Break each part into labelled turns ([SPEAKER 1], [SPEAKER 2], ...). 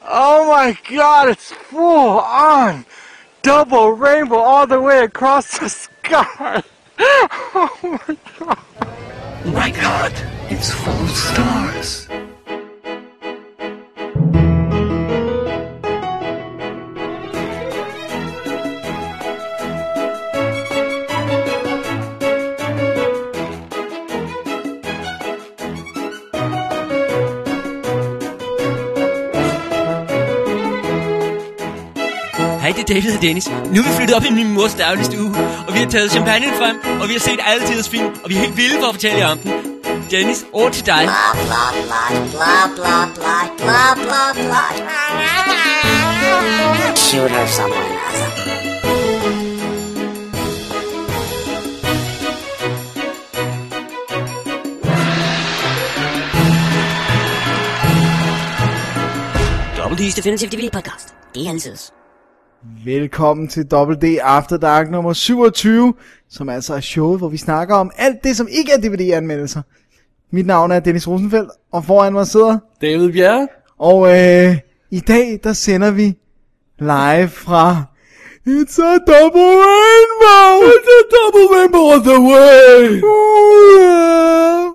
[SPEAKER 1] Oh my god, it's full on double rainbow all the way across the sky. oh my god.
[SPEAKER 2] My god, it's full of stars.
[SPEAKER 3] Hej, det er David og Dennis. Nu er vi flyttet op i min mors dagligstue, og vi har taget champagne frem, og vi har set alle tiders film, og vi er helt vilde for at fortælle jer om den. Dennis, over til dig.
[SPEAKER 4] Blah blah blah blah blah blah blah blah blah. Shoot her somewhere, NASA.
[SPEAKER 3] Dobbelt
[SPEAKER 4] Definitive DVD podcast. Det er altid.
[SPEAKER 5] Velkommen til WD After Dark nummer 27, som altså er showet, hvor vi snakker om alt det, som ikke er DVD-anmeldelser. Mit navn er Dennis Rosenfeldt, og foran mig sidder...
[SPEAKER 6] David Bjerre.
[SPEAKER 5] Og øh, i dag, der sender vi live fra... It's a double rainbow! It's a double rainbow on the way! Oh, yeah.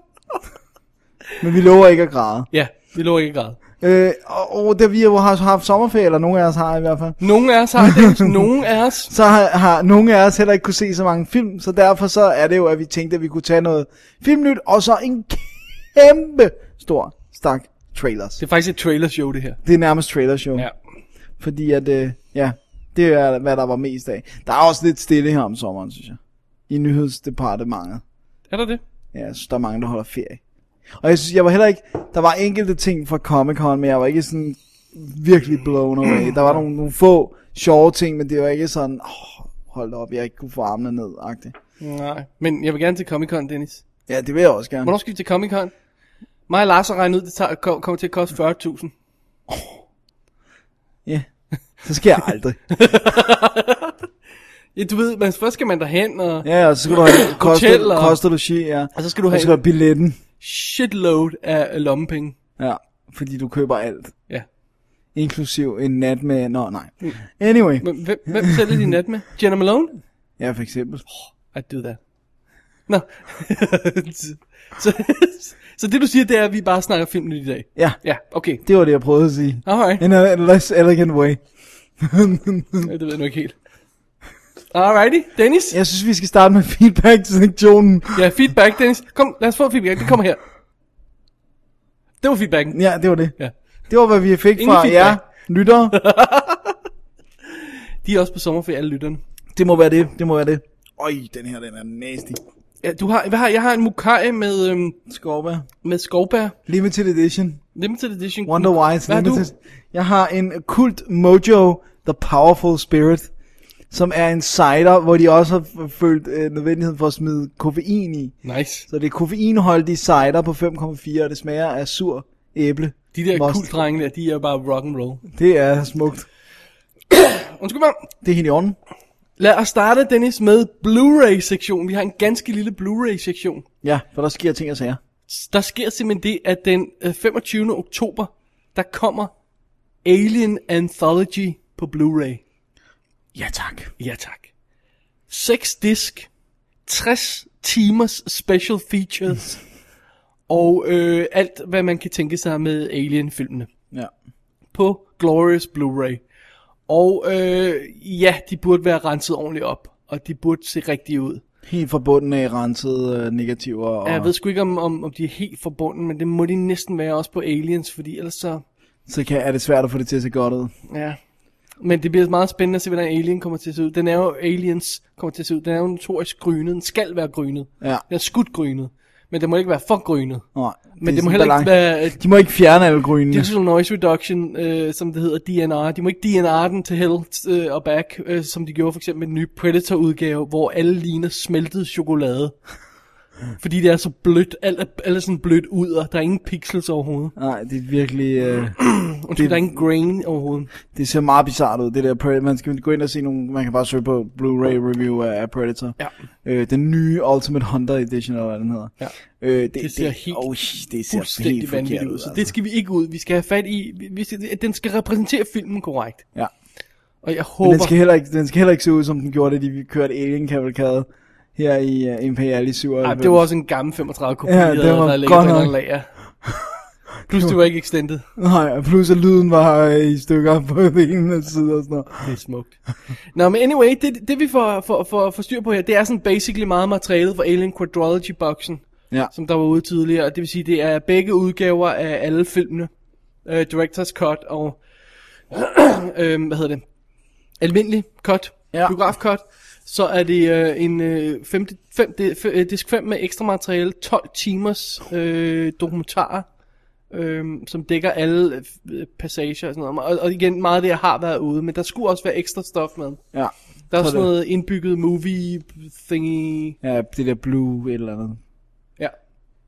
[SPEAKER 5] Men vi lover ikke at græde.
[SPEAKER 6] Ja, vi lå ikke grad.
[SPEAKER 5] Øh, og, og da vi jo har haft sommerferie, eller nogen af os har i hvert fald,
[SPEAKER 6] Nogle af os har det, nogle af os.
[SPEAKER 5] så har, har nogle af os heller ikke kunne se så mange film, så derfor så er det jo, at vi tænkte, at vi kunne tage noget filmnyt, og så en kæmpe stor stak trailers.
[SPEAKER 6] Det er faktisk et trailershow, det her.
[SPEAKER 5] Det er nærmest trailershow,
[SPEAKER 6] Ja.
[SPEAKER 5] fordi at, øh, ja, det er, hvad der var mest af. Der er også lidt stille her om sommeren, synes jeg, i nyhedsdepartementet.
[SPEAKER 6] Er der det?
[SPEAKER 5] Ja, jeg synes, der er mange, der holder ferie. Og jeg synes, jeg var heller ikke... Der var enkelte ting fra Comic Con, men jeg var ikke sådan virkelig blown away. Der var nogle, nogle få sjove ting, men det var ikke sådan... Oh, hold da op, jeg ikke kunne få armene ned -agtigt.
[SPEAKER 6] Nej. Men jeg vil gerne til Comic Con, Dennis.
[SPEAKER 5] Ja, det vil jeg også gerne.
[SPEAKER 6] Hvornår skal vi til Comic Con? Mig og Lars har regnet ud, det tager, kom- kommer til at koste 40.000.
[SPEAKER 5] Ja. Så skal jeg aldrig.
[SPEAKER 6] Ja, du ved, men først skal man derhen, og ja.
[SPEAKER 5] Ja, og så skal du have koster,
[SPEAKER 6] Hotel og-
[SPEAKER 5] koster du ski, ja.
[SPEAKER 6] og så skal du
[SPEAKER 5] Og så
[SPEAKER 6] have
[SPEAKER 5] skal du have billetten.
[SPEAKER 6] shitload af lommepenge.
[SPEAKER 5] Ja, fordi du køber alt.
[SPEAKER 6] Ja. Mm.
[SPEAKER 5] Inklusiv en nat med... Nå, nej. Anyway.
[SPEAKER 6] Men hvem, hvem sælger din nat med? Jenna Malone?
[SPEAKER 5] Ja, for eksempel.
[SPEAKER 6] I do that. Nå. så, så det du siger, det er, at vi bare snakker film i dag.
[SPEAKER 5] Ja,
[SPEAKER 6] Ja, okay.
[SPEAKER 5] det var det, jeg prøvede at sige.
[SPEAKER 6] Alright.
[SPEAKER 5] In a less elegant way.
[SPEAKER 6] Ja, det ved jeg nu ikke helt. Alrighty, Dennis.
[SPEAKER 5] Jeg synes, vi skal starte med feedback-sektionen.
[SPEAKER 6] Ja, feedback, Dennis. Kom, lad os få feedback. Det kommer her. Det var feedbacken.
[SPEAKER 5] Ja, det var det.
[SPEAKER 6] Ja.
[SPEAKER 5] Det var, hvad vi fik
[SPEAKER 6] Ingen
[SPEAKER 5] fra jer
[SPEAKER 6] feedback.
[SPEAKER 5] lyttere.
[SPEAKER 6] De er også på sommerferie, alle lytterne.
[SPEAKER 5] Det må være det, det må være det. Øj, den her, den er nasty.
[SPEAKER 6] Ja, du har, hvad har, jeg har en Mukai med, øhm,
[SPEAKER 5] Skorpa.
[SPEAKER 6] med skovbær.
[SPEAKER 5] Limited edition.
[SPEAKER 6] Limited edition.
[SPEAKER 5] Wonder Why it's
[SPEAKER 6] Hvad har
[SPEAKER 5] limited.
[SPEAKER 6] du?
[SPEAKER 5] Jeg har en Kult Mojo, The Powerful Spirit, som er en cider, hvor de også har f- følt øh, nødvendigheden for at smide koffein i.
[SPEAKER 6] Nice.
[SPEAKER 5] Så det er koffeinholdig cider på 5,4, og det smager af sur æble.
[SPEAKER 6] De der
[SPEAKER 5] most.
[SPEAKER 6] cool drenge der, de er jo bare rock and roll.
[SPEAKER 5] Det er smukt.
[SPEAKER 6] Undskyld mig.
[SPEAKER 5] Det er helt i orden.
[SPEAKER 6] Lad os starte, Dennis, med Blu-ray-sektionen. Vi har en ganske lille Blu-ray-sektion.
[SPEAKER 5] Ja, for der sker ting og sager.
[SPEAKER 6] Der sker simpelthen det, at den øh, 25. oktober, der kommer Alien Anthology på Blu-ray.
[SPEAKER 5] Ja tak.
[SPEAKER 6] Ja tak. 6 disk, 60 timers special features, og øh, alt hvad man kan tænke sig med Alien-filmene
[SPEAKER 5] Ja.
[SPEAKER 6] på Glorious Blu-ray. Og øh, ja, de burde være renset ordentligt op, og de burde se rigtige ud.
[SPEAKER 5] Helt fra bunden af renset øh, negativer. Og...
[SPEAKER 6] Ja, Jeg ved sgu ikke, om, om, om de er helt forbundet, men det må de næsten være også på Aliens, fordi ellers så...
[SPEAKER 5] Så kan, er det svært at få det til at se godt ud.
[SPEAKER 6] Ja. Men det bliver meget spændende at se, hvordan Alien kommer til at se ud. Den er jo Aliens kommer til at se ud. Den er jo notorisk grynet. Den skal være grynet.
[SPEAKER 5] Ja.
[SPEAKER 6] Den er skudt grynet. Men den må ikke være for grynet.
[SPEAKER 5] Nej,
[SPEAKER 6] Men det, det
[SPEAKER 5] er sådan
[SPEAKER 6] må heller
[SPEAKER 5] balance.
[SPEAKER 6] ikke være øh,
[SPEAKER 5] De må ikke fjerne alle grynene.
[SPEAKER 6] Digital Noise Reduction, øh, som det hedder, DNR. De må ikke DNR den til hell øh, og back, øh, som de gjorde for eksempel med den nye Predator-udgave, hvor alle ligner smeltet chokolade. Fordi det er så blødt. Alt er, alt er sådan blødt ud, og der er ingen pixels overhovedet.
[SPEAKER 5] Nej, det er virkelig... Øh,
[SPEAKER 6] Undskyld,
[SPEAKER 5] Det-
[SPEAKER 6] det... der er ingen grain overhovedet.
[SPEAKER 5] det ser meget bizart ud, det der Predator. Man skal gå ind og se nogle... Man kan bare søge på Blu-ray review af, af Predator.
[SPEAKER 6] Ja.
[SPEAKER 5] Øh, den nye Ultimate Hunter Edition, eller hvad den hedder.
[SPEAKER 6] Ja.
[SPEAKER 5] Øh, det,
[SPEAKER 6] Det ser helt-
[SPEAKER 5] oh, shit, det ser helt
[SPEAKER 6] Fuldstændig
[SPEAKER 5] forkert
[SPEAKER 6] vanvittigt
[SPEAKER 5] ud.
[SPEAKER 6] ud.
[SPEAKER 5] Altså.
[SPEAKER 6] Så det skal vi ikke ud. Vi skal have fat i... Vi, vi skal, den skal repræsentere filmen korrekt.
[SPEAKER 5] Ja.
[SPEAKER 6] Og jeg
[SPEAKER 5] Men den
[SPEAKER 6] håber...
[SPEAKER 5] skal, heller ikke, den skal heller ikke se ud, som den gjorde, da de kørte Alien-kavalkade her i uh, Imperial i 97.
[SPEAKER 6] Ej, det var også en gammel 35 kopi,
[SPEAKER 5] Ja,
[SPEAKER 6] ja,
[SPEAKER 5] det
[SPEAKER 6] det
[SPEAKER 5] var
[SPEAKER 6] der ligger
[SPEAKER 5] godt
[SPEAKER 6] på en eller
[SPEAKER 5] nok.
[SPEAKER 6] anden lager. Plus, det var ikke extended.
[SPEAKER 5] Nej, og plus at lyden var øh, i stykker på den ene side og sådan noget.
[SPEAKER 6] Det er smukt. Nå, men anyway, det, det vi får, får, får, får styr på her, det er sådan basically meget materialet fra Alien Quadrology-boksen,
[SPEAKER 5] Ja.
[SPEAKER 6] som der var ude tidligere. Og Det vil sige, det er begge udgaver af alle filmene. Uh, director's Cut og, øh, hvad hedder det, almindelig cut,
[SPEAKER 5] Ja.
[SPEAKER 6] ja. biograf cut. Så er det øh, en øh, femte, fem, det, f- øh, disk 5 med ekstra materiale, 12 timers øh, dokumentarer, øh, som dækker alle øh, passager og sådan noget. Og, og igen, meget af det har været ude, men der skulle også være ekstra stof med.
[SPEAKER 5] Ja.
[SPEAKER 6] Der er også
[SPEAKER 5] det.
[SPEAKER 6] noget indbygget movie thingy.
[SPEAKER 5] ja, det der blue et eller andet.
[SPEAKER 6] Ja.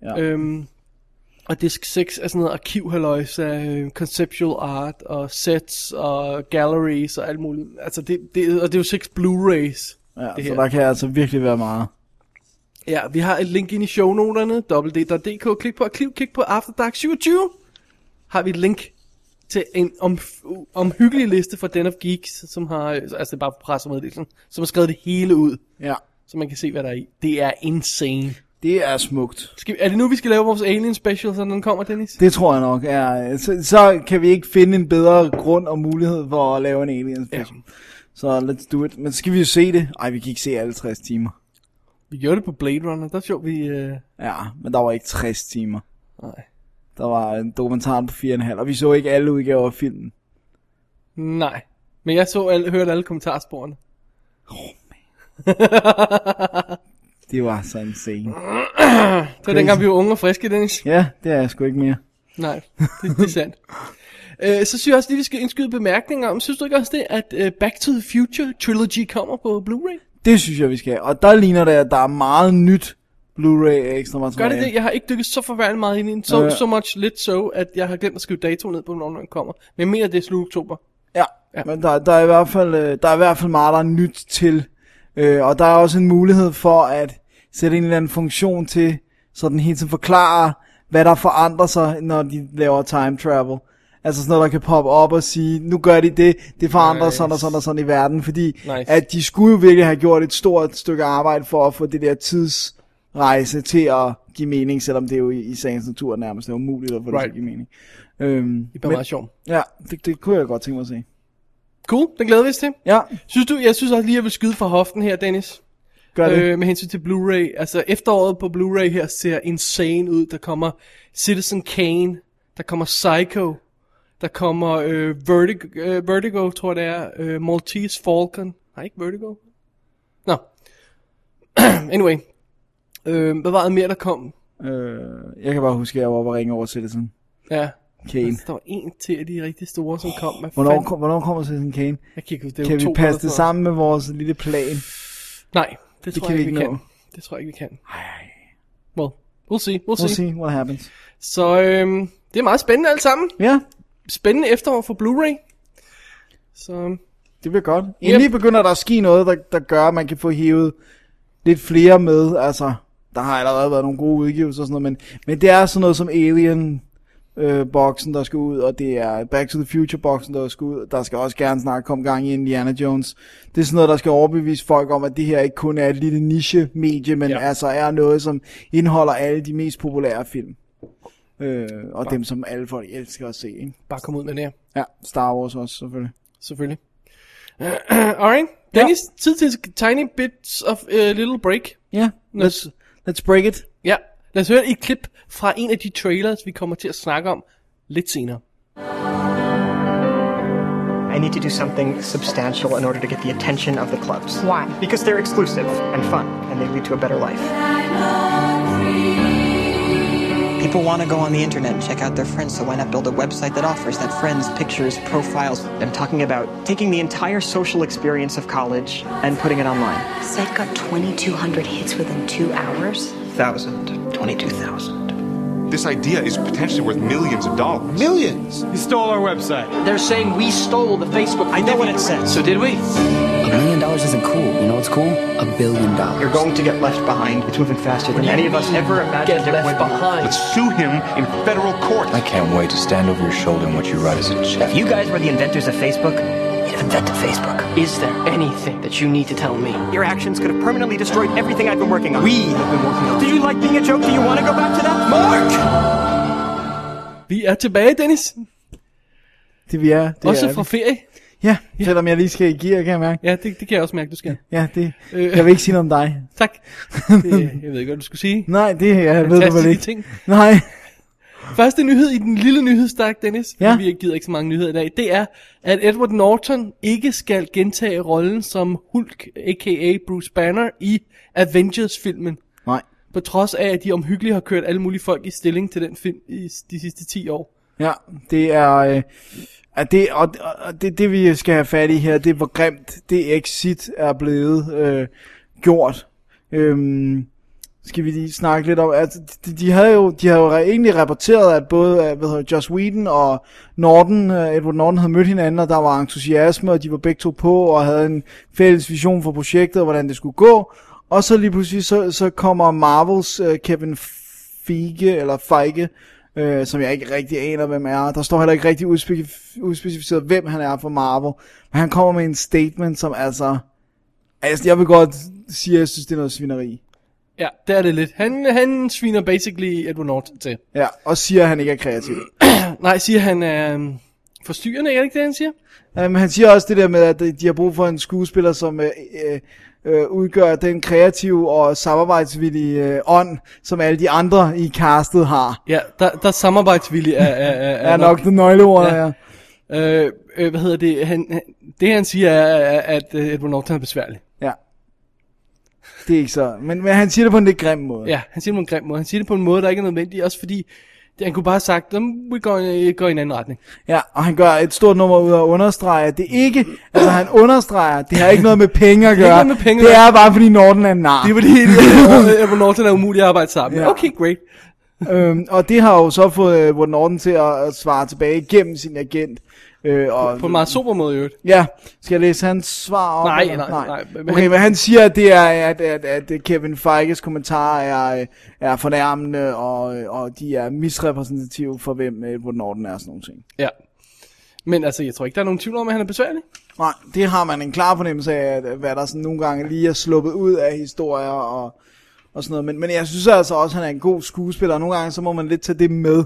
[SPEAKER 5] Ja.
[SPEAKER 6] Øhm, og disk 6 er sådan noget arkivhaløjs af øh, conceptual art og sets og galleries og alt muligt. Altså det, det, og det er jo 6 Blu-rays.
[SPEAKER 5] Ja,
[SPEAKER 6] det
[SPEAKER 5] så
[SPEAKER 6] her.
[SPEAKER 5] der kan altså virkelig være meget.
[SPEAKER 6] Ja, vi har et link ind i shownoterne, www.dk, klik på arkiv, klik på After Dark 27, har vi et link til en om, omhyggelig liste fra Den of Geeks, som har, altså det er bare pressemeddelelsen, som har skrevet det hele ud,
[SPEAKER 5] Ja,
[SPEAKER 6] så man kan se, hvad der er i. Det er insane.
[SPEAKER 5] det er smukt.
[SPEAKER 6] Skal, vi- er det nu, vi skal lave vores Alien Special, så den kommer, Dennis?
[SPEAKER 5] Det tror jeg nok. Ja, så, så kan vi ikke finde en bedre grund og mulighed for at lave en alien special. Ja. Så let's do it. Men skal vi jo se det? Ej, vi kan ikke se alle 60 timer.
[SPEAKER 6] Vi gjorde det på Blade Runner, der så vi... Øh...
[SPEAKER 5] Ja, men der var ikke 60 timer.
[SPEAKER 6] Nej.
[SPEAKER 5] Der var en dokumentar på 4,5, og vi så ikke alle udgaver af filmen.
[SPEAKER 6] Nej. Men jeg så alle, hørte alle kommentarsporene.
[SPEAKER 5] Det var så insane.
[SPEAKER 6] Det var dengang, vi var unge og friske, Dennis.
[SPEAKER 5] Ja, det er jeg sgu ikke mere.
[SPEAKER 6] Nej, det, det er sandt. Øh, så synes jeg også lige, vi skal indskyde bemærkninger om. Synes du ikke også det, at øh, Back to the Future Trilogy kommer på Blu-ray?
[SPEAKER 5] Det synes jeg, vi skal. Og der ligner det, at der er meget nyt Blu-ray ekstra
[SPEAKER 6] Gør
[SPEAKER 5] materiale.
[SPEAKER 6] det det? Jeg har ikke dykket så forfærdeligt meget ind i den. So,
[SPEAKER 5] Øh.
[SPEAKER 6] so much lidt så, at jeg har glemt at skrive dato ned på, hvornår den kommer. Men jeg mener, det er slut oktober.
[SPEAKER 5] Ja, ja.
[SPEAKER 6] Ja.
[SPEAKER 5] men der, der, er i hvert fald, øh, der er i hvert fald meget, der er nyt til. Øh, og der er også en mulighed for at sætte en eller anden funktion til, så den hele tiden forklarer, hvad der forandrer sig, når de laver time travel. Altså sådan noget, der kan poppe op og sige, nu gør de det, det forandrer nice.
[SPEAKER 6] Nice.
[SPEAKER 5] sådan og sådan og sådan i verden. Fordi nice.
[SPEAKER 6] Nice.
[SPEAKER 5] at de skulle jo virkelig have gjort et stort stykke arbejde for at få det der tidsrejse til at give mening, selvom det jo i, i sagens natur nærmest er umuligt at få right. det til
[SPEAKER 6] Right.
[SPEAKER 5] at give mening. Øhm,
[SPEAKER 6] Det bliver
[SPEAKER 5] men,
[SPEAKER 6] meget sjovt.
[SPEAKER 5] ja, det, det kunne jeg godt tænke mig at se.
[SPEAKER 6] Cool, den glæder vi os til.
[SPEAKER 5] Ja,
[SPEAKER 6] Synes du, jeg synes også lige, at jeg vil skyde fra hoften her, Dennis.
[SPEAKER 5] gør det.
[SPEAKER 6] Øh, med hensyn til Blu-ray. Altså efteråret på Blu-ray her ser insane ud. Der kommer Citizen Kane, der kommer Psycho, der kommer øh, Vertigo, øh, Vertigo, tror jeg det er, øh, Maltese Falcon. Nej, ikke Vertigo. Nå. anyway. Øh, hvad var det mere, der kom?
[SPEAKER 5] Øh, jeg kan bare huske, at jeg var oppe og ringe over Citizen
[SPEAKER 6] Ja.
[SPEAKER 5] Kane.
[SPEAKER 6] Der var en til af de rigtig store, som kom. Hvad
[SPEAKER 5] Hvornår,
[SPEAKER 6] Altså, fanden?
[SPEAKER 5] kom- hvornår kommer Citizen Kane?
[SPEAKER 6] Jeg kan, ikke huske, det er
[SPEAKER 5] Kan
[SPEAKER 6] jo to
[SPEAKER 5] vi
[SPEAKER 6] eller
[SPEAKER 5] passe det
[SPEAKER 6] sådan
[SPEAKER 5] sammen med vores lille plan?
[SPEAKER 6] noget. Nej, det,
[SPEAKER 5] Det
[SPEAKER 6] tror
[SPEAKER 5] kan
[SPEAKER 6] jeg
[SPEAKER 5] vi
[SPEAKER 6] ikke, vi
[SPEAKER 5] ikke nå.
[SPEAKER 6] kan. Det tror jeg ikke, vi kan. Well, we'll see, we'll,
[SPEAKER 5] We'll
[SPEAKER 6] see.
[SPEAKER 5] see what happens.
[SPEAKER 6] Så øhm, det er meget spændende alt sammen.
[SPEAKER 5] Ja,
[SPEAKER 6] Spændende efterår for Blu-ray. Så øhm,
[SPEAKER 5] det bliver godt. Endelig begynder der at ske noget, der, der gør, at man kan få hævet lidt flere med. Altså, der har allerede været nogle gode udgivelser og sådan noget, men, men det er sådan noget som Alien øh, boksen, der skal ud, og det er Back to the Future boksen, der skal ud. Der skal også gerne snart komme gang i Indiana Jones. Det er sådan noget, der skal overbevise folk om, at det her ikke kun er et lille niche-medie, men ja.
[SPEAKER 6] Ja.
[SPEAKER 5] altså er noget, som indeholder alle de mest populære film. Øh, og dem, som alle folk elsker at se. Ikke?
[SPEAKER 6] bare kom ud med det her,
[SPEAKER 5] Ja, Star Wars også selvfølgelig.
[SPEAKER 6] selvfølgelig. Alright, Dennis, ja. tid til tiny bits of uh, little break.
[SPEAKER 5] Ja, let's, let's break it.
[SPEAKER 6] Ja, lad os høre et klip fra en af de trailers, vi kommer til at snakke om lidt senere.
[SPEAKER 7] I need to do something substantial in order to get the attention of the clubs.
[SPEAKER 8] Why?
[SPEAKER 7] Because they're exclusive and fun, and they lead to a better life.
[SPEAKER 8] People want to go on the internet and check out their friends, so why not build a website that offers that friends, pictures, profiles?
[SPEAKER 7] I'm talking about taking the entire social experience of college and putting it online.
[SPEAKER 9] Site got 2,200 hits within two hours.
[SPEAKER 7] 20,000.
[SPEAKER 2] 22,000.
[SPEAKER 9] This idea is potentially worth millions of dollars.
[SPEAKER 10] Millions.
[SPEAKER 11] He stole our website.
[SPEAKER 10] They're saying we stole the Facebook.
[SPEAKER 8] I know what it says.
[SPEAKER 10] So did we?
[SPEAKER 2] A million dollars isn't cool. You know what's cool? A billion dollars.
[SPEAKER 7] You're going to get left behind. It's moving faster than any of us ever imagined
[SPEAKER 10] Get
[SPEAKER 7] it would.
[SPEAKER 10] left behind.
[SPEAKER 9] Let's sue him in federal court.
[SPEAKER 2] I can't wait to stand over your shoulder and what you write is a check.
[SPEAKER 7] If you guys were the inventors of Facebook,
[SPEAKER 2] you'd invented Facebook.
[SPEAKER 10] Is there anything that you need to tell me?
[SPEAKER 7] your actions could have permanently destroyed everything I've been working on. We have been working on. Did you like being a joke? Do you want to go back to that? Mark!
[SPEAKER 6] Vi er tilbage, Dennis.
[SPEAKER 5] Det vi er. Det
[SPEAKER 6] Også
[SPEAKER 5] er
[SPEAKER 6] fra
[SPEAKER 5] vi.
[SPEAKER 6] ferie.
[SPEAKER 5] Ja, selvom jeg lige skal i gear, kan jeg mærke.
[SPEAKER 6] Ja, det, det kan jeg også mærke, du skal.
[SPEAKER 5] Ja, det,
[SPEAKER 6] Øh.
[SPEAKER 5] jeg vil ikke sige noget om dig.
[SPEAKER 6] Tak. Det, jeg ved ikke, hvad du skulle sige.
[SPEAKER 5] Nej, det jeg ved du vel
[SPEAKER 6] Fantastiske
[SPEAKER 5] ikke.
[SPEAKER 6] ting.
[SPEAKER 5] Nej,
[SPEAKER 6] Første nyhed i den lille nyhedsstak, Dennis,
[SPEAKER 5] Ja.
[SPEAKER 6] ja. vi gider ikke så mange nyheder i dag, det er, at Edward Norton ikke skal gentage rollen som Hulk, a.k.a. Bruce Banner, i Avengers-filmen.
[SPEAKER 5] nej.
[SPEAKER 6] På trods af, at de omhyggeligt har kørt alle mulige folk i stilling til den film i s- de sidste 10 år.
[SPEAKER 5] Ja, det er... Øh, at det, og, og- og det, det vi skal have fat i her, det er hvor grimt det exit er blevet øh, gjort. Øhm, skal vi lige snakke lidt om, at de, de havde jo, de havde jo re- egentlig rapporteret, at både øh, hvad hedder, det, Joss Whedon og Norton, øh, Edward Norton havde mødt hinanden, og der var entusiasme, og de var begge to på, og havde en fælles vision for projektet, og hvordan det skulle gå. Og så lige pludselig, så, så kommer Marvels øh, Kevin Feige, eller Feige, øh, som jeg ikke rigtig aner, hvem er. Der står heller ikke rigtig udspecif- udspecificeret, hvem han er for Marvel. Men han kommer med en statement, som altså... Altså, jeg vil godt sige, at jeg synes, det er noget svineri.
[SPEAKER 6] Ja, det er det lidt. Han, han sviner basically Edward Norton til.
[SPEAKER 5] Ja, og siger, at han ikke er kreativ.
[SPEAKER 6] Nej, siger han er øhm, forstyrrende, er det ikke det, han siger?
[SPEAKER 5] Um, han siger også det der med, at de har brug for en skuespiller, som øh, øh, øh, udgør den kreative og samarbejdsvillige øh, ånd, som alle de andre i castet har.
[SPEAKER 6] Ja, der, der samarbejdsvillig er, er, er,
[SPEAKER 5] Er nok det nøgleord,
[SPEAKER 6] Ja.
[SPEAKER 5] ja. ja.
[SPEAKER 6] Øh, øh, hvad hedder det? Han, han, det han siger er, er, at øh, Edward Norton er besværlig.
[SPEAKER 5] ja. Det er ikke så... Men, men han siger det på en lidt grim måde.
[SPEAKER 6] Ja, han siger det på en grim måde. Han siger det på en måde, der ikke er nødvendig, også fordi det, han kunne bare have sagt, at vi går, øh, går i en anden retning.
[SPEAKER 5] Ja, og han gør et stort nummer ud af at understrege, at det ikke, altså han understreger, at det har ikke noget med penge at
[SPEAKER 6] Det har
[SPEAKER 5] gøre.
[SPEAKER 6] ikke noget med penge at
[SPEAKER 5] det
[SPEAKER 6] gøre.
[SPEAKER 5] er bare fordi Norton er en nar.
[SPEAKER 6] Det er fordi, øh, Edward Norton er umulig at arbejde sammen med.
[SPEAKER 5] Ja.
[SPEAKER 6] Okay, great.
[SPEAKER 5] øhm, og det har jo så fået øh, Edward Norton til at, at svare tilbage gennem sin agent. Øh, og,
[SPEAKER 6] På en meget super måde i øvrigt.
[SPEAKER 5] ja, skal jeg læse hans svar op?
[SPEAKER 6] Nej,
[SPEAKER 5] eller?
[SPEAKER 6] nej, nej, men
[SPEAKER 5] Okay,
[SPEAKER 6] han-
[SPEAKER 5] men han siger, at det er, at, at, at øh, Kevin Feiges kommentarer er, øh, er fornærmende, og, øh, og de er misrepræsentative for, hvem øh, Edward Norton er og sådan nogle ting.
[SPEAKER 6] Ja. Men altså, jeg tror ikke, der er nogen tvivl om, at han er besværlig.
[SPEAKER 5] Nej, det har man en klar fornemmelse af, at, hvad der sådan nogle gange lige er sluppet ud af historier og, og sådan noget. Men, men jeg synes altså også, at han er en god skuespiller, og nogle gange så må man lidt tage det med.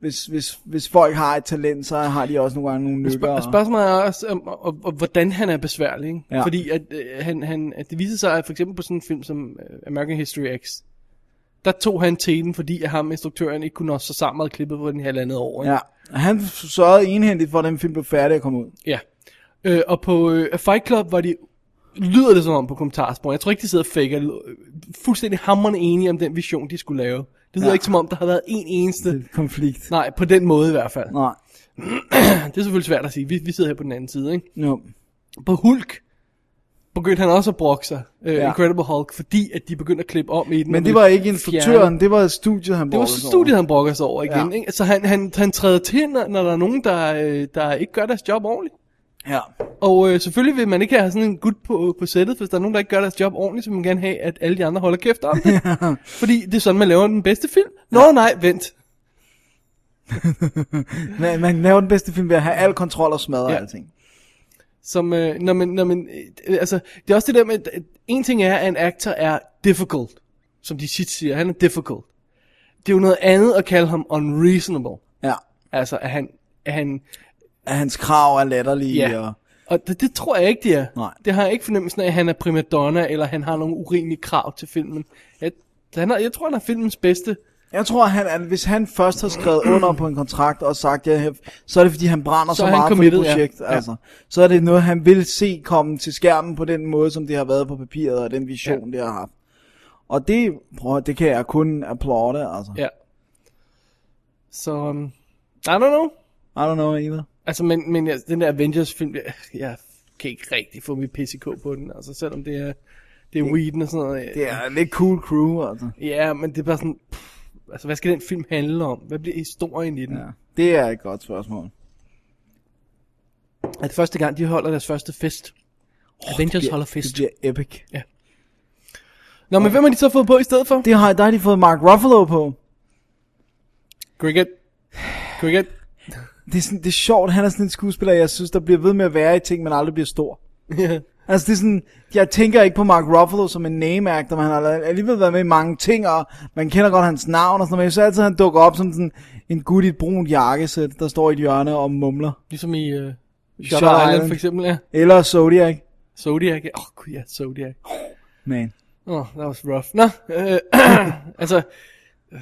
[SPEAKER 5] Hvis, hvis, hvis folk har et talent, så har de også nogle gange nogle nykker.
[SPEAKER 6] Spørg-
[SPEAKER 5] og-
[SPEAKER 6] spørgsmålet er også, om, og, og, og, hvordan han er besværlig. Ikke?
[SPEAKER 5] Ja.
[SPEAKER 6] Ja. Fordi at, øh, han, han, at det viser sig, at for eksempel på sådan en film som øh, American History X, der tog han teten, fordi at ham, instruktøren, ikke kunne nå sig sammen med klippet på den halvandet år. Ikke?
[SPEAKER 5] Ja, han sørgede enhændigt for, at den film blev færdig og kom ud.
[SPEAKER 6] ja. Øh, og på øh, Fight Club var de, lyder det som om på kommentarsporen, jeg tror ikke, de sidder og faker, øh, fuldstændig hammerende enige om den vision, de skulle lave. Det lyder
[SPEAKER 5] Ja.
[SPEAKER 6] ja. ikke som om, der har været en eneste,
[SPEAKER 5] Det er konflikt.
[SPEAKER 6] nej, på den måde i hvert fald.
[SPEAKER 5] Nej,
[SPEAKER 6] Det er selvfølgelig svært at sige, vi, vi sidder her på den anden side, ikke?
[SPEAKER 5] no.
[SPEAKER 6] på Hulk begyndte han også at brokke sig, øh,
[SPEAKER 5] Ja.
[SPEAKER 6] ja. Incredible Hulk, fordi at de begyndte at klippe om i den.
[SPEAKER 5] Men
[SPEAKER 6] og
[SPEAKER 5] det
[SPEAKER 6] ville
[SPEAKER 5] var ikke
[SPEAKER 6] fjerne-
[SPEAKER 5] instruktøren, det var studiet, han
[SPEAKER 6] Det var
[SPEAKER 5] brokkede sig
[SPEAKER 6] studiet, han brokker sig over igen.
[SPEAKER 5] Ja.
[SPEAKER 6] Ja. Ikke? Så han, han, han træder til, når, når der er nogen, der, øh, der ikke gør deres job ordentligt.
[SPEAKER 5] over. Ja.
[SPEAKER 6] Og øh, selvfølgelig vil man ikke have sådan en gut på, på sættet, hvis der er nogen, der ikke gør deres job ordentligt, så vil man gerne have, at alle de andre holder kæft om det. fordi det er sådan, man laver den bedste film. Nå ja. nej, vent.
[SPEAKER 5] Man, man laver den bedste film ved at have al kontrol og smadre ja.
[SPEAKER 6] Ja.
[SPEAKER 5] alting.
[SPEAKER 6] Som, øh, når man, når man, øh, altså, det er også det der med, at- at en ting er, at en actor er difficult, som de tit siger, han er difficult. Det er jo noget andet at kalde ham unreasonable,
[SPEAKER 5] Ja.
[SPEAKER 6] altså at han, at han
[SPEAKER 5] At hans krav er latterlige.
[SPEAKER 6] Ja.
[SPEAKER 5] Og,
[SPEAKER 6] og det, det tror jeg ikke det er.
[SPEAKER 5] Nej.
[SPEAKER 6] Det har jeg ikke fornemmelsen af, at han er primadonna, eller han har nogle urimelige krav til filmen. Jeg, han er, jeg tror, han er filmens bedste.
[SPEAKER 5] Jeg tror, han, at hvis han først har skrevet under på en kontrakt og sagt, ja, så er det fordi, han brænder så,
[SPEAKER 6] Så er han
[SPEAKER 5] meget for det
[SPEAKER 6] committed, ja.
[SPEAKER 5] projekt.
[SPEAKER 6] Ja.
[SPEAKER 5] Altså, så er det noget, han vil se komme til skærmen på den måde, som det har været på papiret, og den vision, det har haft. Og det, prøv, at høre, det kan jeg kun applaude, altså.
[SPEAKER 6] Ja. Så, um, I don't know.
[SPEAKER 5] I don't know either.
[SPEAKER 6] Altså, men, men jeg, den der Avengers-film, jeg, jeg kan ikke rigtig få mit PCK på den, altså selvom det er, Det er Whedon og sådan noget.
[SPEAKER 5] Det er lidt cool crew, altså.
[SPEAKER 6] Ja, men det er bare sådan... Pff, altså, hvad skal den film handle om? Hvad bliver historien i den?
[SPEAKER 5] Ja, det er et godt spørgsmål.
[SPEAKER 6] At første gang, de holder deres første fest. Avengers
[SPEAKER 5] bliver-
[SPEAKER 6] holder
[SPEAKER 5] Det
[SPEAKER 6] fest.
[SPEAKER 5] bliver epic.
[SPEAKER 6] Nå, men hvem har de så fået på i stedet for?
[SPEAKER 5] Det har, der har de fået Mark Ruffalo på.
[SPEAKER 6] Cricket. Cricket.
[SPEAKER 5] Det er, sådan, det er sjovt, han er sådan en skuespiller, jeg synes, der bliver ved med at være i ting, men aldrig bliver stor. Altså det er sådan, jeg tænker ikke på Mark Ruffalo som en name actor, men han har alligevel været med i mange ting, og man kender godt hans navn og sådan noget, men jeg synes altid, han dukker op som sådan en gut i et brunt jakkesæt, der står i et hjørne og mumler.
[SPEAKER 6] Ligesom i uh,
[SPEAKER 5] Shutter
[SPEAKER 6] Shutter Island,
[SPEAKER 5] Island.
[SPEAKER 6] for eksempel, ja.
[SPEAKER 5] Eller Zodiac.
[SPEAKER 6] Zodiac. ja. Åh, oh, gud ja, Zodiac.
[SPEAKER 5] Man.
[SPEAKER 6] Åh, oh, that was rough. Nå, øh, altså... øh,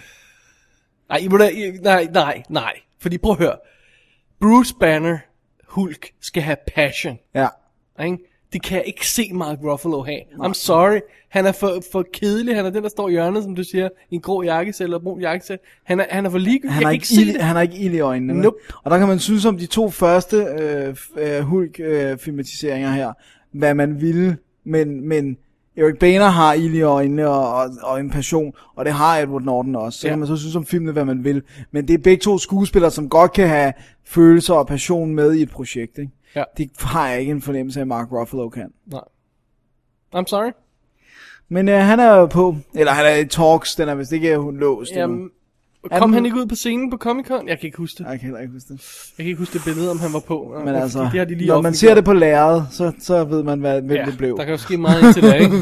[SPEAKER 6] Nej, I må da, I, nej, nej, nej. Fordi prøv at høre. Bruce Banner, Hulk, skal have passion.
[SPEAKER 5] Ja.
[SPEAKER 6] Ikke? Det kan jeg ikke se Mark Ruffalo have. I'm sorry. Han er for, for kedelig. Han er den, der står i hjørnet, som du siger, i en grå jakkesæt eller brun jakkesæt. Han er, han er for ligegyldig.
[SPEAKER 5] Han
[SPEAKER 6] jeg
[SPEAKER 5] har,
[SPEAKER 6] kan
[SPEAKER 5] ikke
[SPEAKER 6] ikke se
[SPEAKER 5] ild,
[SPEAKER 6] det.
[SPEAKER 5] han har ikke ild i øjnene. vel?
[SPEAKER 6] Nope.
[SPEAKER 5] Og der kan man synes om de to første øh, f- øh, Hulk-filmatiseringer her, hvad man ville, men, men Eric Boehner har ild i øjnene og, og, og en passion, og det har Edward Norton også. Så
[SPEAKER 6] Ja.
[SPEAKER 5] kan man så synes om filmene, hvad man vil. Men det er begge to skuespillere, som godt kan have følelser og passion med i et projekt. Ikke?
[SPEAKER 6] Ja.
[SPEAKER 5] Det har jeg ikke en fornemmelse af, at Mark Ruffalo kan.
[SPEAKER 6] Nej. I'm sorry.
[SPEAKER 5] Men øh, han er jo på, eller han er i talks, den er vist ikke låst endnu.
[SPEAKER 6] Jamen, kom
[SPEAKER 5] den-
[SPEAKER 6] han ikke ud på scenen på Comic Con? Jeg kan ikke huske det.
[SPEAKER 5] Jeg kan heller ikke huske det.
[SPEAKER 6] Jeg kan ikke huske det billede, om han var på. Nå,
[SPEAKER 5] Men
[SPEAKER 6] det er
[SPEAKER 5] altså,
[SPEAKER 6] fordi, det har de lige
[SPEAKER 5] når man
[SPEAKER 6] offentliggjort.
[SPEAKER 5] ser det på lærredet, så, så ved man, hvad, hvem ja, det blev.
[SPEAKER 6] der kan jo ske meget indtil da, ikke?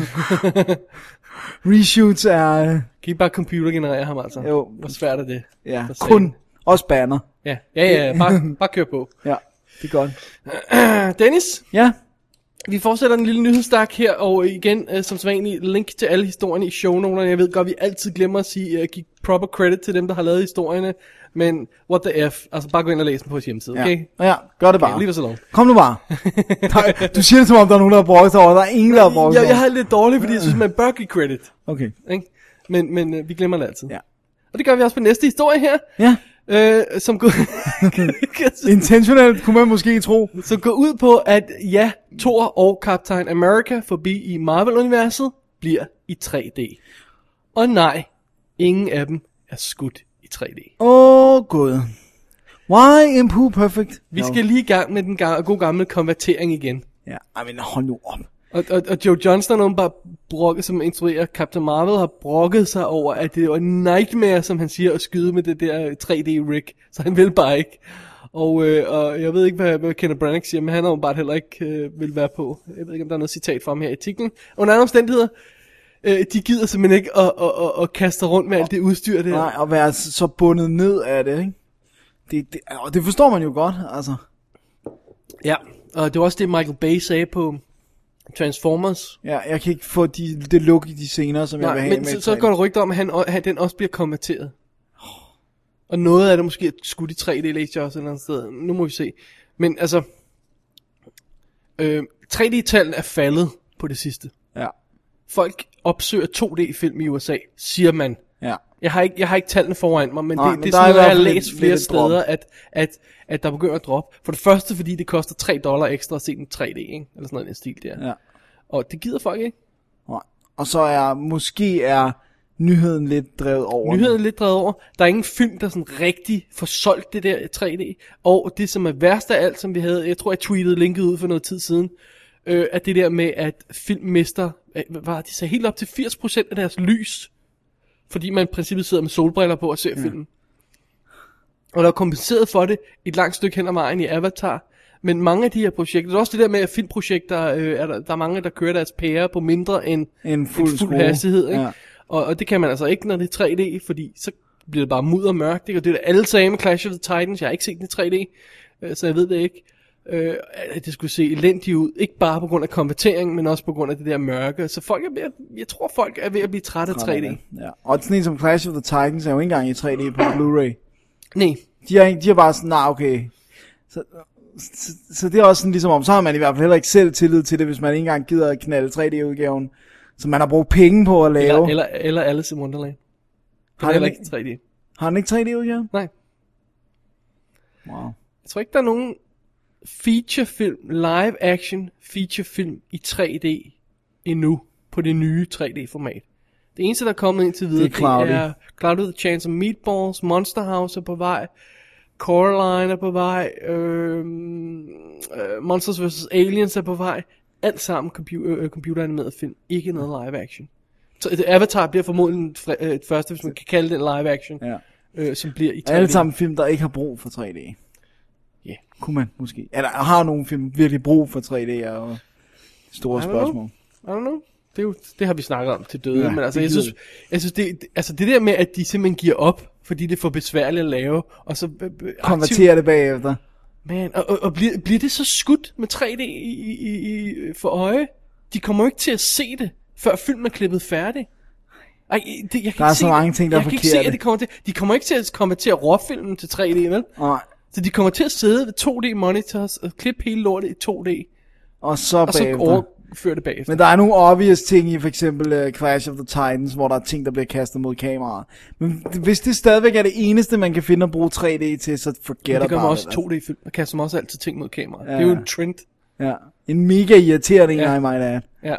[SPEAKER 5] Reshoots er øh,
[SPEAKER 6] Kan I bare computergenerere ham, altså?
[SPEAKER 5] Jo.
[SPEAKER 6] Hvor svært er det?
[SPEAKER 5] ja,
[SPEAKER 6] For
[SPEAKER 5] kun
[SPEAKER 6] satan.
[SPEAKER 5] også banner.
[SPEAKER 6] Ja, ja, ja, ja. Bare, bare kør på.
[SPEAKER 5] Ja, det er godt.
[SPEAKER 6] Ah, Dennis,
[SPEAKER 5] Ja,
[SPEAKER 6] vi fortsætter den lille nyhedsstak her, og igen, øh, som sædvanligt, link til alle historierne i shownoterne. Jeg ved godt, vi altid glemmer at sige, øh, give proper credit til dem, der har lavet historierne, men what the F, altså bare gå ind og læs dem på vores hjemmeside,
[SPEAKER 5] ja.
[SPEAKER 6] okay?
[SPEAKER 5] ja gør det bare.
[SPEAKER 6] Okay, leave us alone.
[SPEAKER 5] Kom nu bare. Der, du siger det, som om der er nogen, der har brugt over. Der er ingen, der har brugt
[SPEAKER 6] Jeg, jeg har det lidt dårligt, fordi jeg synes, man bør give credit,
[SPEAKER 5] Okay,
[SPEAKER 6] ikke? Men, men øh, vi glemmer det altid.
[SPEAKER 5] Ja.
[SPEAKER 6] Og det gør vi også på næste historie her,
[SPEAKER 5] ja.
[SPEAKER 6] øh, som går...
[SPEAKER 5] Intentionelt kunne man måske tro.
[SPEAKER 6] som går ud på, at ja, Thor og Captain America forbi i Marvel-universet bliver i 3D. Og nej, ingen af dem er skudt i 3D.
[SPEAKER 5] Åh, oh, gud. Why improve perfect?
[SPEAKER 6] Vi skal lige i gang med den ga- gode gamle konvertering igen.
[SPEAKER 5] Ja, ej, men hold nu op.
[SPEAKER 6] Og, og, og Joe Johnston, bare brokket, som instruerer Captain Marvel, har brokket sig over, at det var en nightmare, som han siger, at skyde med det der 3D-rig. Så han vil bare ikke. Og, øh, og jeg ved ikke, hvad, hvad Kenneth Branagh siger, men han har jo bare heller ikke øh, vil være på. Jeg ved ikke, om der er noget citat fra ham her i artiklen. Under andre omstændigheder, øh, de gider simpelthen ikke at, at, at, at kaste rundt med alt det udstyr der.
[SPEAKER 5] Nej, at være s- så bundet ned af det, ikke? Det, det, og det forstår man jo godt, altså.
[SPEAKER 6] Ja, og det var også det, Michael Bay sagde på Transformers.
[SPEAKER 5] Ja, jeg kan ikke få de, det luk i de scener, som jeg vil
[SPEAKER 6] Nej,
[SPEAKER 5] have
[SPEAKER 6] men
[SPEAKER 5] med
[SPEAKER 6] så,
[SPEAKER 5] et
[SPEAKER 6] så
[SPEAKER 5] træk.
[SPEAKER 6] går der rygter om, at, han, o- at den også bliver konverteret. Og noget af det måske er skudt i 3D, læste jeg også et eller andet sted. Nu må vi se. Men altså, øh, 3D-tallene er faldet på det sidste.
[SPEAKER 5] Ja,
[SPEAKER 6] Folk opsøger 2D-film i USA, siger man.
[SPEAKER 5] ja.
[SPEAKER 6] Jeg har ikke, jeg har ikke tallene foran mig, men
[SPEAKER 5] Nej,
[SPEAKER 6] det,
[SPEAKER 5] men
[SPEAKER 6] det er
[SPEAKER 5] der
[SPEAKER 6] sådan
[SPEAKER 5] er i
[SPEAKER 6] noget, jeg
[SPEAKER 5] hvert
[SPEAKER 6] har
[SPEAKER 5] fald
[SPEAKER 6] læst
[SPEAKER 5] lidt-
[SPEAKER 6] flere
[SPEAKER 5] lidt et drop.
[SPEAKER 6] steder, at, at, at der begynder at droppe. For det første, fordi det koster 3 dollar ekstra at se den 3D, ikke? eller sådan noget i den stil der.
[SPEAKER 5] Ja.
[SPEAKER 6] Og det gider folk ikke.
[SPEAKER 5] Nej. Og så er, måske er nyheden lidt drevet over.
[SPEAKER 6] Nyheden er lidt drevet over. Der er ingen film, der sådan rigtig får solgt det der 3D. Og det, som er værst af alt, som vi havde, jeg tror, jeg tweetede linket ud for noget tid siden, øh, at det der med, at film mister, øh, hvad var det, de sagde helt op til 80% af deres lys, fordi man i princippet sidder med solbriller på og ser ja. filmen. Og der er kompenseret for det et langt stykke hen ad vejen i Avatar. Men mange af de her projekter, det er også det der med, at filmprojekter, øh, er der, der er mange, der kører deres pære på mindre end
[SPEAKER 5] En fuld,
[SPEAKER 6] en fuld
[SPEAKER 5] skrue.
[SPEAKER 6] hastighed, ikke?
[SPEAKER 5] Ja.
[SPEAKER 6] Ja. Og, og det kan man altså ikke, når det er 3D, fordi så bliver det bare mudder og mørkt, ikke? Og det er det alle sagde med Clash of the Titans, jeg har ikke set den i 3D, øh, så jeg ved det ikke. Øh, at det skulle se elendigt ud, ikke bare på grund af konverteringen, men også på grund af det der mørke. Så folk er ved at, jeg tror folk er ved at blive trætte af 3D.
[SPEAKER 5] Ja. Og sådan en som Clash of the Titans er jo ikke engang i 3D på Blu-ray.
[SPEAKER 6] Nej,
[SPEAKER 5] De er, ikke- de er bare sådan, nej, nah, okay. Så, så, så, det er også sådan ligesom om, så har man i hvert fald heller ikke selv tillid til det, hvis man ikke engang gider at knalde 3D-udgaven, som man har brugt penge på at lave.
[SPEAKER 6] eller, eller, eller Alice in Wonderland. Den
[SPEAKER 5] har,
[SPEAKER 6] er
[SPEAKER 5] den
[SPEAKER 6] heller
[SPEAKER 5] ikke,
[SPEAKER 6] ikke 3D.
[SPEAKER 5] har den ikke 3D-udgaven?
[SPEAKER 6] Nej.
[SPEAKER 5] Wow.
[SPEAKER 6] Jeg tror ikke, der er nogen featurefilm, live action featurefilm i 3D endnu. på det nye 3D-format. Det eneste, der er kommet indtil videre,
[SPEAKER 5] Det er Cloudy.
[SPEAKER 6] det er Cloud with a Chance of Meatballs, Monster House er på vej, Coraline er på vej, øh, øh, Monsters vs. Aliens er på vej. Alt sammen compu- øh, computeranimeret film, ikke noget live action. Så et Avatar bliver formodentlig den fri- øh, det første, hvis man kan kalde det en live action,
[SPEAKER 5] Ja.
[SPEAKER 6] øh, som bliver i 3D.
[SPEAKER 5] Alle sammen film, der ikke har brug for 3D. Ja.
[SPEAKER 6] Ja.
[SPEAKER 5] Kunne man måske. Eller har nogle film virkelig brug for 3D og store
[SPEAKER 6] I don't
[SPEAKER 5] spørgsmål.
[SPEAKER 6] I don't know. Det, er jo, det har vi snakket om til døde,
[SPEAKER 5] Ja,
[SPEAKER 6] ja, men altså,
[SPEAKER 5] det
[SPEAKER 6] jeg
[SPEAKER 5] gider
[SPEAKER 6] synes, jeg synes det, det- altså det der med, at de simpelthen giver op, fordi det er for besværligt at lave, og så øh, øh, aktivt-
[SPEAKER 5] Konvertere det bagefter.
[SPEAKER 6] Man, og, og, og bliver, bliver det så skudt med 3D i, i, i, i- for øje? De kommer jo ikke til at se det, før filmen er klippet færdig. Ej, det, jeg kan
[SPEAKER 5] Der er så
[SPEAKER 6] ikke se,
[SPEAKER 5] mange ting, der er
[SPEAKER 6] jeg kan ikke se,
[SPEAKER 5] forkerte.
[SPEAKER 6] at det kommer til, de kommer ikke til at komme til at råfilmen til 3D, vel?
[SPEAKER 5] Og,
[SPEAKER 6] Så de kommer til at sidde ved 2D-monitors og klippe hele lortet i 2D,
[SPEAKER 5] og så
[SPEAKER 6] og så
[SPEAKER 5] bagefter.
[SPEAKER 6] overføre det bagefter.
[SPEAKER 5] Men der er nogle obvious ting i for eksempel uh, Clash of the Titans, hvor der er ting, der bliver kastet mod kameraet. Men hvis det stadigvæk er det eneste, man kan finde at bruge 3D til, så forget
[SPEAKER 6] Men det gør man
[SPEAKER 5] about
[SPEAKER 6] også
[SPEAKER 5] it, altså.
[SPEAKER 6] i 2D-film, og kaster man også altid ting mod kameraet.
[SPEAKER 5] Ja.
[SPEAKER 6] altså. Ja. Det er jo en trend.
[SPEAKER 5] Ja. En mega irriterende en,
[SPEAKER 6] Ja.
[SPEAKER 5] I might add.
[SPEAKER 6] Ja.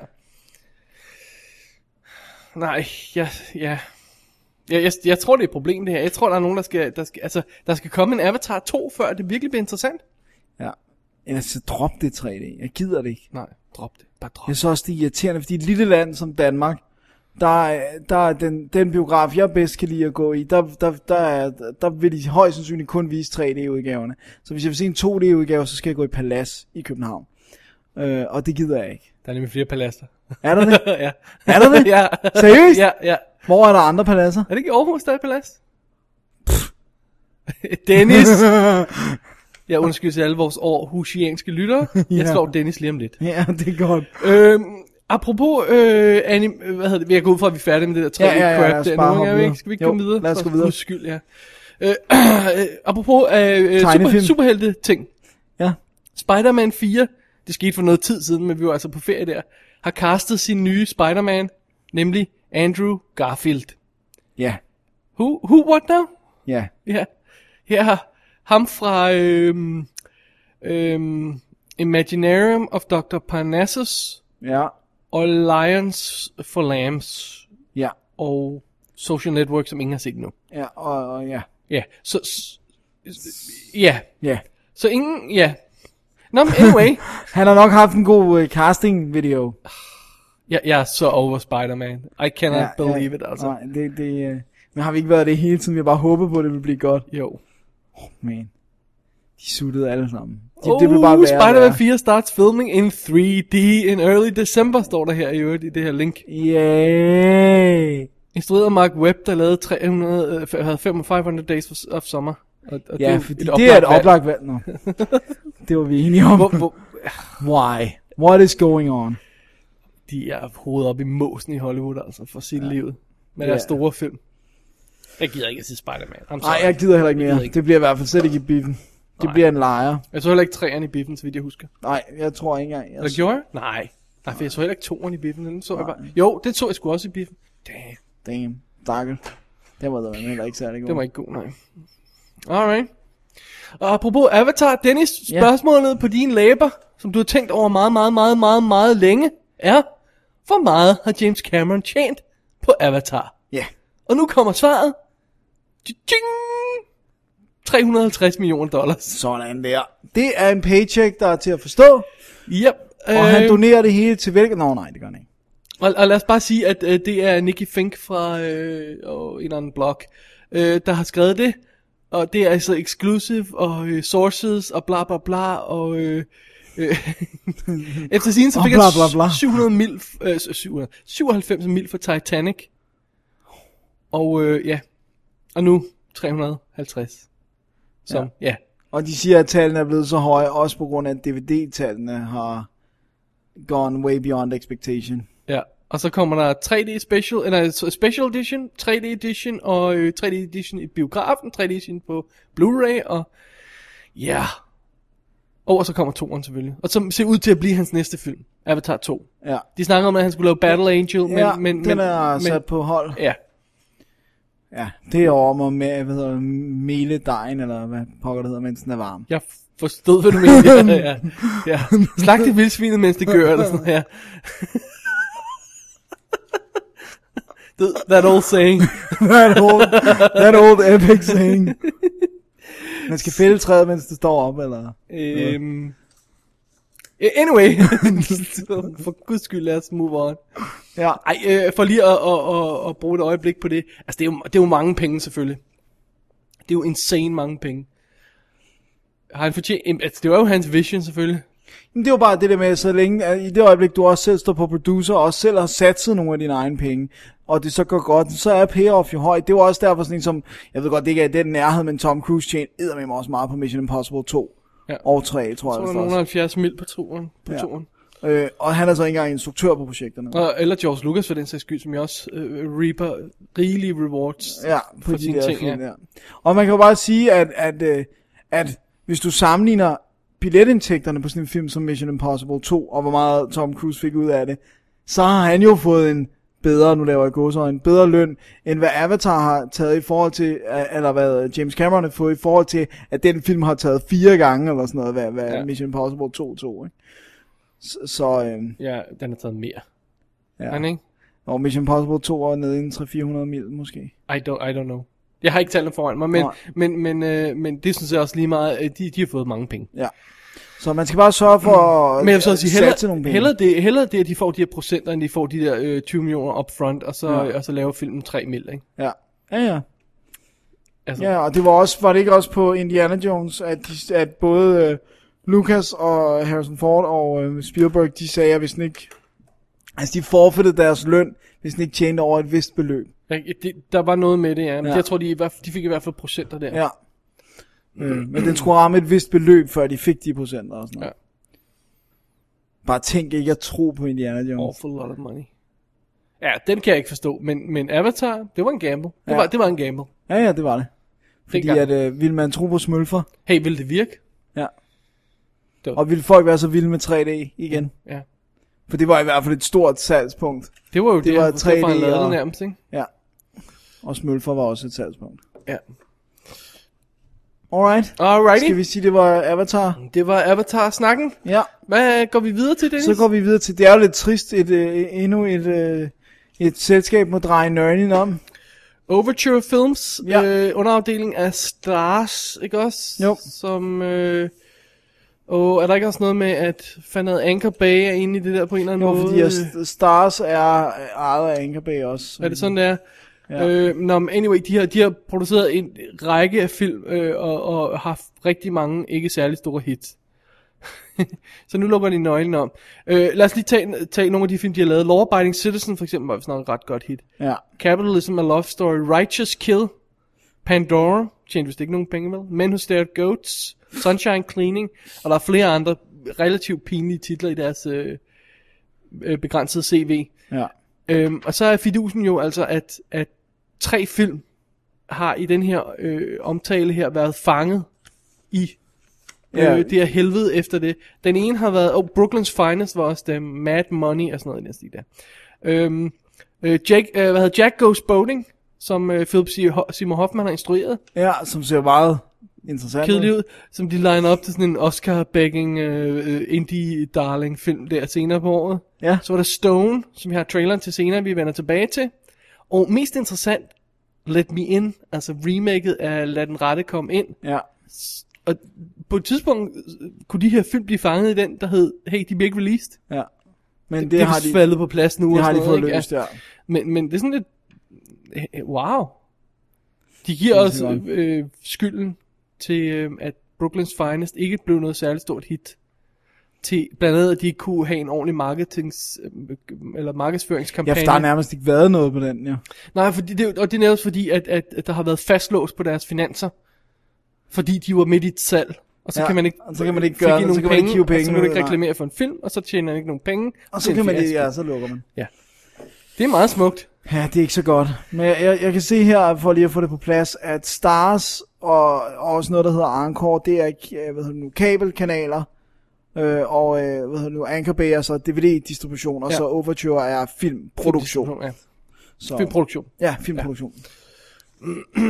[SPEAKER 6] Nej, ja, ja. Jeg, jeg, jeg tror, det er et problem, det her. Jeg tror, der er nogen, der skal, der skal, altså, der skal komme en Avatar 2, før det virkelig bliver interessant.
[SPEAKER 5] Ja. Ellers så drop det 3D. Jeg gider det ikke.
[SPEAKER 6] Nej, drop det. Bare drop
[SPEAKER 5] Jeg
[SPEAKER 6] det.
[SPEAKER 5] synes også, det er irriterende, fordi et lille land som Danmark, der, er- der er den, den biograf, jeg bedst kan lide at gå i, der, der, der, er, der vil de højst sandsynligt kun vise 3D-udgaverne. Så hvis jeg vil se en 2D-udgave, så skal jeg gå i Palas i København. Øh, og det gider jeg ikke.
[SPEAKER 6] Der er nemlig flere paladser.
[SPEAKER 5] Er der det?
[SPEAKER 6] ja.
[SPEAKER 5] Er der det?
[SPEAKER 6] ja.
[SPEAKER 5] Seriøst?
[SPEAKER 6] Ja, ja.
[SPEAKER 5] Hvor er der andre paladser?
[SPEAKER 6] Er det ikke i Aarhus, der er et palads? Dennis! Jeg undskylder til alle vores aarhusianske lyttere. Jeg
[SPEAKER 5] Ja.
[SPEAKER 6] slår Dennis lige om lidt.
[SPEAKER 5] Ja, det er godt.
[SPEAKER 6] Øhm, apropos, øh, anim- øh, hvad hedder det, vi har gået ud fra, at vi er færdige med det der 3D
[SPEAKER 5] Ja, ja, ja, lad
[SPEAKER 6] crap
[SPEAKER 5] os
[SPEAKER 6] der
[SPEAKER 5] bare
[SPEAKER 6] nu,
[SPEAKER 5] hoppe
[SPEAKER 6] er vi
[SPEAKER 5] videre.
[SPEAKER 6] ikke? Skal vi ikke
[SPEAKER 5] Jo,
[SPEAKER 6] komme videre?
[SPEAKER 5] lad os
[SPEAKER 6] For
[SPEAKER 5] gå videre.
[SPEAKER 6] Guds skyld, ja. Øh, øh, apropos øh, øh, super,
[SPEAKER 5] Tegnefilm.
[SPEAKER 6] superhelte ting.
[SPEAKER 5] Ja.
[SPEAKER 6] Spider-Man 4, det skete for noget tid siden, men vi var altså på ferie der, har castet sin nye Spider-Man, nemlig Andrew Garfield.
[SPEAKER 5] Ja,
[SPEAKER 6] Who, who what now?
[SPEAKER 5] ja.
[SPEAKER 6] Ja. Her har ham fra øhm, øhm, Imaginarium of Dr. Parnassus
[SPEAKER 5] Ja,
[SPEAKER 6] og Lions for Lambs
[SPEAKER 5] ja,
[SPEAKER 6] og Social Network, som ingen har set endnu.
[SPEAKER 5] ja, og, og ja,
[SPEAKER 6] Ja, så... s- s- Ja,
[SPEAKER 5] ja.
[SPEAKER 6] så ingen... Ja. Nå, men anyway.
[SPEAKER 5] Han har nok haft en god uh, casting-video.
[SPEAKER 6] jeg, jeg er så over Spider-Man. I cannot ja, believe it, altså.
[SPEAKER 5] Nej, det, det, øh, men har vi ikke været det hele tiden? Vi har bare håbet på, at det ville blive godt.
[SPEAKER 6] Jo.
[SPEAKER 5] Man, de suttede alle sammen. De,
[SPEAKER 6] Oh,
[SPEAKER 5] det blev bare værre og
[SPEAKER 6] Spider-Man
[SPEAKER 5] værre.
[SPEAKER 6] 4 starts filming in 3D in early December, står der her i øvrigt i det her link.
[SPEAKER 5] Yay.
[SPEAKER 6] Instrueret af Mark Webb, der lavede 300, øh, havde 500 Days of- of Summer. Og, og
[SPEAKER 5] Ja,
[SPEAKER 6] jo
[SPEAKER 5] fordi det er et oplagt valg. Nå. det var vi enige om.
[SPEAKER 6] valg. Hvor, hvor,
[SPEAKER 5] Why? What is going on?
[SPEAKER 6] de er hovedet op i måsen i Hollywood, altså, for sit ja. livet. Med deres
[SPEAKER 5] Ja.
[SPEAKER 6] store film. Jeg gider ikke at se Spider-Man. I'm
[SPEAKER 5] Nej,
[SPEAKER 6] sorry.
[SPEAKER 5] jeg gider heller ikke
[SPEAKER 6] Jeg gider
[SPEAKER 5] mere.
[SPEAKER 6] ikke.
[SPEAKER 5] Det bliver i hvert fald slet ikke i biffen. Det bliver en lejer.
[SPEAKER 6] Jeg så heller ikke træerne i biffen, så vidt jeg husker.
[SPEAKER 5] Nej, jeg tror ikke engang. Jeg
[SPEAKER 6] Eller gjorde jeg? Nej. Nej, for jeg så heller ikke toeren i biffen. Den så jeg bare. Jo, det så jeg sgu også i biffen. Damn,
[SPEAKER 5] Damn. Dakkel. Det var da heller ikke særlig god.
[SPEAKER 6] det var ikke god, nej. Alright. Og apropos Avatar, Dennis,
[SPEAKER 5] Ja.
[SPEAKER 6] spørgsmålet på dine læber, som du har tænkt over meget, meget, meget, meget, meget længe, er, hvor meget har James Cameron tjent på Avatar?
[SPEAKER 5] Ja.
[SPEAKER 6] Og nu kommer svaret. Tjing! 350 millioner dollars.
[SPEAKER 5] Sådan der. Det er en paycheck, der er til at forstå.
[SPEAKER 6] Yep.
[SPEAKER 5] Og han donerer det hele til hvilket? Nå, nej, det gør han ikke.
[SPEAKER 6] Øh, og, og lad os bare sige, at øh, det er Nicky Fink fra øh, og en eller anden blog, øh, der har skrevet det. Og det er altså exclusive og øh, sources og bla bla bla og... Øh, øh, efter sin så
[SPEAKER 5] Og
[SPEAKER 6] fik
[SPEAKER 5] bla, bla, bla.
[SPEAKER 6] han 700 mil, øh, 700, 97 mil for Titanic. Og øh, ja, og nu 350. Som, ja. ja.
[SPEAKER 5] Og de siger, at tallene er blevet så høje, også på grund af, at DVD-tallene har gone way beyond expectation.
[SPEAKER 6] Ja, og så kommer der 3D Special, eller så Special Edition, 3D Edition og øh, 3D Edition i biografen, 3D Edition på Blu-ray og ja. Yeah. Og, og så kommer toeren selvfølgelig. Og som ser ud til at blive hans næste film, Avatar 2.
[SPEAKER 5] Ja,
[SPEAKER 6] De snakker om, at han skulle lave Battle Angel, men,
[SPEAKER 5] ja
[SPEAKER 6] men,
[SPEAKER 5] den
[SPEAKER 6] men,
[SPEAKER 5] er
[SPEAKER 6] men,
[SPEAKER 5] sat på hold.
[SPEAKER 6] Ja,
[SPEAKER 5] Ja, det er over mig med, hvad hedder det, mele dejen, eller hvad pokker det hedder, mens den er varm.
[SPEAKER 6] jeg forstod, hvad du mener. Ja, ja, ja. Slag det vildsvinet, mens det gør, eller sådan noget. Ja. Th- that old saying.
[SPEAKER 5] that old, that old epic saying. Man skal fælde træet, mens det står op, eller?
[SPEAKER 6] øhm, anyway. for guds skyld, lad os move on.
[SPEAKER 5] Ja.
[SPEAKER 6] Ej, øh, for lige at, at, at, at bruge et øjeblik på det. Altså, det er, jo, det er jo mange penge, selvfølgelig. Det er jo insane mange penge. Har han fortjent... Altså, det var jo hans vision, selvfølgelig.
[SPEAKER 5] Men det var bare det der med, så længe, at i det øjeblik, du også selv står på producer, og også selv har satset nogle af dine egne penge, og det så går godt, så er payoff jo højt. Det var også derfor sådan en som, jeg ved godt, det ikke er i den nærhed, men Tom Cruise tjente med også meget på Mission Impossible 2
[SPEAKER 6] Ja.
[SPEAKER 5] ja. og 3, tror
[SPEAKER 6] Så
[SPEAKER 5] jeg.
[SPEAKER 6] var
[SPEAKER 5] vist
[SPEAKER 6] der nogen
[SPEAKER 5] også.
[SPEAKER 6] 70 mil på turen. På ja. turen.
[SPEAKER 5] Øh, og han er så ikke engang instruktør på projekterne.
[SPEAKER 6] Og, eller George Lucas for den sags skyld, som jeg også øh, reaper rigelige rewards
[SPEAKER 5] Ja, på
[SPEAKER 6] for
[SPEAKER 5] de
[SPEAKER 6] sine
[SPEAKER 5] der
[SPEAKER 6] ting.
[SPEAKER 5] film,
[SPEAKER 6] ja.
[SPEAKER 5] ja. Og man kan jo bare sige, at, at, øh, at hvis du sammenligner billetindtægterne på sådan en film som Mission Impossible 2, og hvor meget Tom Cruise fik ud af det, så har han jo fået en bedre, nu laver jeg gåsøjne, en bedre løn, end hvad Avatar har taget i forhold til, øh, eller hvad James Cameron har fået i forhold til, at den film har taget fire gange, eller sådan noget, hvad, hvad
[SPEAKER 6] Ja.
[SPEAKER 5] ja. Mission Impossible 2 tog, ikke? Så, så øh,
[SPEAKER 6] Ja, den har taget mere. Ja.
[SPEAKER 5] Ja.
[SPEAKER 6] Han, ikke?
[SPEAKER 5] og Mission Impossible 2 var nede inden 300-400 mil, måske.
[SPEAKER 6] I don't, I don't know. Jeg har ikke tallene foran mig, men,
[SPEAKER 5] Nej.
[SPEAKER 6] men, men, øh, men det synes jeg også lige meget, øh, de, de har fået mange penge.
[SPEAKER 5] Så man skal bare sørge for at
[SPEAKER 6] Men jeg vil så også sige,
[SPEAKER 5] satse nogle
[SPEAKER 6] hellere,
[SPEAKER 5] penge.
[SPEAKER 6] hellere, det, hellere det, at de får de her procenter, end de får de der øh, 20 millioner upfront, og så, ja.
[SPEAKER 5] Ja.
[SPEAKER 6] og så laver filmen 3 mil, ikke?
[SPEAKER 5] Ja, ja, ja.
[SPEAKER 6] Altså,
[SPEAKER 5] Ja, og det var også var det ikke også på Indiana Jones, at, de, at både øh, Lucas og Harrison Ford og øh, Spielberg, de sagde, at hvis den ikke, altså de forfættede deres løn, hvis den ikke tjente over et vist beløb.
[SPEAKER 6] jeg- det, der var noget med det, ja. Men ja.
[SPEAKER 5] Ja.
[SPEAKER 6] jeg tror, de, i hvert fald- de fik i hvert fald procenter der.
[SPEAKER 5] Ja. Øh, men den skulle ramme et vist beløb, før de fik de procenter og sådan noget. Ja. Bare tænk ikke at tro på Indiana Jones.
[SPEAKER 6] Awful lot of money. Ja, den kan jeg ikke forstå, men, men Avatar, det var en gamble. Det, ja.
[SPEAKER 5] Ja.
[SPEAKER 6] var, det var en gamble.
[SPEAKER 5] Ja, ja, det var det. Fordi
[SPEAKER 6] Dengang.
[SPEAKER 5] at, øh, ville man tro på smølfer?
[SPEAKER 6] Hey, vil det virke?
[SPEAKER 5] Ja.
[SPEAKER 6] Det var-
[SPEAKER 5] Og ville folk være så vilde med 3D igen?
[SPEAKER 6] Ja.
[SPEAKER 5] For det var i hvert fald et stort salgspunkt.
[SPEAKER 6] Det var jo det, det
[SPEAKER 5] var
[SPEAKER 6] var 3D, derfor, han
[SPEAKER 5] 3D
[SPEAKER 6] lavede det
[SPEAKER 5] og-
[SPEAKER 6] nærmest, ikke?
[SPEAKER 5] Ja. Og smølfer var også et salgspunkt.
[SPEAKER 6] Ja.
[SPEAKER 5] Alright.
[SPEAKER 6] Alrighty.
[SPEAKER 5] Skal vi sige, det var Avatar?
[SPEAKER 6] Det var Avatar-snakken.
[SPEAKER 5] Ja.
[SPEAKER 6] Hvad går vi videre til, Dennis?
[SPEAKER 5] Så går vi videre til, det er jo lidt trist, et, øh, endnu et, øh, et selskab må dreje nøglen om.
[SPEAKER 6] Overture Films, ja.
[SPEAKER 5] Ja.
[SPEAKER 6] øh, underafdeling af Stars, ikke også?
[SPEAKER 5] Jo.
[SPEAKER 6] Som, øh, og er der ikke også noget med, at fandt noget Anchor Bay er inde i det der på en eller anden
[SPEAKER 5] Jo,
[SPEAKER 6] måde? Øh,
[SPEAKER 5] fordi at St- Stars er øh, ejet af Anchor Bay også.
[SPEAKER 6] Er det sådan, det er? Ja.
[SPEAKER 5] Ja.
[SPEAKER 6] Øh, nå, men anyway, de har, de har produceret en række af film, øh, og, og haft rigtig mange ikke særlig store hits. så nu lukker de nøglen om. Øh, lad os lige tage, tage nogle af de film, de har lavet. Law Abiding Citizen, for eksempel, var vist nok et ret godt hit.
[SPEAKER 5] Ja.
[SPEAKER 6] Capitalism and Love Story, Righteous Kill, Pandora, tjente vist ikke nogen penge vel, Men Who Stare at Goats, Sunshine Cleaning, og der er flere andre relativt pinlige titler i deres øh, øh, begrænsede CV.
[SPEAKER 5] Ja.
[SPEAKER 6] Øhm, og så er fidusen jo altså, at, at tre film har i den her øh, omtale her været fanget i
[SPEAKER 5] Ja.
[SPEAKER 6] øh, det her helvede efter det. Den ene har været, oh, Brooklyn's Finest var også det, Mad Money og sådan noget i den stil der. Øhm, øh, Jack, øh, hvad hedder Jack Goes Boating, som øh, Philip Seymour- Seymour Hoffman har instrueret,
[SPEAKER 5] ja, som ser meget interessant ud.
[SPEAKER 6] kedelig ud, som de liner op til sådan en Oscar-begging øh, øh, indie-darling-film der senere på året.
[SPEAKER 5] Ja.
[SPEAKER 6] Så var der Stone, som jeg har traileren til senere, vi vender tilbage til. Og mest interessant, Let Me In, altså remaket af Lad den rette komme ind.
[SPEAKER 5] Ja.
[SPEAKER 6] Og på et tidspunkt øh, kunne de her film blive fanget i den, der hed, hey, de bliver ikke released.
[SPEAKER 5] ja. Men det,
[SPEAKER 6] Det, det
[SPEAKER 5] har
[SPEAKER 6] er
[SPEAKER 5] de,
[SPEAKER 6] de, faldet på plads nu.
[SPEAKER 5] det
[SPEAKER 6] og
[SPEAKER 5] har de
[SPEAKER 6] sådan
[SPEAKER 5] fået
[SPEAKER 6] noget, ikke?
[SPEAKER 5] løst, ja.
[SPEAKER 6] Men, men det er sådan lidt, øh, wow. De giver os
[SPEAKER 5] Sindssygt
[SPEAKER 6] øh, øh, skylden til, øh, at Brooklyn's Finest ikke blev noget særligt stort hit. Til, blandt andet, at de ikke kunne have en ordentlig marketings, øh, eller
[SPEAKER 5] Ja,
[SPEAKER 6] markedsføringskampagne.
[SPEAKER 5] for der har nærmest ikke været noget på den, ja.
[SPEAKER 6] Nej, fordi det, og det er nærmest fordi, at, at, at der har været fastlåst på deres finanser. Fordi de var midt i et salg. Og så,
[SPEAKER 5] Ja,
[SPEAKER 6] kan man ikke,
[SPEAKER 5] og så kan man ikke
[SPEAKER 6] frigive
[SPEAKER 5] gøre noget,
[SPEAKER 6] nogle
[SPEAKER 5] så kan man ikke hive
[SPEAKER 6] og så
[SPEAKER 5] penge
[SPEAKER 6] kan du
[SPEAKER 5] ud,
[SPEAKER 6] ikke
[SPEAKER 5] nej.
[SPEAKER 6] reklamere for en film, og så tjener man ikke nogen penge.
[SPEAKER 5] Og
[SPEAKER 6] Det
[SPEAKER 5] så
[SPEAKER 6] er
[SPEAKER 5] kan
[SPEAKER 6] en
[SPEAKER 5] man det,
[SPEAKER 6] fiasko.
[SPEAKER 5] ja, så lukker man.
[SPEAKER 6] Det er meget smukt.
[SPEAKER 5] Ja, det er ikke så godt. Men jeg, jeg, jeg kan se her, for lige at få det på plads, at Stars og, og også noget, der hedder Encore, det er øh, hvad hedder det nu, kabelkanaler, øh, og øh, hvad hedder det nu, Anchor Bay er så DVD-distribution, og
[SPEAKER 6] Ja.
[SPEAKER 5] ja. så Overture er filmproduktion.
[SPEAKER 6] Ja.
[SPEAKER 5] Så,
[SPEAKER 6] Filmproduktion.
[SPEAKER 5] ja, filmproduktion. Ja.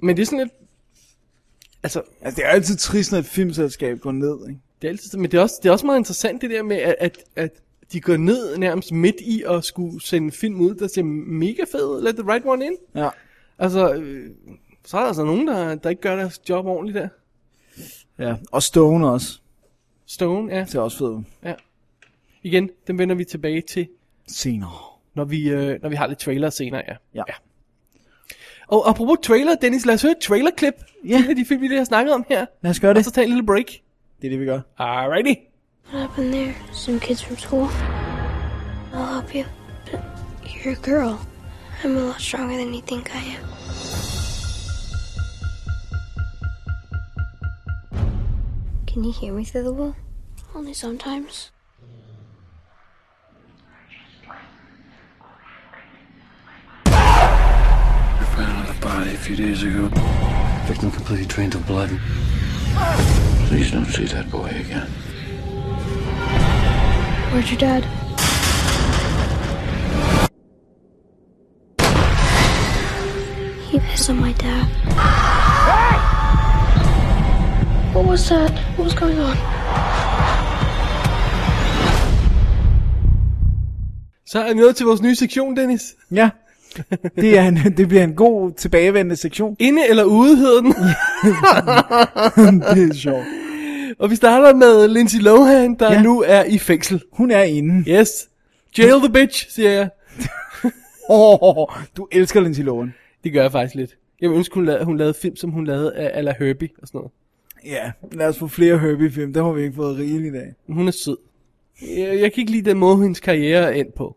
[SPEAKER 6] Men det er sådan lidt... Altså,
[SPEAKER 5] Altså, det er altid trist, når et filmselskab går ned, ikke?
[SPEAKER 6] det er altid, men det er, også, det er også meget interessant det der med, at, at, at de går ned nærmest midt i at skulle sende en film ud, der ser mega fed, let the right one in.
[SPEAKER 5] Ja.
[SPEAKER 6] Altså, øh, så er der altså nogen, der, der ikke gør deres job ordentligt der.
[SPEAKER 5] ja. Og Stone også.
[SPEAKER 6] Stone, ja.
[SPEAKER 5] Det er også fedt.
[SPEAKER 6] Igen, den vender vi tilbage til,
[SPEAKER 5] Senere.
[SPEAKER 6] når vi, øh, når vi har lidt trailer senere, ja.
[SPEAKER 5] Ja.
[SPEAKER 6] Og apropos trailer, Dennis, lad os høre et trailerklip.
[SPEAKER 5] Ja.
[SPEAKER 6] Det er de film, vi lige har snakket om her.
[SPEAKER 5] Lad os gøre
[SPEAKER 6] Og
[SPEAKER 5] det.
[SPEAKER 6] så tage en lille break.
[SPEAKER 5] Det er det, vi gør.
[SPEAKER 6] Alrighty.
[SPEAKER 11] What happened there? Some kids from school? I'll help you, but you're a girl. I'm a lot stronger than you think I am. Can you hear me through the wall? Only sometimes.
[SPEAKER 2] We found the body a few days ago. Victim completely drained of blood. Please don't see that boy again.
[SPEAKER 11] Where's your dad? He pissed on my dad. What was that? What was going on?
[SPEAKER 6] Så er vi nået til vores nye sektion, Dennis.
[SPEAKER 5] Ja. Det, er en, det bliver en god tilbagevendende sektion.
[SPEAKER 6] Inde eller ude hedder den.
[SPEAKER 5] det er sjovt.
[SPEAKER 6] og vi starter med Lindsay Lohan, der
[SPEAKER 5] Ja.
[SPEAKER 6] ja. nu er i fængsel.
[SPEAKER 5] Hun er inde.
[SPEAKER 6] Yes. Jail the bitch, siger jeg.
[SPEAKER 5] Oh, du elsker Lindsay Lohan.
[SPEAKER 6] Det gør jeg faktisk lidt. Jeg ville ønske, hun lavede, hun lavede film, som hun lavede af Alla Herbie og sådan noget.
[SPEAKER 5] Ja, lad os få flere Herbie-film. Dem har vi ikke fået rigeligt af.
[SPEAKER 6] Men hun er sød. Jeg, jeg kan ikke lide den måde, hendes karriere er endt på.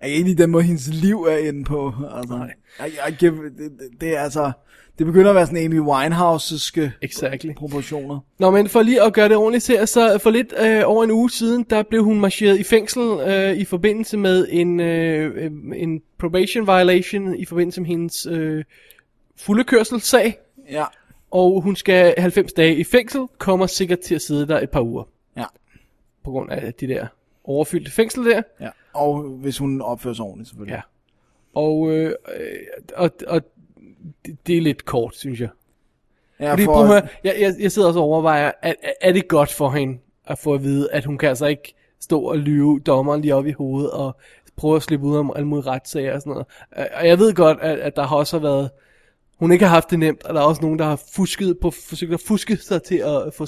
[SPEAKER 5] Jeg kan ikke lide den måde, hendes liv er inde på. Altså, Nej. Jeg, jeg, giver- det, det, det, er altså... Det begynder at være sådan Amy Winehouse-ske
[SPEAKER 6] Exactly.
[SPEAKER 5] proportioner.
[SPEAKER 6] Nå, men for lige at gøre det ordentligt til, så for lidt øh, over en uge siden, der blev hun marcheret i fængsel øh, i forbindelse med en, øh, øh, en probation violation i forbindelse med hendes øh, fuldekørselssag.
[SPEAKER 5] Ja.
[SPEAKER 6] Og hun skal 90 dage i fængsel, kommer sikkert til at sidde der et par uger.
[SPEAKER 5] Ja.
[SPEAKER 6] På grund af de der overfyldte fængsel der.
[SPEAKER 5] ja. Og hvis hun opfører sig ordentligt, selvfølgelig.
[SPEAKER 6] Ja. Og, øh, øh, og, og det, det er lidt kort, synes jeg.
[SPEAKER 5] Ja,
[SPEAKER 6] Fordi,
[SPEAKER 5] for-
[SPEAKER 6] prøv at høre, jeg, jeg, jeg sidder også og overvejer, er, er- er det godt for hende at få at vide, at hun kan altså ikke stå og lyve dommeren lige op i hovedet og prøve at slippe ud om alle mulige retssager og sådan noget. Øh, Og jeg ved godt, at, at der har også været, hun ikke har haft det nemt, og der er også nogen, der har fusket på, forsøgt at fuske sig til at få,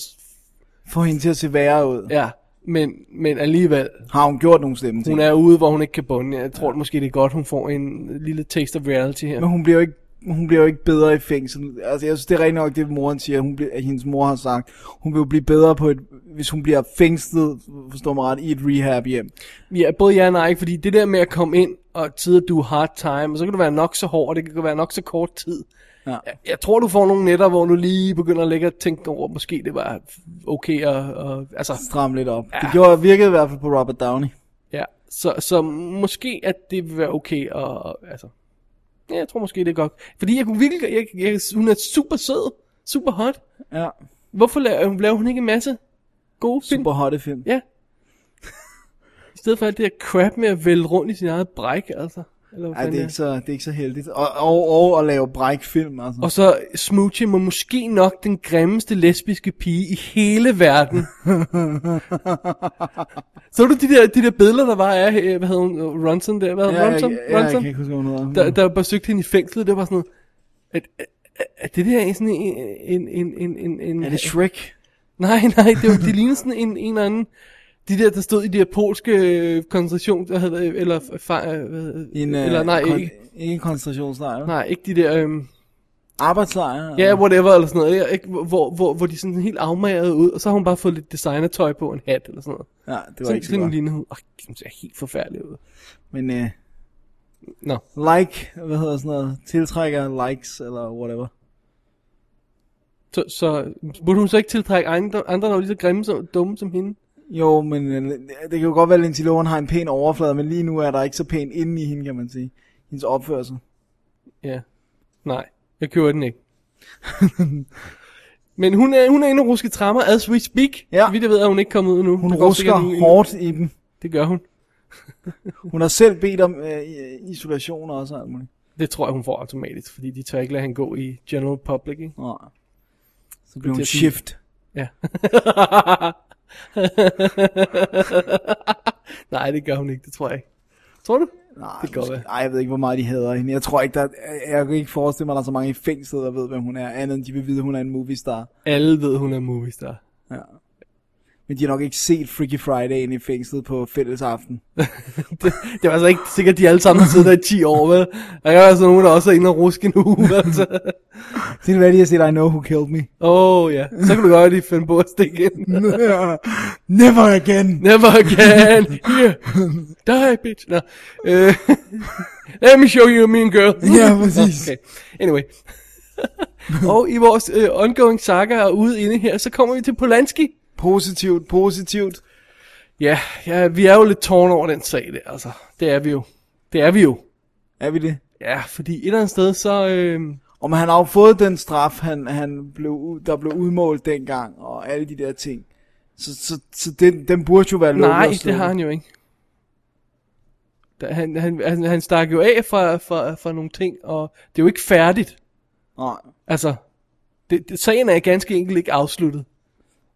[SPEAKER 5] Få hende til at se værre ud. Ja.
[SPEAKER 6] ja, men, men alligevel,
[SPEAKER 5] Har hun gjort nogle slemme ting?
[SPEAKER 6] hun er ude, hvor hun ikke kan bunde. Jeg tror måske, det er godt, hun får en lille taste of reality her.
[SPEAKER 5] Men hun bliver jo ikke hun bliver jo ikke bedre i fængsel. Altså, jeg synes, det er rigtig nok det, moren siger, hun bliver, at hendes mor har sagt. Hun vil jo blive bedre på et, hvis hun bliver fængslet, forstår mig ret, i et rehab hjem.
[SPEAKER 6] Ja, både ja og nej, fordi det der med at komme ind og tid at du hard time, og så kan du være nok så hård, og det kan være nok så kort tid.
[SPEAKER 5] Ja.
[SPEAKER 6] Jeg, jeg tror, du får nogle nætter, hvor du lige begynder at lægge og tænke over, måske det var okay, og, og altså,
[SPEAKER 5] Stram lidt op. Ja. Det gjorde, virkede i hvert fald på Robert Downey.
[SPEAKER 6] ja. Så, så måske, at det vil være okay, og, og altså, ja, jeg tror måske, det er godt. Fordi jeg kunne virkelig, jeg, jeg, hun er super sød, super hot.
[SPEAKER 5] Ja.
[SPEAKER 6] Hvorfor laver, laver hun ikke en masse gode film?
[SPEAKER 5] Super hotte film.
[SPEAKER 6] Ja. I stedet for alt det der crap med at vælge rundt i sin eget bræk, altså. Eller hvad
[SPEAKER 5] Ej, det
[SPEAKER 6] fanden det
[SPEAKER 5] er, ikke så, det er ikke så heldigt. Og, og, og at lave brækfilm, altså.
[SPEAKER 6] Og så Smoochie må måske nok den grimmeste lesbiske pige i hele verden. så du de der, de der billeder, der var af, øh, hvad hed hun, Ronson der, hvad hed
[SPEAKER 5] ja,
[SPEAKER 6] ja,
[SPEAKER 5] jeg,
[SPEAKER 6] Ronson?
[SPEAKER 5] jeg, jeg, jeg,
[SPEAKER 6] Ronson?
[SPEAKER 5] kan ikke huske, hvad hun hedder.
[SPEAKER 6] Der, der besøgte hende i fængslet, det var sådan noget, at, at, at det der er sådan en, en, en, en, en, en
[SPEAKER 5] Er det Shrek?
[SPEAKER 6] Nej, nej, det, var, det ligner sådan en, en eller anden... De der, der stod i de her polske øh, koncentration, der hedder, eller, fa, øh, hvad, hedder-
[SPEAKER 5] En, øh,
[SPEAKER 6] eller nej,
[SPEAKER 5] kon-
[SPEAKER 6] ikke,
[SPEAKER 5] ikke en koncentrationslejr. Nej.
[SPEAKER 6] nej, ikke de der, øhm,
[SPEAKER 5] Arbejdslejr.
[SPEAKER 6] ja, yeah, whatever, eller sådan noget, ikke? Hvor, hvor, hvor, hvor de sådan helt afmagret ud, og så har hun bare fået lidt designertøj på, en hat eller sådan noget.
[SPEAKER 5] ja, det var
[SPEAKER 6] Sådan,
[SPEAKER 5] ikke så
[SPEAKER 6] sådan
[SPEAKER 5] godt.
[SPEAKER 6] ligner hun, åh, hun ser helt forfærdelig ud.
[SPEAKER 5] Men øh,
[SPEAKER 6] Nå,
[SPEAKER 5] like, hvad hedder sådan noget, tiltrækker likes eller whatever.
[SPEAKER 6] så, så burde hun så ikke tiltrække andre, andre der var lige så grimme og dumme som hende?
[SPEAKER 5] Jo, men øh, det kan jo godt være, at Lindsay Lohan har en pæn overflade, men lige nu er der ikke så pæn inde i hende, kan man sige. Hendes opførsel.
[SPEAKER 6] Ja. Nej, jeg køber den ikke. Men hun er, hun er inde og ruske trammer, as we speak.
[SPEAKER 5] Ja.
[SPEAKER 6] Så vidt jeg ved, er hun ikke kommet ud nu.
[SPEAKER 5] Hun
[SPEAKER 6] Det går sikkert nu-
[SPEAKER 5] rusker hårdt i dem.
[SPEAKER 6] Det gør hun.
[SPEAKER 5] Hun har selv bedt om øh, i- isolation også og alt muligt.
[SPEAKER 6] Det tror jeg, hun får automatisk, fordi de tør ikke lade hende gå i general public, ikke?
[SPEAKER 5] Nå. Så bliver hun
[SPEAKER 6] til at sige-
[SPEAKER 5] shift.
[SPEAKER 6] Ja. Nej, det gør hun ikke, det tror jeg ikke. Tror du?
[SPEAKER 5] Nej,
[SPEAKER 6] det kan godt være.
[SPEAKER 5] Ej, jeg ved ikke, hvor meget de hader hende. Jeg tror ikke, der, jeg- jeg kan ikke forestille mig, at der er så mange i fængslet, der ved, hvem hun er, andet end de vil vide, at hun er en movie star.
[SPEAKER 6] Alle ved, hun er movie star.
[SPEAKER 5] Ja. Men de har nok ikke set Freaky Friday inde i fængslet på fælles aften.
[SPEAKER 6] Det var altså ikke sikkert, de alle sammen har siddet der i 10 år, vel? Der kan være sådan nogen, der også er inde og ruske en uge, altså.
[SPEAKER 5] Det kan være, de har set I Know Who Killed Me.
[SPEAKER 6] Åh, oh, ja. Så kan du godt lige finde på at stikke ind.
[SPEAKER 5] Never again.
[SPEAKER 6] Never again. Here. Die, bitch. No. Uh, let me show you a mean girl.
[SPEAKER 5] Ja, præcis.
[SPEAKER 6] Nå, Okay. Anyway. og i vores øh, ongoing saga og ude inde her, så kommer vi til Polanski.
[SPEAKER 5] Positivt, positivt.
[SPEAKER 6] Ja, ja, vi er jo lidt tårn over den sag der, altså. Det er vi jo. Det er vi jo.
[SPEAKER 5] Er vi det?
[SPEAKER 6] Ja, fordi et eller andet sted, så... Øh,
[SPEAKER 5] Og men han har jo fået den straf, han, han blev, u- der blev udmålt dengang, og alle de der ting. Så, så, så den, den burde jo være lukket
[SPEAKER 6] nej,
[SPEAKER 5] og
[SPEAKER 6] det
[SPEAKER 5] slukket.
[SPEAKER 6] har han jo ikke. Da, han, han, han, han stak jo af fra, fra, fra nogle ting, og det er jo ikke færdigt.
[SPEAKER 5] Nej.
[SPEAKER 6] Altså, det, det, sagen er ganske enkelt ikke afsluttet.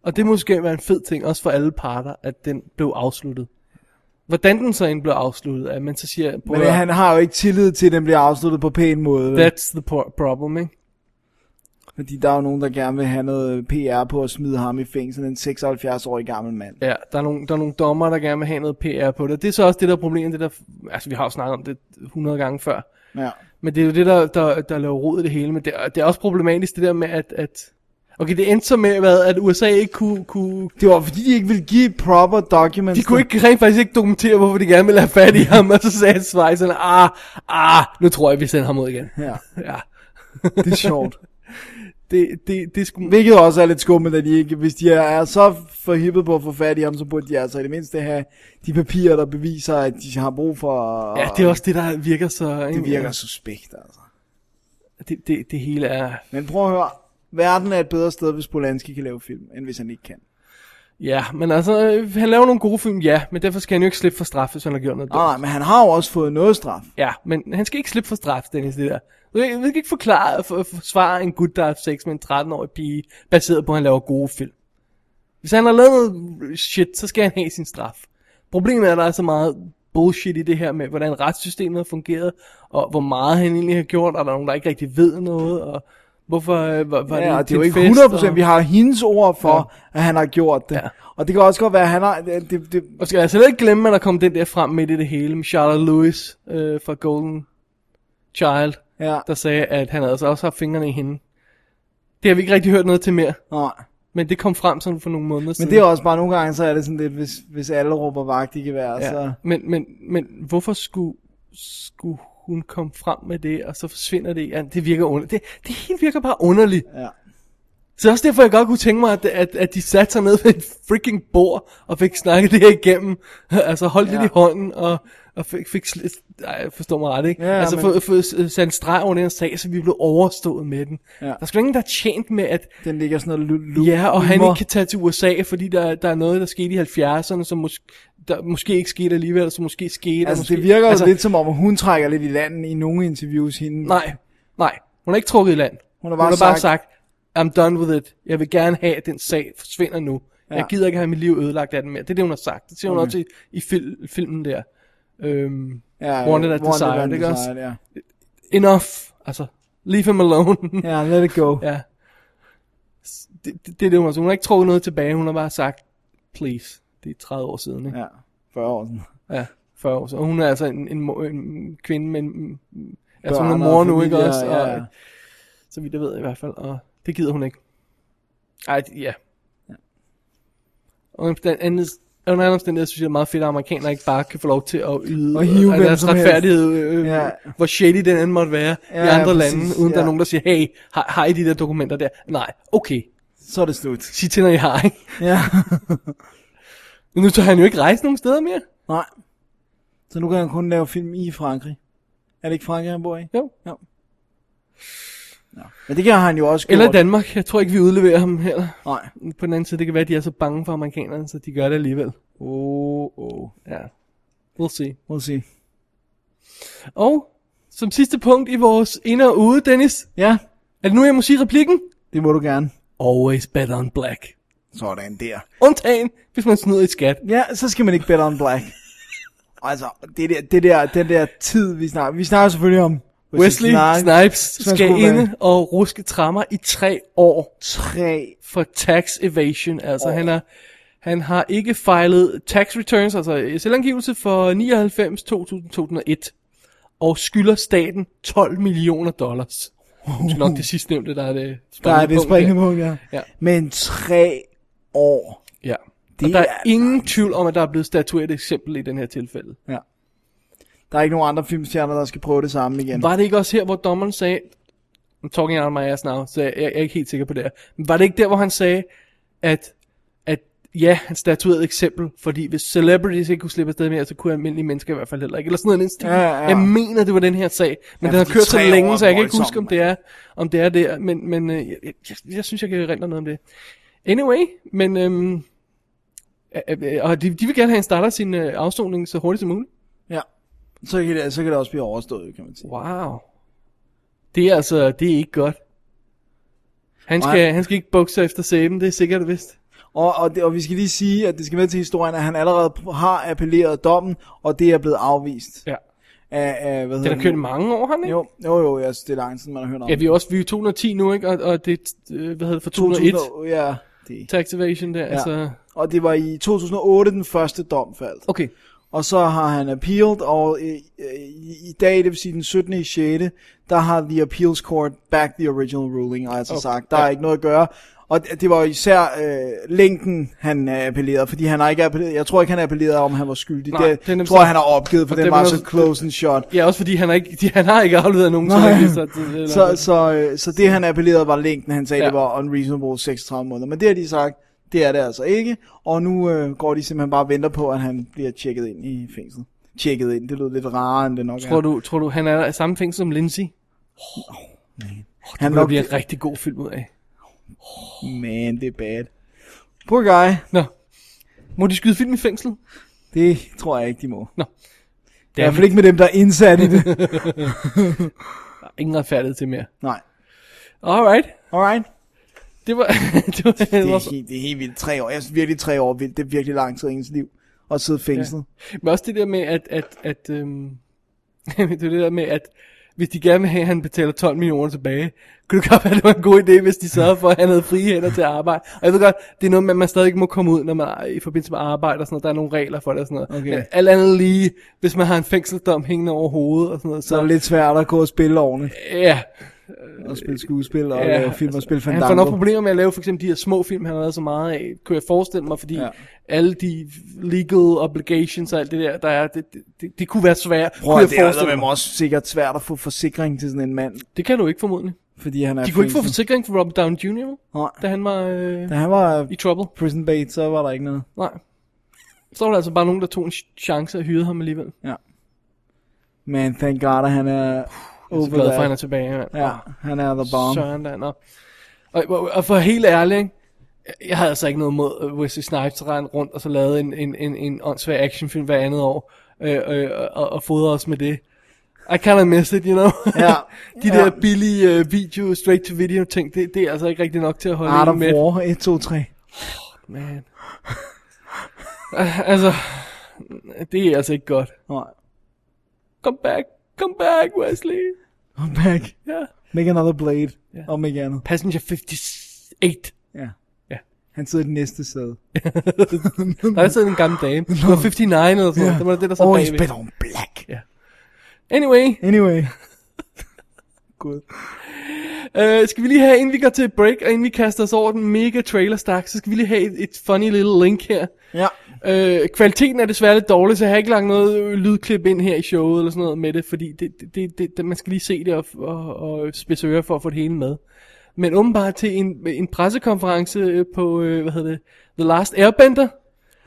[SPEAKER 6] Og det måske være en fed ting, også for alle parter, at den blev afsluttet. Hvordan den så end blev afsluttet, at man så siger, prøv
[SPEAKER 5] Men
[SPEAKER 6] at-
[SPEAKER 5] han har jo ikke tillid til, at den bliver afsluttet på pæn måde. vel?
[SPEAKER 6] that's the por- problem, ikke?
[SPEAKER 5] Fordi der er jo nogen, der gerne vil have noget PR på at smide ham i fængsel, en 76-årig gammel mand.
[SPEAKER 6] Ja, der er, nogle, der er nogle dommer, der gerne vil have noget PR på det. Det er så også det der problem, det der, altså vi har jo snakket om det 100 gange før.
[SPEAKER 5] Ja.
[SPEAKER 6] Men det er jo det, der, der, der laver rod i det hele. Men det, er- det er også problematisk det der med, at... at okay, det endte så med, hvad, at USA ikke kunne... kunne
[SPEAKER 5] Det var fordi, de ikke ville give proper documents.
[SPEAKER 6] de kunne ikke, rent faktisk ikke dokumentere, hvorfor de gerne ville have fat i ham. Og så sagde Schweizerne, ah, ah, nu tror jeg, vi sender ham ud igen.
[SPEAKER 5] Ja,
[SPEAKER 6] Ja,
[SPEAKER 5] det er sjovt.
[SPEAKER 6] det, det, det skulle...
[SPEAKER 5] Hvilket også er lidt skummelt, at de ikke, hvis de er så forhippet på at få fat i ham, så burde de altså i det mindste have de papirer, der beviser, at de har brug for...
[SPEAKER 6] Ja, det er også det, der virker så...
[SPEAKER 5] Det
[SPEAKER 6] ikke?
[SPEAKER 5] virker suspekt, altså.
[SPEAKER 6] Det, det, det hele er...
[SPEAKER 5] Men prøv at høre, verden er et bedre sted, hvis Polanski kan lave film, end hvis han ikke kan.
[SPEAKER 6] Ja, men altså, øh, han laver nogle gode film, ja, men derfor skal han jo ikke slippe for straf, hvis han har gjort noget dumt.
[SPEAKER 5] Nej, men han har jo også fået noget straf.
[SPEAKER 6] Ja, men han skal ikke slippe for straf, Dennis, det der. Du kan- Du kan ikke forklare, for, forsvare en gut, der har sex med en 13-årig pige, baseret på, at han laver gode film. Hvis han har lavet noget shit, så skal han have sin straf. Problemet er, at der er så meget bullshit i det her med, hvordan retssystemet har fungeret, og hvor meget han egentlig har gjort, og der er nogen, der ikke rigtig ved noget, og hvorfor øh, var, var
[SPEAKER 5] Ja, og
[SPEAKER 6] det,
[SPEAKER 5] det er jo
[SPEAKER 6] til
[SPEAKER 5] ikke
[SPEAKER 6] fest,
[SPEAKER 5] 100%,
[SPEAKER 6] og...
[SPEAKER 5] vi har hendes ord for, ja. at han har gjort det.
[SPEAKER 6] Ja.
[SPEAKER 5] Ja. Og det kan også godt være, at han har... Det, det, det,
[SPEAKER 6] Og skal jeg slet ikke glemme, at der kom den der frem midt i det hele med Charlotte Lewis øh, fra Golden Child,
[SPEAKER 5] ja,
[SPEAKER 6] der sagde, at han altså også har fingrene i hende. Det har vi ikke rigtig hørt noget til mere,
[SPEAKER 5] nej.
[SPEAKER 6] men det kom frem sådan for nogle måneder
[SPEAKER 5] Men
[SPEAKER 6] siden.
[SPEAKER 5] det er også bare nogle gange, så er det sådan lidt, hvis, hvis alle råber vagt i gevær, ja.
[SPEAKER 6] ja.
[SPEAKER 5] så...
[SPEAKER 6] men, men, men hvorfor skulle, skulle hun komme frem med det, og så forsvinder det? Ja, det virker underligt. Det, det hele virker bare underligt.
[SPEAKER 5] Ja.
[SPEAKER 6] Så det er også derfor, jeg godt kunne tænke mig, at, at, at de satte sig ned ved et freaking bord, og fik snakket det her igennem. altså holdt ja. lidt i hånden, og, og fik, fik sl- Ej, forstå mig ret, ikke?
[SPEAKER 5] Ja, ja,
[SPEAKER 6] altså
[SPEAKER 5] men-
[SPEAKER 6] få, få sat en streg over den her sag, så vi blev overstået med den.
[SPEAKER 5] Ja.
[SPEAKER 6] Der er sgu ingen, der er tjent med, at
[SPEAKER 5] Den ligger sådan noget lu- lu-
[SPEAKER 6] Ja, og han
[SPEAKER 5] humor.
[SPEAKER 6] ikke kan tage til USA, fordi der, der er noget, der skete i 70'erne, som mås- der måske ikke skete alligevel, og som måske skete. og
[SPEAKER 5] Altså,
[SPEAKER 6] måske,
[SPEAKER 5] det virker jo altså, lidt som om, at hun trækker lidt i landen i nogle interviews hende.
[SPEAKER 6] Nej, nej. Hun er ikke trukket i land.
[SPEAKER 5] Hun har bare
[SPEAKER 6] hun har bare sagt, I'm done with it. Jeg vil gerne have, at den sag forsvinder nu. Ja. Jeg
[SPEAKER 5] Ja.
[SPEAKER 6] gider ikke have mit liv ødelagt af den mere. Det er det, hun har sagt. Det siger hun også i, i fil- filmen der. Øhm,
[SPEAKER 5] Ja,
[SPEAKER 6] Wanted at Desire,
[SPEAKER 5] and
[SPEAKER 6] ikke også?
[SPEAKER 5] Desired, Ja.
[SPEAKER 6] enough. Altså, leave him alone.
[SPEAKER 5] ja, let it go.
[SPEAKER 6] ja. S- Det, det, det er det, hun har sagt. Hun har ikke trukket noget tilbage. Hun har bare sagt, please. Det er 30 år siden, ikke?
[SPEAKER 5] Ja, 40 år siden.
[SPEAKER 6] Ja, 40 år. Så hun er altså en, en, mo- en kvinde, men en, altså hun er
[SPEAKER 5] Børn og
[SPEAKER 6] mor nu, ikke
[SPEAKER 5] familie,
[SPEAKER 6] også? Og,
[SPEAKER 5] ja, ja.
[SPEAKER 6] Så vidt jeg ved i hvert fald, og det gider hun ikke. Ej, det- ja. Og den anden, under andre omstændigheder synes jeg, det er meget fedt, at amerikanere ikke bare kan få lov til at yde
[SPEAKER 5] Og hive
[SPEAKER 6] øh,
[SPEAKER 5] hvem
[SPEAKER 6] deres
[SPEAKER 5] som helst.
[SPEAKER 6] retfærdighed, øh,
[SPEAKER 5] Ja.
[SPEAKER 6] ja. hvor shady den end måtte være ja, i
[SPEAKER 5] Ja,
[SPEAKER 6] andre
[SPEAKER 5] ja,
[SPEAKER 6] lande,
[SPEAKER 5] præcis,
[SPEAKER 6] uden der er
[SPEAKER 5] ja.
[SPEAKER 6] nogen, der siger, hey, har, har I de der dokumenter der? Nej, okay,
[SPEAKER 5] Så er det slut.
[SPEAKER 6] sig til, når I har, ikke?
[SPEAKER 5] Ja.
[SPEAKER 6] Men nu tør han jo ikke rejse nogen steder mere.
[SPEAKER 5] Nej. Så nu kan han kun lave film i Frankrig. Er det ikke Frankrig, han bor i?
[SPEAKER 6] Jo.
[SPEAKER 5] Jo. Nå. Men det kan han jo også
[SPEAKER 6] Eller
[SPEAKER 5] gjort.
[SPEAKER 6] Danmark, jeg tror ikke, vi udleverer ham heller.
[SPEAKER 5] Nej.
[SPEAKER 6] På den anden side, det kan være, at de er så bange for amerikanerne, så de gør det alligevel.
[SPEAKER 5] Oh, oh.
[SPEAKER 6] Ja. We'll see.
[SPEAKER 5] We'll see.
[SPEAKER 6] Og som sidste punkt i vores ind og ude, Dennis.
[SPEAKER 5] Ja,
[SPEAKER 6] Er det nu, jeg må sige replikken?
[SPEAKER 5] det må du gerne.
[SPEAKER 6] Always bet on black.
[SPEAKER 5] Sådan der.
[SPEAKER 6] Undtagen, hvis man snyder i skat.
[SPEAKER 5] Ja, så skal man ikke bet on black. Altså, det der, det der, den der tid, vi snakker, vi snakker selvfølgelig om
[SPEAKER 6] Wesley Snipes
[SPEAKER 5] hvis man
[SPEAKER 6] skal
[SPEAKER 5] skulle
[SPEAKER 6] inde
[SPEAKER 5] være-
[SPEAKER 6] og ruske trammer i tre år.
[SPEAKER 5] Tre.
[SPEAKER 6] For tax evasion, altså han er... Han har ikke filet tax returns, altså selvangivelse for 99, 2000, 2001, og skylder staten 12 millioner dollars. Det er nok det sidste nævnte, der er det
[SPEAKER 5] Uhuh. Der er det springende
[SPEAKER 6] der.
[SPEAKER 5] punkt, ja.
[SPEAKER 6] Ja.
[SPEAKER 5] Men tre år.
[SPEAKER 6] Ja.
[SPEAKER 5] Det
[SPEAKER 6] og der er,
[SPEAKER 5] er
[SPEAKER 6] ingen tvivl om, at der er blevet statueret et eksempel i den her tilfælde.
[SPEAKER 5] Ja. Der er ikke nogen andre filmstjerner, der skal prøve det samme igen.
[SPEAKER 6] Var det ikke også her, hvor dommeren sagde, I'm talking out of my ass now, så jeg, jeg er ikke helt sikker på det her. Men var det ikke der, hvor han sagde, at, at ja, han statuerede et eksempel, fordi hvis celebrities ikke kunne slippe afsted med, så kunne almindelige mennesker i hvert fald heller ikke. Eller sådan noget i den stil.
[SPEAKER 5] Ja, ja.
[SPEAKER 6] Jeg mener, det var den her sag, men
[SPEAKER 5] Ja,
[SPEAKER 6] den har
[SPEAKER 5] fordi
[SPEAKER 6] kørt så
[SPEAKER 5] tre år er
[SPEAKER 6] længe, så jeg kan ikke
[SPEAKER 5] voldsomt,
[SPEAKER 6] huske, om det er, om det er der. Men, men øh, jeg, jeg, jeg, jeg synes, jeg kan erindre noget om det. Anyway, men... Øhm, øh, øh, og de, de vil gerne have, at han starter sin øh, afsoning så hurtigt som muligt.
[SPEAKER 5] Ja. Så kan, det, så kan det også blive overstået, kan man sige.
[SPEAKER 6] Wow. Det er altså, det er ikke godt. Han
[SPEAKER 5] Nej.
[SPEAKER 6] skal, han skal ikke bukse efter sæben, det er sikkert og vist.
[SPEAKER 5] Og, og, det, og vi skal lige sige, at det skal med til historien, at han allerede har appelleret dommen, og det er blevet afvist.
[SPEAKER 6] Ja.
[SPEAKER 5] Af, af, hvad
[SPEAKER 6] Den har kørt i mange år, har den ikke?
[SPEAKER 5] Jo, jo, jo jeg synes, det er langt siden, man har hørt om
[SPEAKER 6] Ja, vi er også vi er 210 nu, ikke? Og, og det er, øh, hvad hedder det, fra 2001.
[SPEAKER 5] 2000 Ja, det.
[SPEAKER 6] Tax evasion der, ja.
[SPEAKER 5] Ja.
[SPEAKER 6] altså.
[SPEAKER 5] Og det var i 2008, den første dom faldt.
[SPEAKER 6] Okay.
[SPEAKER 5] Og så har han appealed, og øh, øh, i, i dag, det vil sige den 17. i 6., der har The Appeals Court back the original ruling, og altså
[SPEAKER 6] Okay,
[SPEAKER 5] okay. sagt, der
[SPEAKER 6] ja.
[SPEAKER 5] er ikke noget at gøre. Og det det var især øh, længden, han øh, appellerede, fordi han har ikke appelleret, jeg tror ikke, han appellerede, om han var skyldig.
[SPEAKER 6] Nej,
[SPEAKER 5] Nej, det,
[SPEAKER 6] det er nemt
[SPEAKER 5] tror
[SPEAKER 6] så-
[SPEAKER 5] jeg, han har opgivet, for
[SPEAKER 6] Og det
[SPEAKER 5] den
[SPEAKER 6] er
[SPEAKER 5] var
[SPEAKER 6] nemt
[SPEAKER 5] så
[SPEAKER 6] så-
[SPEAKER 5] close en shot.
[SPEAKER 6] Ja, også fordi han har ikke, de, han har ikke afleveret nogen, som
[SPEAKER 5] Nej.
[SPEAKER 6] han vidste, at- eller-
[SPEAKER 5] Så, så, øh, så det han appellerede var længden, han sagde
[SPEAKER 6] Ja.
[SPEAKER 5] ja. det var unreasonable 36 måneder. Men det har de sagt, det er det altså ikke. Og nu øh, går de simpelthen bare og venter på, at han bliver tjekket ind i fængslet. Tjekket ind, det lød lidt rarere end det nok
[SPEAKER 6] Tror
[SPEAKER 5] er.
[SPEAKER 6] du, tror du, han er i samme fængsel som Lindsay?
[SPEAKER 5] han
[SPEAKER 6] Det
[SPEAKER 5] nok,
[SPEAKER 6] bliver en rigtig god film ud af.
[SPEAKER 5] Man, det er bad. Poor guy.
[SPEAKER 6] Nå. Må de skyde film i fængsel?
[SPEAKER 5] Det tror jeg ikke, de må.
[SPEAKER 6] Nå.
[SPEAKER 5] Det er i hvert fald ikke med dem, der er indsat i det.
[SPEAKER 6] Ingen retfærdighed til mere.
[SPEAKER 5] Nej.
[SPEAKER 6] Alright.
[SPEAKER 5] Alright.
[SPEAKER 6] Det var, det var, det
[SPEAKER 5] Det
[SPEAKER 6] var
[SPEAKER 5] er, helt, det er helt vildt. Tre år. Jeg synes virkelig, tre år er vildt. Det er virkelig lang tid i ens liv. At sidde fængslet.
[SPEAKER 6] Men også det der med, at, at, at øhm, det er det der med, at hvis de gerne vil have, at han betaler 12 millioner tilbage, kunne det godt være, at det var en god idé, hvis de sørgede for, at han havde frie hænder til at arbejde. Og jeg ved godt, det er noget, man, man stadig ikke må komme ud, når man er i forbindelse med arbejde og sådan noget. Der er nogle regler for det og sådan noget.
[SPEAKER 5] Okay.
[SPEAKER 6] Men alt andet lige, hvis man har en fængseldom hængende over hovedet og sådan noget,
[SPEAKER 5] Så er
[SPEAKER 6] så...
[SPEAKER 5] det lidt svært at gå og spille ordentligt.
[SPEAKER 6] Ja,
[SPEAKER 5] Og spille skuespil og
[SPEAKER 6] Ja,
[SPEAKER 5] lave film og spille
[SPEAKER 6] Han får nok
[SPEAKER 5] fandango.
[SPEAKER 6] problemer med at lave for eksempel de her små film, han har lavet så meget af, kunne jeg forestille mig, fordi ja.
[SPEAKER 5] Ja.
[SPEAKER 6] alle de legal obligations og alt det der, der er, det, det, det, det kunne være svært,
[SPEAKER 5] Prøv
[SPEAKER 6] kunne
[SPEAKER 5] at
[SPEAKER 6] jeg
[SPEAKER 5] det er
[SPEAKER 6] forestille
[SPEAKER 5] eddermame
[SPEAKER 6] mig.
[SPEAKER 5] også sikkert svært at få forsikring til sådan en mand,
[SPEAKER 6] Det kan du ikke formodentlig.
[SPEAKER 5] fordi han er
[SPEAKER 6] De kunne ikke få
[SPEAKER 5] fængslet.
[SPEAKER 6] forsikring for Robert Downey Jr.,
[SPEAKER 5] Nej.
[SPEAKER 6] da han var øh,
[SPEAKER 5] Da han var øh,
[SPEAKER 6] i trouble.
[SPEAKER 5] prison bait, så var der ikke noget.
[SPEAKER 6] Nej. Så var der altså bare nogen, der tog en ch- chance og hyrede ham alligevel. Jeg
[SPEAKER 5] Man, thank god, at han er
[SPEAKER 6] er
[SPEAKER 5] over
[SPEAKER 6] så glad for, at han er
[SPEAKER 5] that.
[SPEAKER 6] tilbage, mand.
[SPEAKER 5] Ja, han er the bomb.
[SPEAKER 6] Søren der, nå. Og, og, og for helt ærlig, ikke? jeg havde altså ikke noget mod at Wesley Snipes rende rundt og så lavede en, en, en, en åndssvag actionfilm hver andet år, øh, øh, og, og fodrede os med det. I kinda miss it, you know?
[SPEAKER 5] Ja.
[SPEAKER 6] De
[SPEAKER 5] Ja.
[SPEAKER 6] der billige øh, video, straight-to-video ting, det, det er altså ikke rigtig nok til at holde
[SPEAKER 5] Art
[SPEAKER 6] en
[SPEAKER 5] of
[SPEAKER 6] med.
[SPEAKER 5] War, 1, 2, 3.
[SPEAKER 6] Man. Ah, altså, det er altså ikke godt.
[SPEAKER 5] Nej.
[SPEAKER 6] Come back, come back, Wesley.
[SPEAKER 5] I'm back.
[SPEAKER 6] Ja.
[SPEAKER 5] Make another blade. Om ikke andet.
[SPEAKER 6] Passenger 58.
[SPEAKER 5] Ja.
[SPEAKER 6] Ja.
[SPEAKER 5] Han sidder i den næste sæde.
[SPEAKER 6] Der er sådan en gammel dame. Det var 59 eller sådan noget. Det var det, der sad
[SPEAKER 5] Oh, he's
[SPEAKER 6] bagved.
[SPEAKER 5] better on black.
[SPEAKER 6] Anyway,
[SPEAKER 5] Anyway. Gud.
[SPEAKER 6] øh, skal vi lige have, inden vi går til break, og inden vi kaster os over den mega trailer stak, så skal vi lige have et, et funny little link her.
[SPEAKER 5] Ja.
[SPEAKER 6] Øh, kvaliteten er desværre lidt dårlig, så jeg har ikke lagt noget øh, lydklip ind her i showet eller sådan noget med det, fordi det, det, det, det, man skal lige se det og, og, og spidse ører for at få det hele med. Men åbenbart til en, en pressekonference øh, på, øh, hvad hedder det, The Last Airbender,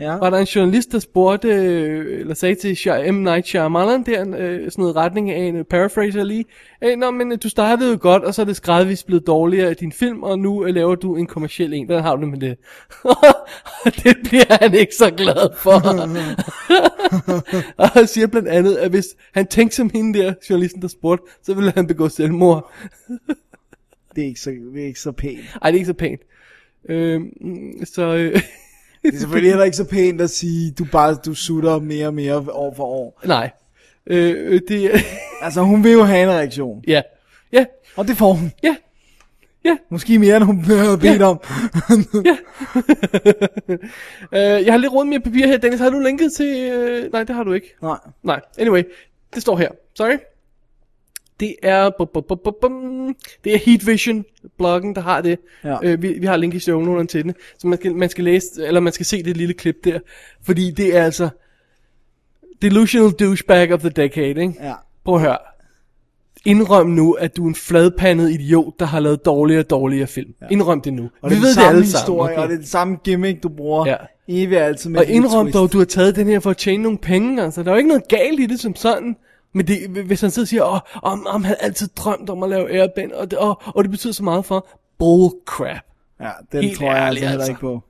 [SPEAKER 5] Ja.
[SPEAKER 6] var der en journalist, der spurgte, øh, eller sagde til Shy- M. Night Shyamalan, der, øh, sådan noget retning af en øh, paraphraser lige, øh, Nå, men øh, du startede jo godt, og så er det gradvist blevet dårligere i din film, og nu øh, laver du en kommerciel en. Hvordan har du det med det? det bliver han ikke så glad for. og han siger blandt andet, at hvis han tænkte som hende der, journalisten, der spurgte, så ville han begå selvmord.
[SPEAKER 5] Det er ikke så, det er ikke så pænt.
[SPEAKER 6] Ej, det er ikke Øhm, så pænt. Øh, så... Øh,
[SPEAKER 5] Det er selvfølgelig heller ikke så pænt at sige, du bare du sutter mere og mere år for år.
[SPEAKER 6] Nej. Øh, øh, det er...
[SPEAKER 5] altså, hun vil jo have en reaktion.
[SPEAKER 6] Ja. Ja.
[SPEAKER 5] Og det får hun.
[SPEAKER 6] Ja. Ja.
[SPEAKER 5] Måske mere, end hun havde bedt om.
[SPEAKER 6] ja. øh, jeg har lidt rundt med papir her, Dennis. Har du linket til... Øh... Nej, det har du ikke.
[SPEAKER 5] Nej.
[SPEAKER 6] Nej. Anyway, det står her. Sorry. Det er... bu- bu- bu- bu- bum. Det er Heat Vision bloggen, der har det.
[SPEAKER 5] Ja.
[SPEAKER 6] Øh, vi, vi, har link i shownoterne til den. Så man skal, man skal læse, eller man skal se det lille klip der. Fordi det er altså... Delusional douchebag of the decade, ikke?
[SPEAKER 5] Ja.
[SPEAKER 6] Prøv at høre. Indrøm nu, at du er en fladpandet idiot, der har lavet dårligere og dårligere film. Ja. Indrøm det nu.
[SPEAKER 5] Og
[SPEAKER 6] Vi
[SPEAKER 5] det er den
[SPEAKER 6] ved det
[SPEAKER 5] samme
[SPEAKER 6] alle sammen.
[SPEAKER 5] historie,
[SPEAKER 6] okay?
[SPEAKER 5] og det er den samme gimmick, du bruger.
[SPEAKER 6] Ja.
[SPEAKER 5] Evig er altid med
[SPEAKER 6] Og
[SPEAKER 5] et lille
[SPEAKER 6] indrøm
[SPEAKER 5] twist.
[SPEAKER 6] dog, du har taget den her for at tjene nogle penge, altså. Der er jo ikke noget galt i det som sådan. Men det, hvis han sidder og siger, åh, om, om han altid drømt om at lave airband, og det, og, og det betyder så meget for bullcrap.
[SPEAKER 5] Ja, den
[SPEAKER 6] Helt
[SPEAKER 5] tror jeg
[SPEAKER 6] ærligt,
[SPEAKER 5] altså heller
[SPEAKER 6] altså.
[SPEAKER 5] ikke på.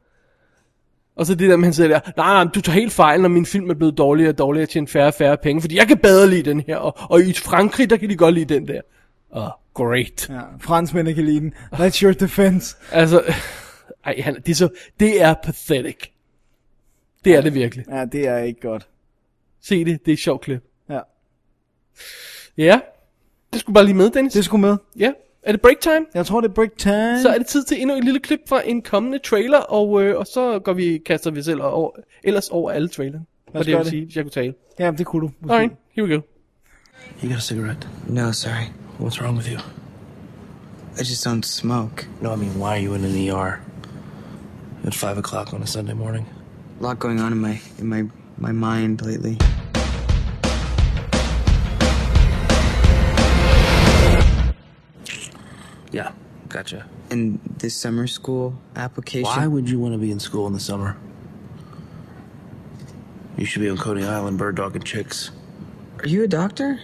[SPEAKER 6] Og så det der med, han siger der, nej, nej, du tager helt fejl, når min film er blevet dårligere og dårligere til en færre og færre penge, fordi jeg kan bedre lide den her, og, og i Frankrig, der kan de godt lide den der. Oh, great.
[SPEAKER 5] Ja, franskmændene kan lide den. That's your defense.
[SPEAKER 6] Altså, ej, han, det, er så, det er pathetic. Det er det virkelig.
[SPEAKER 5] Ja, det er ikke godt.
[SPEAKER 6] Se det, det er et sjovt klip.
[SPEAKER 5] Ja.
[SPEAKER 6] Ja, det skulle bare lige med, Dennis.
[SPEAKER 5] Det skulle med.
[SPEAKER 6] Ja, er det break time?
[SPEAKER 5] Jeg tror, det er break time.
[SPEAKER 6] Så er det tid til endnu et lille klip fra en kommende trailer, og, øh, og så går vi, kaster vi selv over, ellers over alle trailerne.
[SPEAKER 5] Lad
[SPEAKER 6] Og
[SPEAKER 5] os
[SPEAKER 6] det jeg
[SPEAKER 5] gøre
[SPEAKER 6] vil
[SPEAKER 5] det.
[SPEAKER 6] sige, hvis jeg kunne tale.
[SPEAKER 5] Ja, det kunne du. måske.
[SPEAKER 6] Alright, here we go.
[SPEAKER 2] You got a cigarette?
[SPEAKER 8] No, sorry.
[SPEAKER 2] What's wrong with you?
[SPEAKER 8] I just don't smoke.
[SPEAKER 2] No, I mean, why are you in an ER at five o'clock on a Sunday morning?
[SPEAKER 8] A lot going on in my in my my mind lately.
[SPEAKER 2] Yeah, gotcha.
[SPEAKER 8] And this summer school application.
[SPEAKER 2] Why would you want to be in school in the summer? You should be on Coney Island bird dogging chicks.
[SPEAKER 8] Are you a doctor?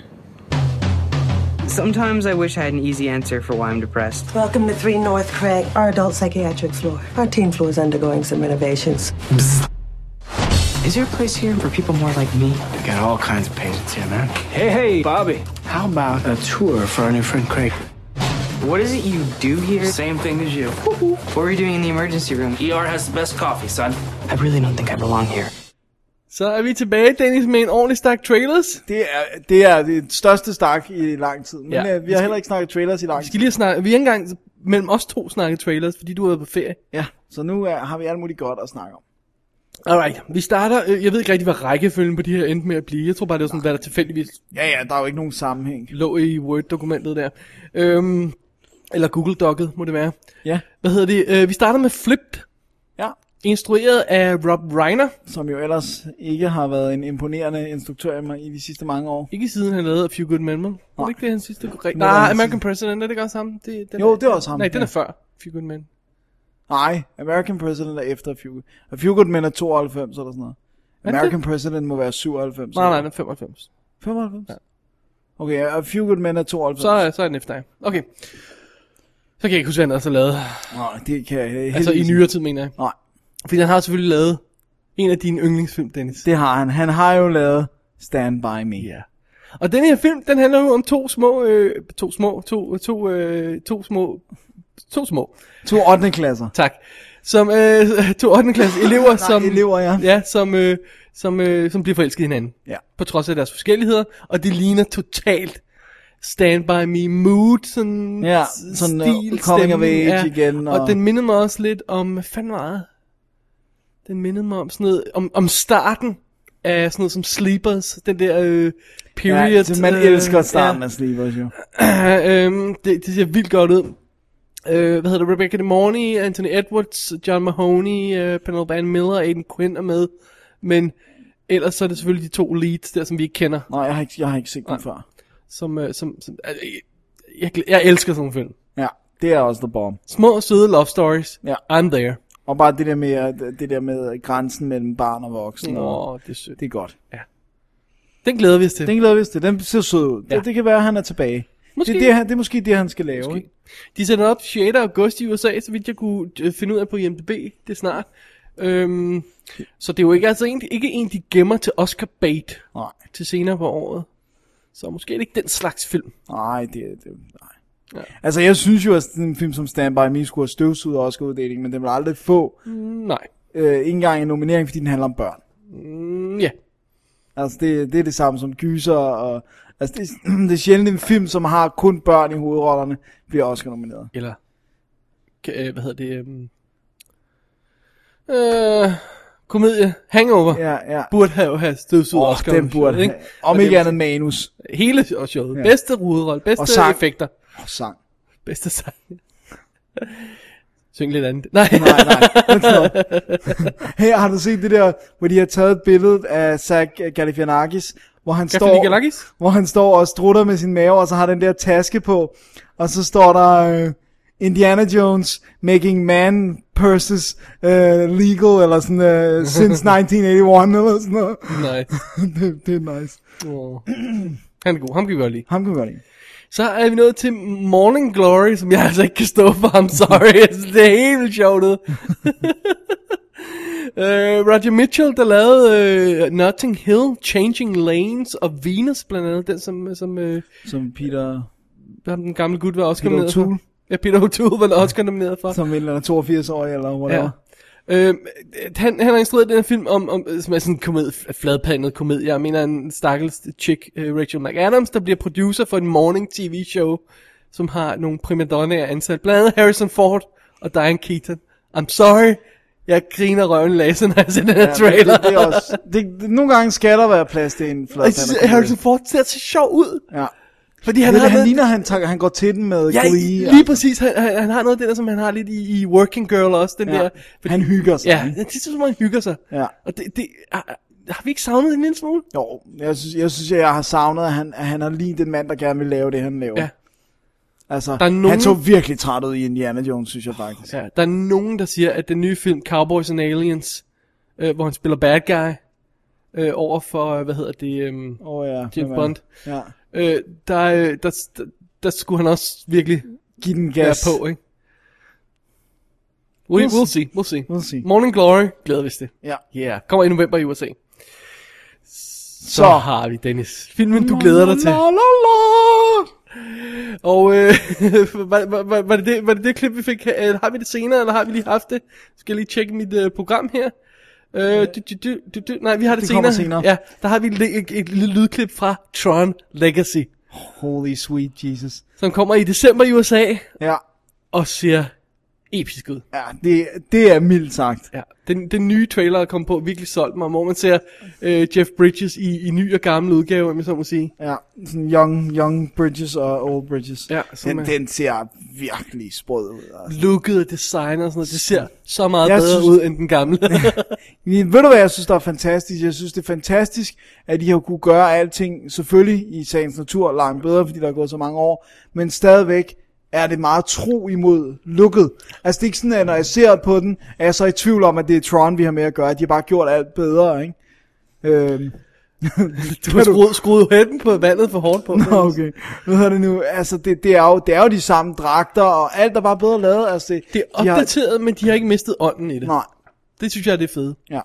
[SPEAKER 8] Sometimes I wish I had an easy answer for why I'm depressed.
[SPEAKER 12] Welcome to 3 North Craig, our adult psychiatric floor. Our teen floor is undergoing some renovations.
[SPEAKER 10] Is there a place here for people more like me?
[SPEAKER 2] You got all kinds of patients here, man. Hey, hey, Bobby. How about a tour for our new friend Craig?
[SPEAKER 10] What is it you do here?
[SPEAKER 2] Same thing as you.
[SPEAKER 10] What were you doing in the emergency room? ER has the best coffee, son. I really don't think I belong here.
[SPEAKER 6] Så er vi tilbage, Dennis, med en ordentlig stak trailers.
[SPEAKER 5] Det er, det er det største stak i lang tid. Men
[SPEAKER 6] Ja.
[SPEAKER 5] ja. øh, vi har heller ikke snakket trailers i lang
[SPEAKER 6] Vi
[SPEAKER 5] tid.
[SPEAKER 6] skal lige snakke, vi har ikke engang mellem os to snakket trailers, fordi du er på ferie.
[SPEAKER 5] Ja, så nu er, har vi alt muligt godt at snakke om.
[SPEAKER 6] Alright, vi starter, øh, jeg ved ikke rigtig, hvad rækkefølgen på de her endte med at blive. Jeg tror bare, det var sådan, hvad der tilfældigvis
[SPEAKER 5] Ja, ja, der er jo ikke nogen sammenhæng.
[SPEAKER 6] lå i Word-dokumentet der. Øhm, eller Google Doc'et, må det være.
[SPEAKER 5] Ja,
[SPEAKER 6] Hvad hedder det? Øh, vi starter med Flipped,
[SPEAKER 5] ja.
[SPEAKER 6] instrueret af Rob Reiner.
[SPEAKER 5] Som jo ellers ikke har været en imponerende instruktør i mig i de sidste mange år.
[SPEAKER 6] Ikke siden han lavede A Few Good Men, vel? Var det ikke det, han sidste korrekt?
[SPEAKER 5] Nu er det
[SPEAKER 6] Nej,
[SPEAKER 5] han
[SPEAKER 6] American
[SPEAKER 5] sidste.
[SPEAKER 6] President, er det ikke også ham? Det, den
[SPEAKER 5] Jo, det er også ham,
[SPEAKER 6] Nej, den
[SPEAKER 5] ja.
[SPEAKER 6] er før A Few Good Men.
[SPEAKER 5] Nej, American President er efter A Few. A Few Good Men er 92 eller sådan noget.
[SPEAKER 6] det?
[SPEAKER 5] American President må være 97.
[SPEAKER 6] Nej,
[SPEAKER 5] eller
[SPEAKER 6] nej, den
[SPEAKER 5] noget.
[SPEAKER 6] er 95.
[SPEAKER 5] 95? Ja. Okay, A Few Good Men er 92.
[SPEAKER 6] Så, øh, er- så er den efter dig. Okay. Så kan jeg ikke huske, hvad han også har lavet.
[SPEAKER 5] Nej, det kan jeg heldigvis
[SPEAKER 6] Altså i
[SPEAKER 5] ikke.
[SPEAKER 6] nyere tid, mener jeg.
[SPEAKER 5] Nej,
[SPEAKER 6] Fordi han har selvfølgelig lavet en af dine yndlingsfilm, Dennis.
[SPEAKER 5] det har han. Han har jo lavet Stand By Me.
[SPEAKER 6] Ja. Og den her film, den handler jo om to små, øh, to små, to, to, øh, to små, to små,
[SPEAKER 5] To 8. klasser.
[SPEAKER 6] tak, som, øh, to 8. klasse elever, som,
[SPEAKER 5] elever, ja.
[SPEAKER 6] ja som, øh, som, øh, som bliver forelsket i hinanden.
[SPEAKER 5] Ja.
[SPEAKER 6] På trods af deres forskelligheder, og det ligner totalt Stand By Me mood, sådan
[SPEAKER 5] Ja,
[SPEAKER 6] s-
[SPEAKER 5] sådan, øh, coming of
[SPEAKER 6] stemning,
[SPEAKER 5] age igen,
[SPEAKER 6] Og...
[SPEAKER 5] og-
[SPEAKER 6] den mindede mig også lidt om, hvad fanden var det? Den mindede mig om sådan noget, om, om starten af sådan noget som Sleepers, den der øh, period.
[SPEAKER 5] Ja, så man
[SPEAKER 6] øh,
[SPEAKER 5] elsker starten af Sleepers jo.
[SPEAKER 6] Ja, øhm, det, det ser vildt godt ud. Øh, hvad hedder det? Rebecca De Morney, Anthony Edwards, John Mahoney, øh, Penelope Ann Miller, Aiden Quinn er med. Men ellers så er det selvfølgelig de to leads der, som vi ikke kender.
[SPEAKER 5] Nej, jeg har ikke, jeg har ikke set den før.
[SPEAKER 6] Som, øh, som, som altså, jeg, jeg, jeg elsker sådan nogle film.
[SPEAKER 5] Ja, det er også The Bomb.
[SPEAKER 6] Små, søde love stories.
[SPEAKER 5] Ja.
[SPEAKER 6] I'm there.
[SPEAKER 5] Og bare det der med, at- det der med grænsen mellem barn og voksen.
[SPEAKER 6] Nå,
[SPEAKER 5] Og,
[SPEAKER 6] det er sødt.
[SPEAKER 5] det er godt.
[SPEAKER 6] Den glæder vi os til.
[SPEAKER 5] Den glæder vi os til. Den ser sød ud.
[SPEAKER 6] Ja.
[SPEAKER 5] Ja. Det, det kan være, at han er tilbage.
[SPEAKER 6] Måske.
[SPEAKER 5] Måske. Det, er det, han, det er måske det, han skal lave.
[SPEAKER 6] Måske.
[SPEAKER 5] Ikke?
[SPEAKER 6] De sætter op 6. august i USA, så vidt jeg kunne øh, finde ud af på IMDb, det er snart. Øhm, så det er jo ikke, altså en, ikke en, de gemmer til Oscar bait
[SPEAKER 5] Nej,
[SPEAKER 6] til senere på året. Så måske er det ikke den slags film.
[SPEAKER 5] nej, det, det nej.
[SPEAKER 6] Ja.
[SPEAKER 5] Ja. Altså, jeg synes jo, at sådan en film som Stand By Me skulle have støvsuget Oscar-uddeling, men den vil aldrig få.
[SPEAKER 6] Nej.
[SPEAKER 5] øh, ikke engang en nominering, fordi den handler om børn.
[SPEAKER 6] Mm, ja.
[SPEAKER 5] Altså, det, det er det samme som gyser, og altså, det, er- det er sjældent en film, som har kun børn i hovedrollerne, bliver også nomineret.
[SPEAKER 6] Eller, K- øh, hvad hedder det? øhm, Øh, komedie, Hangover,
[SPEAKER 5] ja, ja.
[SPEAKER 6] burde have, have støvsuget
[SPEAKER 5] Åh,
[SPEAKER 6] Oscar.
[SPEAKER 5] den burde have. Om ikke andet manus.
[SPEAKER 6] Altså, Hele og showet.
[SPEAKER 5] Ja.
[SPEAKER 6] Ja. Bedste ruderolle, bedste
[SPEAKER 5] Og sang.
[SPEAKER 6] effekter.
[SPEAKER 5] Og sang.
[SPEAKER 6] Bedste sang. Syng lidt andet. Nej.
[SPEAKER 5] nej, nej. Hold da op. Her har du set det der, hvor de har taget et billede af Zach Galifianakis, hvor han står,
[SPEAKER 6] Galifianakis?
[SPEAKER 5] hvor han står og strutter med sin mave, og så har den der taske på, og så står der øh, Indiana Jones making man purses øh, legal, eller sådan, øh, since 1981, eller sådan noget.
[SPEAKER 6] Nej.
[SPEAKER 5] det, det er nice.
[SPEAKER 6] Oh. Han er god, ham kan vi godt lide.
[SPEAKER 5] Ham kan vi godt lide.
[SPEAKER 6] Så er vi nået til Morning Glory, som jeg altså ikke kan stå for, I'm sorry, Altså, det er helt vildt sjovt ud. Øh, Roger Mitchell, der lavede uh, Notting Hill, Changing Lanes og Venus blandt andet, den som, som, uh,
[SPEAKER 5] Som Peter...
[SPEAKER 6] den gamle gut var Oscar
[SPEAKER 5] Peter
[SPEAKER 6] nomineret for.
[SPEAKER 5] O'Toole.
[SPEAKER 6] Ja, Peter O'Toole var Oscar nomineret for.
[SPEAKER 5] Som en eller anden 82 år eller whatever. Ja.
[SPEAKER 6] Øh, han, han har instrueret den her film om, om som er sådan en komedie, fladpandet komedie. Jeg mener en stakkels chick, øh, Rachel McAdams, der bliver producer for en morning tv show, som har nogle primadonnaer ansat. Blandt andet Harrison Ford og Diane Keaton. I'm sorry, jeg griner røven laser, når jeg ser den her
[SPEAKER 5] men
[SPEAKER 6] trailer.
[SPEAKER 5] Det, det er også, det, det, nogle gange skal der være plads til en flad
[SPEAKER 6] Jeg synes, at Harrison Ford ser så sjov ud.
[SPEAKER 5] Ja.
[SPEAKER 6] Fordi han
[SPEAKER 5] han,
[SPEAKER 6] har
[SPEAKER 5] han
[SPEAKER 6] været-
[SPEAKER 5] ligner, han, tager, han går til den med
[SPEAKER 6] Ja,
[SPEAKER 5] glee.
[SPEAKER 6] lige præcis. Han, han, han har noget af det der, som han har lidt i, i Working Girl også. Den
[SPEAKER 5] Ja.
[SPEAKER 6] der,
[SPEAKER 5] Han hygger sig,
[SPEAKER 6] Ja,
[SPEAKER 5] ikke?
[SPEAKER 6] det er som om, han hygger sig.
[SPEAKER 5] Ja.
[SPEAKER 6] Og det, det, har, har vi ikke savnet en lille smule?
[SPEAKER 5] Jo, jeg synes, jeg, synes, jeg har savnet, at han, at han har lignet en mand, der gerne vil lave det, han laver.
[SPEAKER 6] Ja.
[SPEAKER 5] Altså,
[SPEAKER 6] Der er
[SPEAKER 5] nogen... han
[SPEAKER 6] nogen-
[SPEAKER 5] så virkelig træt ud i Indiana Jones, synes jeg faktisk.
[SPEAKER 6] Ja, der er nogen, der siger, at den nye film Cowboys and Aliens, øh, hvor han spiller bad guy, øh, over for, øh, hvad hedder det, øhm,
[SPEAKER 5] oh, ja,
[SPEAKER 6] James
[SPEAKER 5] hvem er
[SPEAKER 6] Bond,
[SPEAKER 5] det? Ja.
[SPEAKER 6] øh, der, øh, der, der, der skulle han også virkelig
[SPEAKER 5] Give den
[SPEAKER 6] være
[SPEAKER 5] gas.
[SPEAKER 6] på, ikke? We,
[SPEAKER 5] We'll
[SPEAKER 6] we'll, see.
[SPEAKER 5] see.
[SPEAKER 6] we'll see,
[SPEAKER 5] We'll see.
[SPEAKER 6] Morning Glory, glæder vi os til.
[SPEAKER 5] Ja.
[SPEAKER 6] Yeah, kommer i november i USA. Så,
[SPEAKER 5] Så.
[SPEAKER 6] har vi, Dennis. Filmen, du glæder dig til.
[SPEAKER 5] La, la, la.
[SPEAKER 6] Og øh, var, var, var, var, det det, var det det klip, vi fik? Eller har vi det senere, eller har vi lige haft det? Skal jeg lige tjekke mit øh, program her? Øh, du, du, du, du, du, nej, vi har det,
[SPEAKER 5] Det kommer
[SPEAKER 6] senere.
[SPEAKER 5] senere.
[SPEAKER 6] Ja, der har vi et, et, et lille lydklip fra Tron Legacy,
[SPEAKER 5] Holy sweet Jesus.
[SPEAKER 6] som kommer i december i USA
[SPEAKER 5] Ja,
[SPEAKER 6] og ser episk ud.
[SPEAKER 5] ja det, det er mildt sagt.
[SPEAKER 6] Ja, den, den nye trailer, der kom på, virkelig solgte mig, hvor man ser øh, Jeff Bridges i, i ny og gammel udgave, om jeg så må sige.
[SPEAKER 5] Ja, sådan young, young bridges og old bridges.
[SPEAKER 6] Ja, som
[SPEAKER 5] den,
[SPEAKER 6] er-
[SPEAKER 5] den ser virkelig sprød ud. Altså.
[SPEAKER 6] Looket og design og sådan noget, det ser så meget
[SPEAKER 5] Jeg
[SPEAKER 6] bedre
[SPEAKER 5] synes-
[SPEAKER 6] ud end den gamle.
[SPEAKER 5] Men Ved du hvad jeg synes der er fantastisk? Jeg synes det er fantastisk At de har kunne gøre alting Selvfølgelig i sagens natur langt bedre Fordi der er gået så mange år Men stadigvæk er det meget tro imod lukket Altså det er ikke sådan at når jeg ser på den Er jeg så i tvivl om at det er Tron vi har med at gøre At de har bare gjort alt bedre ikke? Øhm,
[SPEAKER 6] du har skruet, skruet hætten på vandet for hårdt på.
[SPEAKER 5] Nå, okay. Hvad hedder det nu? Altså, det, det, er jo, det er jo de samme dragter, og alt er bare bedre lavet. Altså, det,
[SPEAKER 6] Det er
[SPEAKER 5] de har-
[SPEAKER 6] opdateret, men de har ikke mistet ånden i det.
[SPEAKER 5] Nej.
[SPEAKER 6] Det synes jeg er det fede.
[SPEAKER 5] Ja.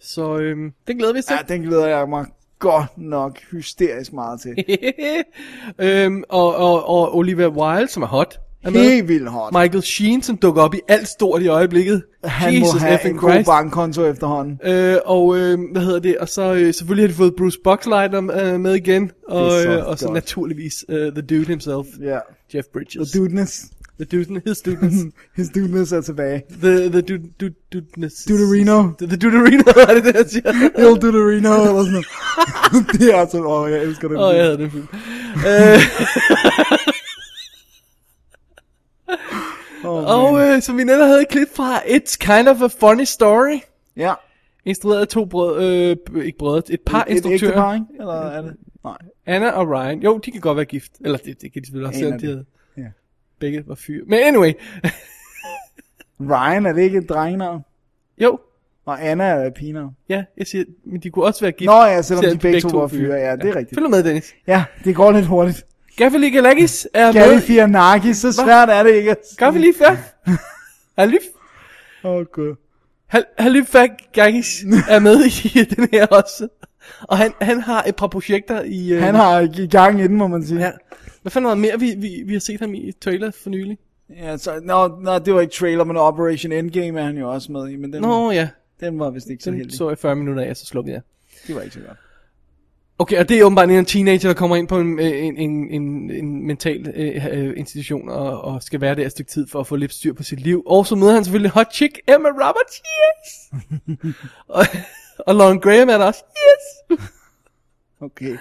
[SPEAKER 6] Så øhm, den glæder vi os til.
[SPEAKER 5] Ja, den glæder jeg mig godt nok hysterisk meget til.
[SPEAKER 6] øhm, og, og, og Oliver Wilde, som er hot. Er med.
[SPEAKER 5] Helt vildt hot.
[SPEAKER 6] Michael Sheen, som dukker op i alt stort i øjeblikket.
[SPEAKER 5] Han
[SPEAKER 6] Jesus
[SPEAKER 5] må have en
[SPEAKER 6] effing
[SPEAKER 5] god
[SPEAKER 6] Christ.
[SPEAKER 5] bankkonto efterhånden.
[SPEAKER 6] Øh, og øh, hvad hedder det? Og så øh, selvfølgelig har de fået Bruce Boxleitner øh, med igen. Og,
[SPEAKER 5] Det er så
[SPEAKER 6] øh, og så
[SPEAKER 5] godt.
[SPEAKER 6] naturligvis uh, The Dude himself,
[SPEAKER 5] Ja.
[SPEAKER 6] Jeff Bridges.
[SPEAKER 5] The dudeness.
[SPEAKER 6] The Dude, his students.
[SPEAKER 5] His dudeness er tilbage.
[SPEAKER 6] the, the Dude, Dude, Dudeness.
[SPEAKER 5] Duderino.
[SPEAKER 6] The, the Duderino, er det det, jeg siger?
[SPEAKER 5] Il Duderino eller sådan noget. det er altså... Åh, jeg elsker det.
[SPEAKER 6] Åh, oh, jeg havde den film. Øh, og øh, som vi netop havde et klip fra It's Kind of a Funny Story.
[SPEAKER 5] Ja.
[SPEAKER 6] Instrueret af to brødre, øh, ikke brødre, et par
[SPEAKER 5] Et- et ægte
[SPEAKER 6] instruktører.
[SPEAKER 5] par, ikke? Eller er det? Nej.
[SPEAKER 6] Anna og Ryan. Jo, de kan godt være gift. Eller det, det kan de selvfølgelig også,
[SPEAKER 5] Aner
[SPEAKER 6] selvom de
[SPEAKER 5] det.
[SPEAKER 6] havde.
[SPEAKER 5] Ja.
[SPEAKER 6] Begge var fyre. Men anyway.
[SPEAKER 5] Ryan, er det ikke et drengenavn?
[SPEAKER 6] Jo.
[SPEAKER 5] Og Anna er et pigenavn.
[SPEAKER 6] Ja, jeg siger, men de kunne også være gift.
[SPEAKER 5] Nå ja, selvom de begge to var fyre. Ja, det er rigtigt.
[SPEAKER 6] Følg nu med, Dennis.
[SPEAKER 5] Ja, det går lidt hurtigt.
[SPEAKER 6] Gaffeli Galakis er med.
[SPEAKER 5] Galifianakis, så svært er det ikke.
[SPEAKER 6] Gaffeli Fjerf. Halif.
[SPEAKER 5] Åh, oh, gud.
[SPEAKER 6] Hal- Halif Gagis er med i den her også. Og han, han har et par projekter i... Øh,
[SPEAKER 5] Han har i gang i den, må man sige.
[SPEAKER 6] Ja. Hvad fanden var der mere, vi, vi, vi har set ham i et trailer for nylig?
[SPEAKER 5] Ja, så, nå, nå, det var ikke trailer, men Operation Endgame er han jo også med i. Men den,
[SPEAKER 6] Nå ja.
[SPEAKER 5] Den var vist ikke så
[SPEAKER 6] Den
[SPEAKER 5] heldig.
[SPEAKER 6] så jeg 40 minutter af, og så slukkede jeg.
[SPEAKER 5] Det var ikke så godt.
[SPEAKER 6] Okay, og det er åbenbart en af en teenager, der kommer ind på en, øh, en, en, en, en mental øh, øh, institution og, og skal være der et stykke tid for at få lidt styr på sit liv. Og så møder han selvfølgelig hot chick Emma Roberts, yes! og, og Lauren Graham er der også, yes!
[SPEAKER 5] okay.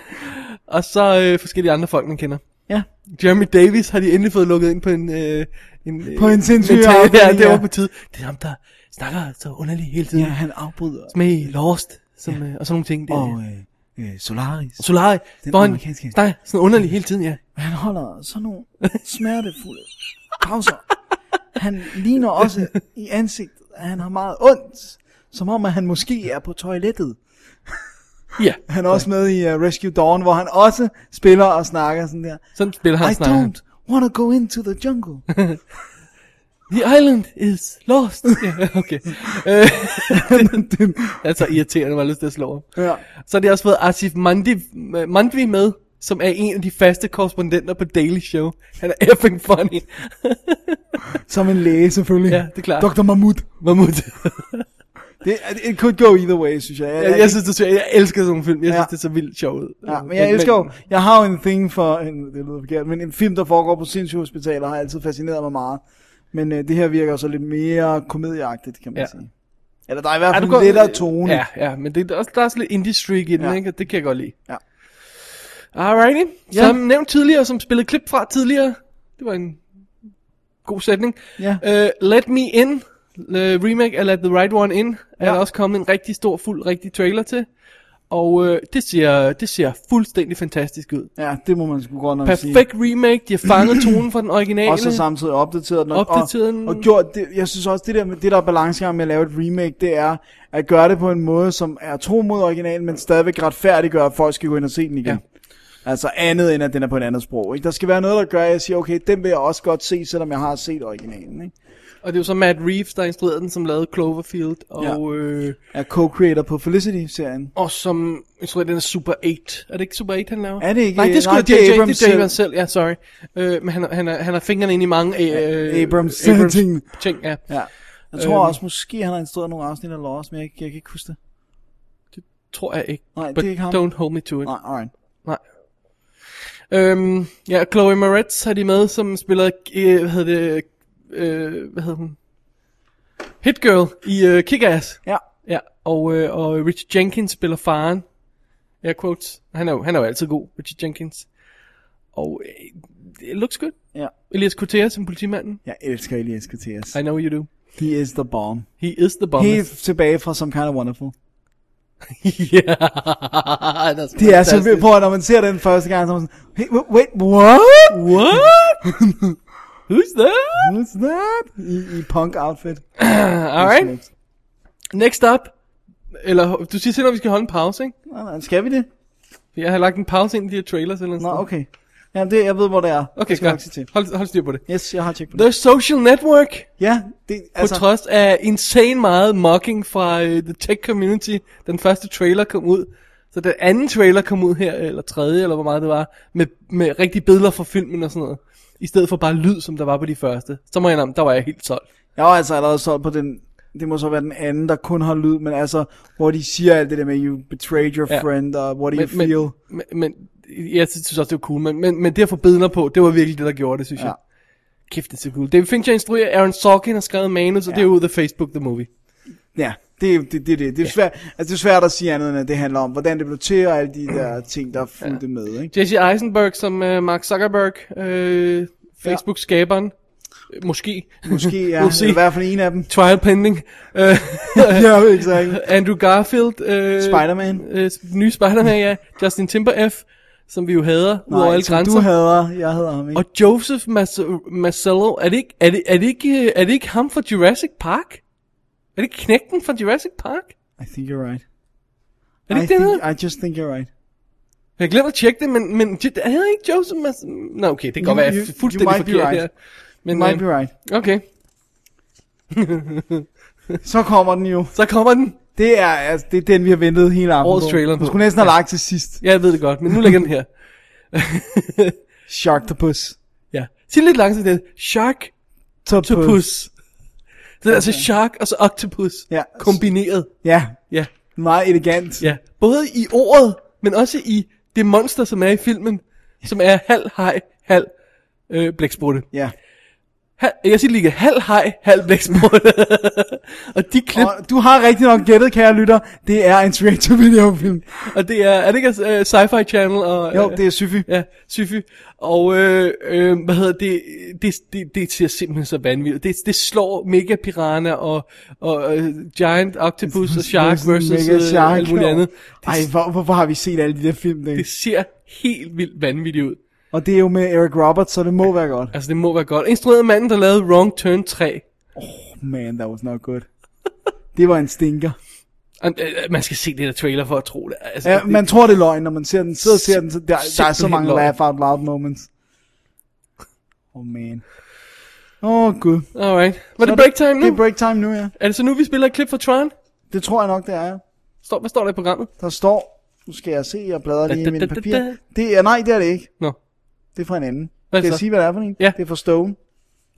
[SPEAKER 6] Og så øh, forskellige andre folk, man kender.
[SPEAKER 5] Ja.
[SPEAKER 6] Jeremy Davis har de endelig fået lukket ind på en... Øh, en øh,
[SPEAKER 5] På en sindssyg
[SPEAKER 6] mental-
[SPEAKER 5] afdeling,
[SPEAKER 6] Ja, det var
[SPEAKER 5] ja.
[SPEAKER 6] på tide. Det er ham, der snakker så underligt hele tiden.
[SPEAKER 5] Ja, han afbryder.
[SPEAKER 6] Smag Lost, som, ja. øh, og sådan nogle ting. Det,
[SPEAKER 5] Og, øh, øh, Solaris.
[SPEAKER 6] Solari.
[SPEAKER 5] Den
[SPEAKER 6] hvor han
[SPEAKER 5] amerikanske-
[SPEAKER 6] snakker sådan underligt hele tiden, ja.
[SPEAKER 5] Han holder sådan nogle smertefulde pauser. Han ligner også i ansigtet, at han har meget ondt. Som om, at han måske er på toilettet.
[SPEAKER 6] Ja.
[SPEAKER 5] Han er også med i uh, Rescue Dawn, hvor han også spiller og snakker sådan der.
[SPEAKER 6] Sådan spiller han
[SPEAKER 5] I
[SPEAKER 6] og snakker han.
[SPEAKER 5] don't wanna go into the jungle.
[SPEAKER 6] The island is lost. Ja, okay. Øh, det er så irriterende, man har lyst til at slå ham.
[SPEAKER 5] Ja.
[SPEAKER 6] Så har de også fået Asif Mandi, Mandvi med, som er en af de faste korrespondenter på Daily Show. Han er effing funny.
[SPEAKER 5] Som en læge selvfølgelig.
[SPEAKER 6] Ja, det er klart.
[SPEAKER 5] Dr. Mahmoud.
[SPEAKER 6] Mahmoud.
[SPEAKER 5] det, it could go either way, synes jeg.
[SPEAKER 6] Jeg, jeg, synes, det er, jeg elsker sådan nogle film. Jeg synes, det er så vildt sjovt.
[SPEAKER 5] Ja, men jeg elsker jo, jeg har jo en thing for, en, det lyder forkert, men en film, der foregår på sindssyge hospitaler, har altid fascineret mig meget. Men øh, det her virker jo så lidt mere komedieagtigt, kan man
[SPEAKER 6] Ja.
[SPEAKER 5] ja. sige. Eller der er i hvert fald en lettere tone.
[SPEAKER 6] Ja, ja, men det, er også, der er også lidt indie streak i den, ja. ikke? Og Det kan jeg godt lide.
[SPEAKER 5] Ja.
[SPEAKER 6] Alrighty.
[SPEAKER 5] Ja.
[SPEAKER 6] Som nævnt tidligere, som spillede klip fra tidligere. Det var en god sætning.
[SPEAKER 5] Ja.
[SPEAKER 6] Uh, Let Me In, uh, remake af Let The Right One In, er der også kommet en rigtig stor, fuld, rigtig trailer til. Og uh, det, ser, det ser fuldstændig fantastisk ud.
[SPEAKER 5] Ja, det må man sgu godt nok sige.
[SPEAKER 6] Perfekt remake, de har fanget tonen fra den originale.
[SPEAKER 5] Og så samtidig opdateret den. Og,
[SPEAKER 6] Opdateret
[SPEAKER 5] og,
[SPEAKER 6] den.
[SPEAKER 5] og gjort det, jeg synes også, det der, med, det der er balancegang med at lave et remake, det er at gøre det på en måde, som er tro mod originalen, men stadigvæk retfærdiggør, at folk skal gå ind og se den igen. Ja. Altså andet end, at den er på et andet sprog. Ikke? Der skal være noget, der gør, at jeg siger, okay, den vil jeg også godt se, selvom jeg har set originalen. Ikke?
[SPEAKER 6] Og det er jo så Matt Reeves, der instruerede den, som lavede Cloverfield. Og, ja. øh,
[SPEAKER 5] er co-creator på Felicity-serien.
[SPEAKER 6] og som instruerede den er Super 8. Er det ikke Super 8, han laver?
[SPEAKER 5] Er det ikke? øh,
[SPEAKER 6] Nej, det
[SPEAKER 5] Nej,
[SPEAKER 6] skulle
[SPEAKER 5] det er
[SPEAKER 6] JJ, det
[SPEAKER 5] Abrams
[SPEAKER 6] er
[SPEAKER 5] selv.
[SPEAKER 6] Abrams selv. Ja, sorry. Øh, men han, han, har- han har fingrene inde i mange øh,
[SPEAKER 5] Abrams ting.
[SPEAKER 6] ting. Ja.
[SPEAKER 5] Ja. Jeg tror
[SPEAKER 6] Øhm.
[SPEAKER 5] også, måske han har instrueret nogle afsnit af Lost, men jeg, jeg kan ikke huske det.
[SPEAKER 6] Tror jeg ikke.
[SPEAKER 5] Nej, det
[SPEAKER 6] But
[SPEAKER 5] er ikke ham.
[SPEAKER 6] don't hold me to it.
[SPEAKER 5] Nej, alright.
[SPEAKER 6] Nej. Øhm, ja, Chloe Moretz har de med, som spiller, øh, hvad hedder det, øh, hvad hedder hun? Hit Girl i øh, Kick-Ass.
[SPEAKER 5] Ja.
[SPEAKER 6] Ja, og, øh, og Richard Jenkins spiller faren. Ja, quotes. Han er, jo, han er jo altid god, Richard Jenkins. Og øh, it looks good.
[SPEAKER 5] Ja.
[SPEAKER 6] Elias Cortez som politimanden.
[SPEAKER 5] Jeg elsker Elias Kateas.
[SPEAKER 6] I know you do.
[SPEAKER 5] He is the bomb.
[SPEAKER 6] He is the bomb.
[SPEAKER 5] Helt tilbage fra Some Kind of Wonderful.
[SPEAKER 6] yeah.
[SPEAKER 5] Det er altså så vildt, prøv at når man ser den første gang, så er man sådan, hey, wa- wait, what?
[SPEAKER 6] What? Who's that?
[SPEAKER 5] Who's that? I, i punk-outfit.
[SPEAKER 6] Alright. Next up. Eller, du siger selv, at vi skal holde en pause, ikke?
[SPEAKER 5] Nå, nej, Skal vi det?
[SPEAKER 6] Jeg har lagt en pause ind i de her trailers eller
[SPEAKER 5] Nå,
[SPEAKER 6] sådan
[SPEAKER 5] okay. Jamen, det, jeg ved, hvor det er.
[SPEAKER 6] Okay,
[SPEAKER 5] Jeg skal
[SPEAKER 6] skal
[SPEAKER 5] nok se til.
[SPEAKER 6] hold, hold styr på det.
[SPEAKER 5] Yes, jeg har tjekket på det.
[SPEAKER 6] The Social Network.
[SPEAKER 5] Ja, det,
[SPEAKER 6] Altså... På trods af insane meget mocking fra uh, The Tech Community. Den første trailer kom ud. Så den anden trailer kom ud her, eller tredje, eller hvor meget det var. Med, med rigtige billeder fra filmen og sådan noget. I stedet for bare lyd, som der var på de første. Så må jeg indrømme, der var jeg helt solgt.
[SPEAKER 5] Jeg var altså allerede solgt på den, det må så være den anden, der kun har lyd, men altså, hvor de siger alt det der med, you betrayed your
[SPEAKER 6] Ja.
[SPEAKER 5] ja. friend, og what do you
[SPEAKER 6] men,
[SPEAKER 5] feel?
[SPEAKER 6] Men, men, men jeg synes også, det var cool. Men, men, men det at få billeder på, det var virkelig det, der gjorde det, synes ja. jeg. Kæft, det er så cool. David Fincher instruerer, Aaron Sorkin har skrevet manus, og ja. det er jo The Facebook The Movie.
[SPEAKER 5] Ja, det er det, det, det, det, er svært, altså, det er svært at sige andet, end at det handler om, hvordan det blev til, og alle de der ting, der fulgte ja. med, ikke?
[SPEAKER 6] Jesse Eisenberg som uh, Mark Zuckerberg, øh, Facebook-skaberen. Øh, Måske.
[SPEAKER 5] Måske, ja,
[SPEAKER 6] We'll see.
[SPEAKER 5] i hvert fald en af dem.
[SPEAKER 6] Trial pending. Øh,
[SPEAKER 5] ja, exakt.
[SPEAKER 6] Andrew Garfield. Øh,
[SPEAKER 5] Spider-Man.
[SPEAKER 6] Øh, nye Spider-Man, ja. Justin Timberlake, som vi jo hader, ud over
[SPEAKER 5] Nej,
[SPEAKER 6] alle
[SPEAKER 5] som
[SPEAKER 6] grænser.
[SPEAKER 5] du hader, jeg hader ham ikke.
[SPEAKER 6] Og Joseph Mas- Marcello, er det, ikke, er, det, er, det ikke, øh, er det ikke ham fra Jurassic Park? Er det ikke knægten fra Jurassic Park?
[SPEAKER 5] I think you're right.
[SPEAKER 6] Er det
[SPEAKER 5] I,
[SPEAKER 6] ikke det, han
[SPEAKER 5] think,
[SPEAKER 6] hedder?
[SPEAKER 5] I just think you're right.
[SPEAKER 6] Jeg glemte at tjekke det, men, men det er det ikke Joseph Mas- Nå, okay, det kan godt
[SPEAKER 5] You-
[SPEAKER 6] være, jeg
[SPEAKER 5] you-
[SPEAKER 6] er
[SPEAKER 5] you
[SPEAKER 6] fuldstændig
[SPEAKER 5] might be
[SPEAKER 6] forkert
[SPEAKER 5] right.
[SPEAKER 6] her.
[SPEAKER 5] You might be
[SPEAKER 6] øh,
[SPEAKER 5] right.
[SPEAKER 6] Okay,
[SPEAKER 5] Så kommer den jo.
[SPEAKER 6] så kommer den.
[SPEAKER 5] Det er, altså, det er den, vi har ventet hele aftenen
[SPEAKER 6] Årets trailer
[SPEAKER 5] Du
[SPEAKER 6] på.
[SPEAKER 5] skulle næsten have lagt til sidst.
[SPEAKER 6] Ja, jeg ved det godt, men nu lægger den her.
[SPEAKER 5] Sharktopus.
[SPEAKER 6] Ja. Sig lidt langsomt det. Shark Octopus. Det er altså shark og så octopus. Ja. Kombineret.
[SPEAKER 5] Ja.
[SPEAKER 6] Ja.
[SPEAKER 5] Meget elegant.
[SPEAKER 6] Ja. Både i ordet, men også i det monster, som er i filmen. Som er halv hej, halv øh, blæksprutte.
[SPEAKER 5] Ja.
[SPEAKER 6] Hal, jeg siger lige, halv hej, halv blæksprutte. og de klip...
[SPEAKER 5] Og du har rigtig nok gættet, kære lytter. Det er en reaction videofilm.
[SPEAKER 6] Og det er, er det ikke uh, Sci-Fi Channel? Og,
[SPEAKER 5] Jo,
[SPEAKER 6] øh,
[SPEAKER 5] det er Syfy.
[SPEAKER 6] Ja, Syfy. Og øh, øh, hvad hedder det, det, det, det ser simpelthen så vanvittigt. Det, det slår Mega Piranha og, og uh, Giant Octopus og Shark versus
[SPEAKER 5] Mega Shark.
[SPEAKER 6] Øh, alt muligt andet. Det,
[SPEAKER 5] Ej, hvor, hvorfor har vi set alle de der film? Det,
[SPEAKER 6] det ser helt vildt vanvittigt ud.
[SPEAKER 5] Og det er jo med Eric Roberts, så det må være godt.
[SPEAKER 6] Altså det må være godt. Instrueret af manden, der lavede Wrong Turn 3.
[SPEAKER 5] Man, that was not good. Det var en stinker.
[SPEAKER 6] Am- øh, Man skal se det der trailer for at tro det. Altså,
[SPEAKER 5] Ja,
[SPEAKER 6] det-
[SPEAKER 5] man tror, det er løgn, når man ser den. Sidder og ser den, så der, der er så
[SPEAKER 6] Simpelthen
[SPEAKER 5] mange
[SPEAKER 6] løgn.
[SPEAKER 5] laugh out loud moments. Oh man. Åh oh, gud.
[SPEAKER 6] Alright. Var
[SPEAKER 5] Så
[SPEAKER 6] det break time nu?
[SPEAKER 5] Det er break time nu, ja.
[SPEAKER 6] Er det så nu, vi spiller et klip fra Tron?
[SPEAKER 5] Det tror jeg nok, det er. ja.
[SPEAKER 6] Står, hvad står der i programmet?
[SPEAKER 5] Der står, nu skal jeg se, jeg bladrer lige i
[SPEAKER 6] Da, da,
[SPEAKER 5] mine
[SPEAKER 6] da, da,
[SPEAKER 5] papirer.
[SPEAKER 6] da.
[SPEAKER 5] Det er, nej, det er det ikke.
[SPEAKER 6] Nå.
[SPEAKER 5] Det er fra en anden.
[SPEAKER 6] Hvad
[SPEAKER 5] Kan jeg
[SPEAKER 6] så?
[SPEAKER 5] sige, hvad det er for en?
[SPEAKER 6] Ja.
[SPEAKER 5] Det er fra Stone.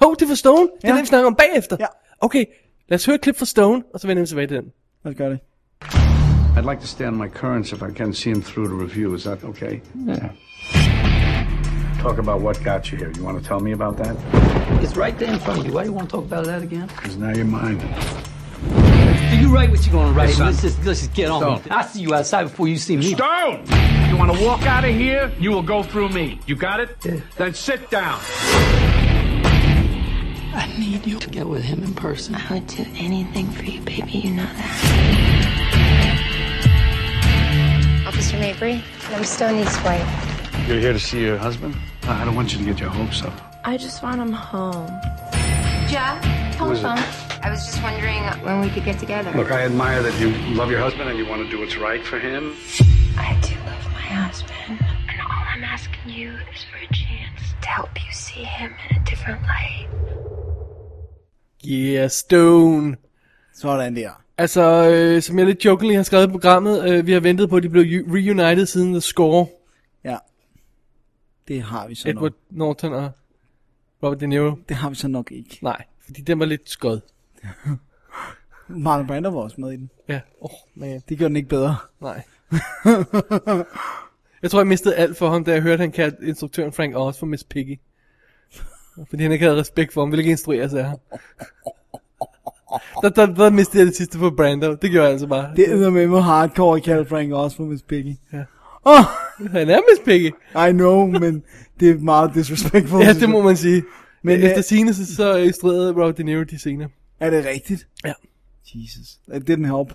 [SPEAKER 6] Hov, det er for Stone. Det er
[SPEAKER 5] Ja.
[SPEAKER 6] det, vi snakker om bagefter.
[SPEAKER 5] Ja.
[SPEAKER 6] Okay, lad os høre et klip fra Stone, og så vender vi tilbage til den.
[SPEAKER 5] Lad os gøre det.
[SPEAKER 2] I'd like to stand my currents if I can see him through to review. Is that okay? Yeah. Talk about what got you here. You want to tell me about that?
[SPEAKER 13] It's right there in front of you. Why do you want to talk about that again?
[SPEAKER 2] Because now you're mine.
[SPEAKER 13] Do you write what you're going to write?
[SPEAKER 2] Yes, son.
[SPEAKER 13] let's, just, let's just get on. with it.
[SPEAKER 2] Stone.
[SPEAKER 13] I'll see you outside before you see me.
[SPEAKER 14] Stone! You want to walk out of here? You will go through me. You got it? Then sit down.
[SPEAKER 13] I need you to get with him in person. I would do anything for you, baby. You know that.
[SPEAKER 11] Officer Mabry, I'm Stoney's wife.
[SPEAKER 2] You're here to see your husband? Uh, I don't want you to get your hopes up.
[SPEAKER 11] I just want him home. Jeff,
[SPEAKER 2] Who is it? telephone.
[SPEAKER 11] I was just wondering when we could get together.
[SPEAKER 2] Look, I admire that you love your husband and you want to do what's right for him.
[SPEAKER 11] I do love my husband, and all I'm asking you is for a chance to help you see him in a different light.
[SPEAKER 6] Yeah, Stone.
[SPEAKER 5] Sådan der.
[SPEAKER 6] Altså, øh, som jeg lidt jokingly har skrevet i programmet, øh, vi har ventet på, at de blev ju- reunited siden The Score.
[SPEAKER 5] Ja. Det har vi så
[SPEAKER 6] Edward
[SPEAKER 5] nok.
[SPEAKER 6] Norton og Robert De Niro.
[SPEAKER 5] Det har vi så nok ikke.
[SPEAKER 6] Nej, fordi den var lidt skød.
[SPEAKER 5] Marlon Brando var også med i den.
[SPEAKER 6] Ja, åh, oh, man.
[SPEAKER 5] Det gjorde den ikke bedre.
[SPEAKER 6] Nej. jeg tror, jeg mistede alt for ham, da jeg hørte, han kaldte instruktøren Frank Oz for Miss Piggy. Fordi han ikke havde respekt for ham, ville ikke instrueres af ham. Der, der, der mistede jeg det sidste på Brando. Det gjorde jeg altså bare.
[SPEAKER 5] Det er med med hardcore at kalde Frank også for Miss Piggy.
[SPEAKER 6] Ja.
[SPEAKER 5] Oh,
[SPEAKER 6] Han er Miss Piggy.
[SPEAKER 5] I know, men det er meget disrespectful.
[SPEAKER 6] Ja, det må man sige.
[SPEAKER 5] Men,
[SPEAKER 6] Men
[SPEAKER 5] øh,
[SPEAKER 6] efter sine, så, så instruerede Robert De Niro de scener.
[SPEAKER 5] Er det rigtigt?
[SPEAKER 6] Ja.
[SPEAKER 5] Jesus. It didn't help.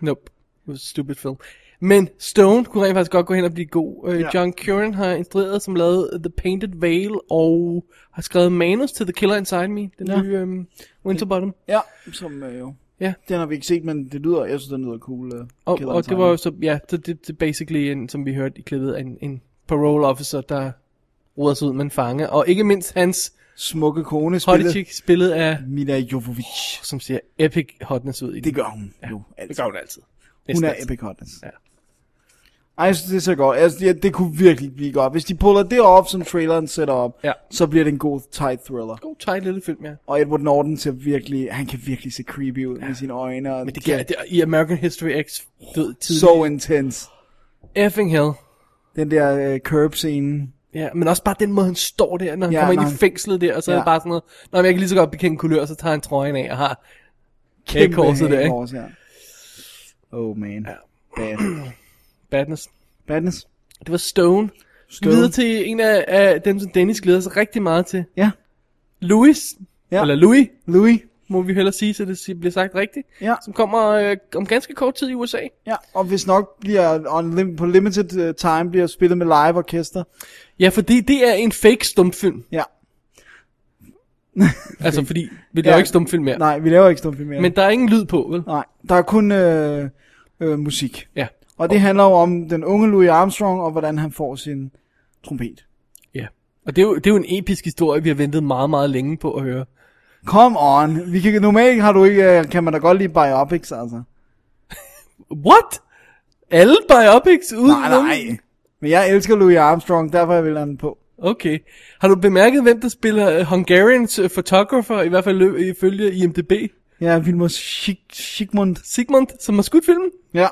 [SPEAKER 6] Nope. It was a stupid film. Men Stone kunne rent faktisk godt gå hen og blive god. Uh,
[SPEAKER 5] Ja.
[SPEAKER 6] John Curran har instrueret, som lavede The Painted Veil, og har skrevet manus til The Killer Inside Me, den
[SPEAKER 5] Ja.
[SPEAKER 6] ja. nye um, Winterbottom.
[SPEAKER 5] Ja, som øh, jo.
[SPEAKER 6] Ja.
[SPEAKER 5] Den har vi ikke set, men det lyder, jeg synes, den lyder cool. Uh,
[SPEAKER 6] Og, og det var jo så, ja, så det, det er basically, en, som vi hørte i klippet, en, en parole officer, der roder sig ud med en fange. Og ikke mindst hans
[SPEAKER 5] Smukke kone spillet-
[SPEAKER 6] spillet, chick, spillet af,
[SPEAKER 5] Mila Jovovich.
[SPEAKER 6] som siger, epic hotness ud i
[SPEAKER 5] Det gør hun ja, jo altid.
[SPEAKER 6] Det gør hun altid.
[SPEAKER 5] Hun
[SPEAKER 6] Næsten
[SPEAKER 5] er
[SPEAKER 6] altid.
[SPEAKER 5] epic hotness.
[SPEAKER 6] Ja.
[SPEAKER 5] Ej, jeg synes, det er så godt. Altså, det, det kunne virkelig blive godt. Hvis de puller det op, som traileren sætter op,
[SPEAKER 6] ja.
[SPEAKER 5] så bliver det en god tight thriller.
[SPEAKER 6] God, tight lille film, ja.
[SPEAKER 5] Og Edward Norton ser virkelig, han kan virkelig se creepy ud med sine øjne. Og Men
[SPEAKER 6] Det, ja, det, I American History X død tidlig.
[SPEAKER 5] so intense.
[SPEAKER 6] Effing hell.
[SPEAKER 5] Den der uh, curb-scene.
[SPEAKER 6] Ja, men også bare den måde, han står der, når han
[SPEAKER 5] Ja,
[SPEAKER 6] ja, kommer
[SPEAKER 5] når
[SPEAKER 6] ind
[SPEAKER 5] han-
[SPEAKER 6] i fængslet der, og så ja. er
[SPEAKER 5] Ja.
[SPEAKER 6] det bare sådan noget, når jeg kan lige så godt bekende kulør, så tager han trøjen af og har
[SPEAKER 5] Kæmpe
[SPEAKER 6] hagekorset der, ikke?
[SPEAKER 5] hagekors, ja. Oh man. Ja. Bad.
[SPEAKER 6] Badness.
[SPEAKER 5] Badness.
[SPEAKER 6] Det var Stone. Stone.
[SPEAKER 5] Stone.
[SPEAKER 6] Videre til en af, af dem, som Dennis glæder sig rigtig meget til.
[SPEAKER 5] Ja.
[SPEAKER 6] Louis.
[SPEAKER 5] Ja.
[SPEAKER 6] Eller Louis.
[SPEAKER 5] Louis.
[SPEAKER 6] Må vi hellere sige, så det si- bliver sagt rigtigt.
[SPEAKER 5] Ja.
[SPEAKER 6] Som kommer øh, om ganske kort tid i USA.
[SPEAKER 5] Ja, og hvis nok bliver on lim- på limited uh, time bliver spillet med live orkester.
[SPEAKER 6] Ja, fordi det er en fake stumfilm.
[SPEAKER 5] Ja.
[SPEAKER 6] altså fordi, vi laver
[SPEAKER 5] Ja.
[SPEAKER 6] ja. ikke stumfilm mere.
[SPEAKER 5] Nej, vi laver ikke stumfilm mere.
[SPEAKER 6] Men der er ingen lyd på, vel?
[SPEAKER 5] Nej, der er kun øh, øh, musik.
[SPEAKER 6] Ja.
[SPEAKER 5] Og det handler jo om den unge Louis Armstrong og hvordan han får sin trompet.
[SPEAKER 6] Ja. Og det er, jo, det er jo en episk historie, vi har ventet meget, meget længe på at høre.
[SPEAKER 5] Come on. Vi kan, normalt har du ikke, øh, kan man da godt lide biopics, altså.
[SPEAKER 6] What? Alle biopics uden
[SPEAKER 5] Nej, nej. Men jeg elsker Louis Armstrong, derfor vil jeg den på.
[SPEAKER 6] Okay. Har du bemærket, hvem der spiller øh, Hungarians øh, photographer, i hvert fald lø- ifølge IMDb?
[SPEAKER 5] Ja, Vilmos Sig- Sigmund.
[SPEAKER 6] Sigmund, som har skudt filmen?
[SPEAKER 5] Ja,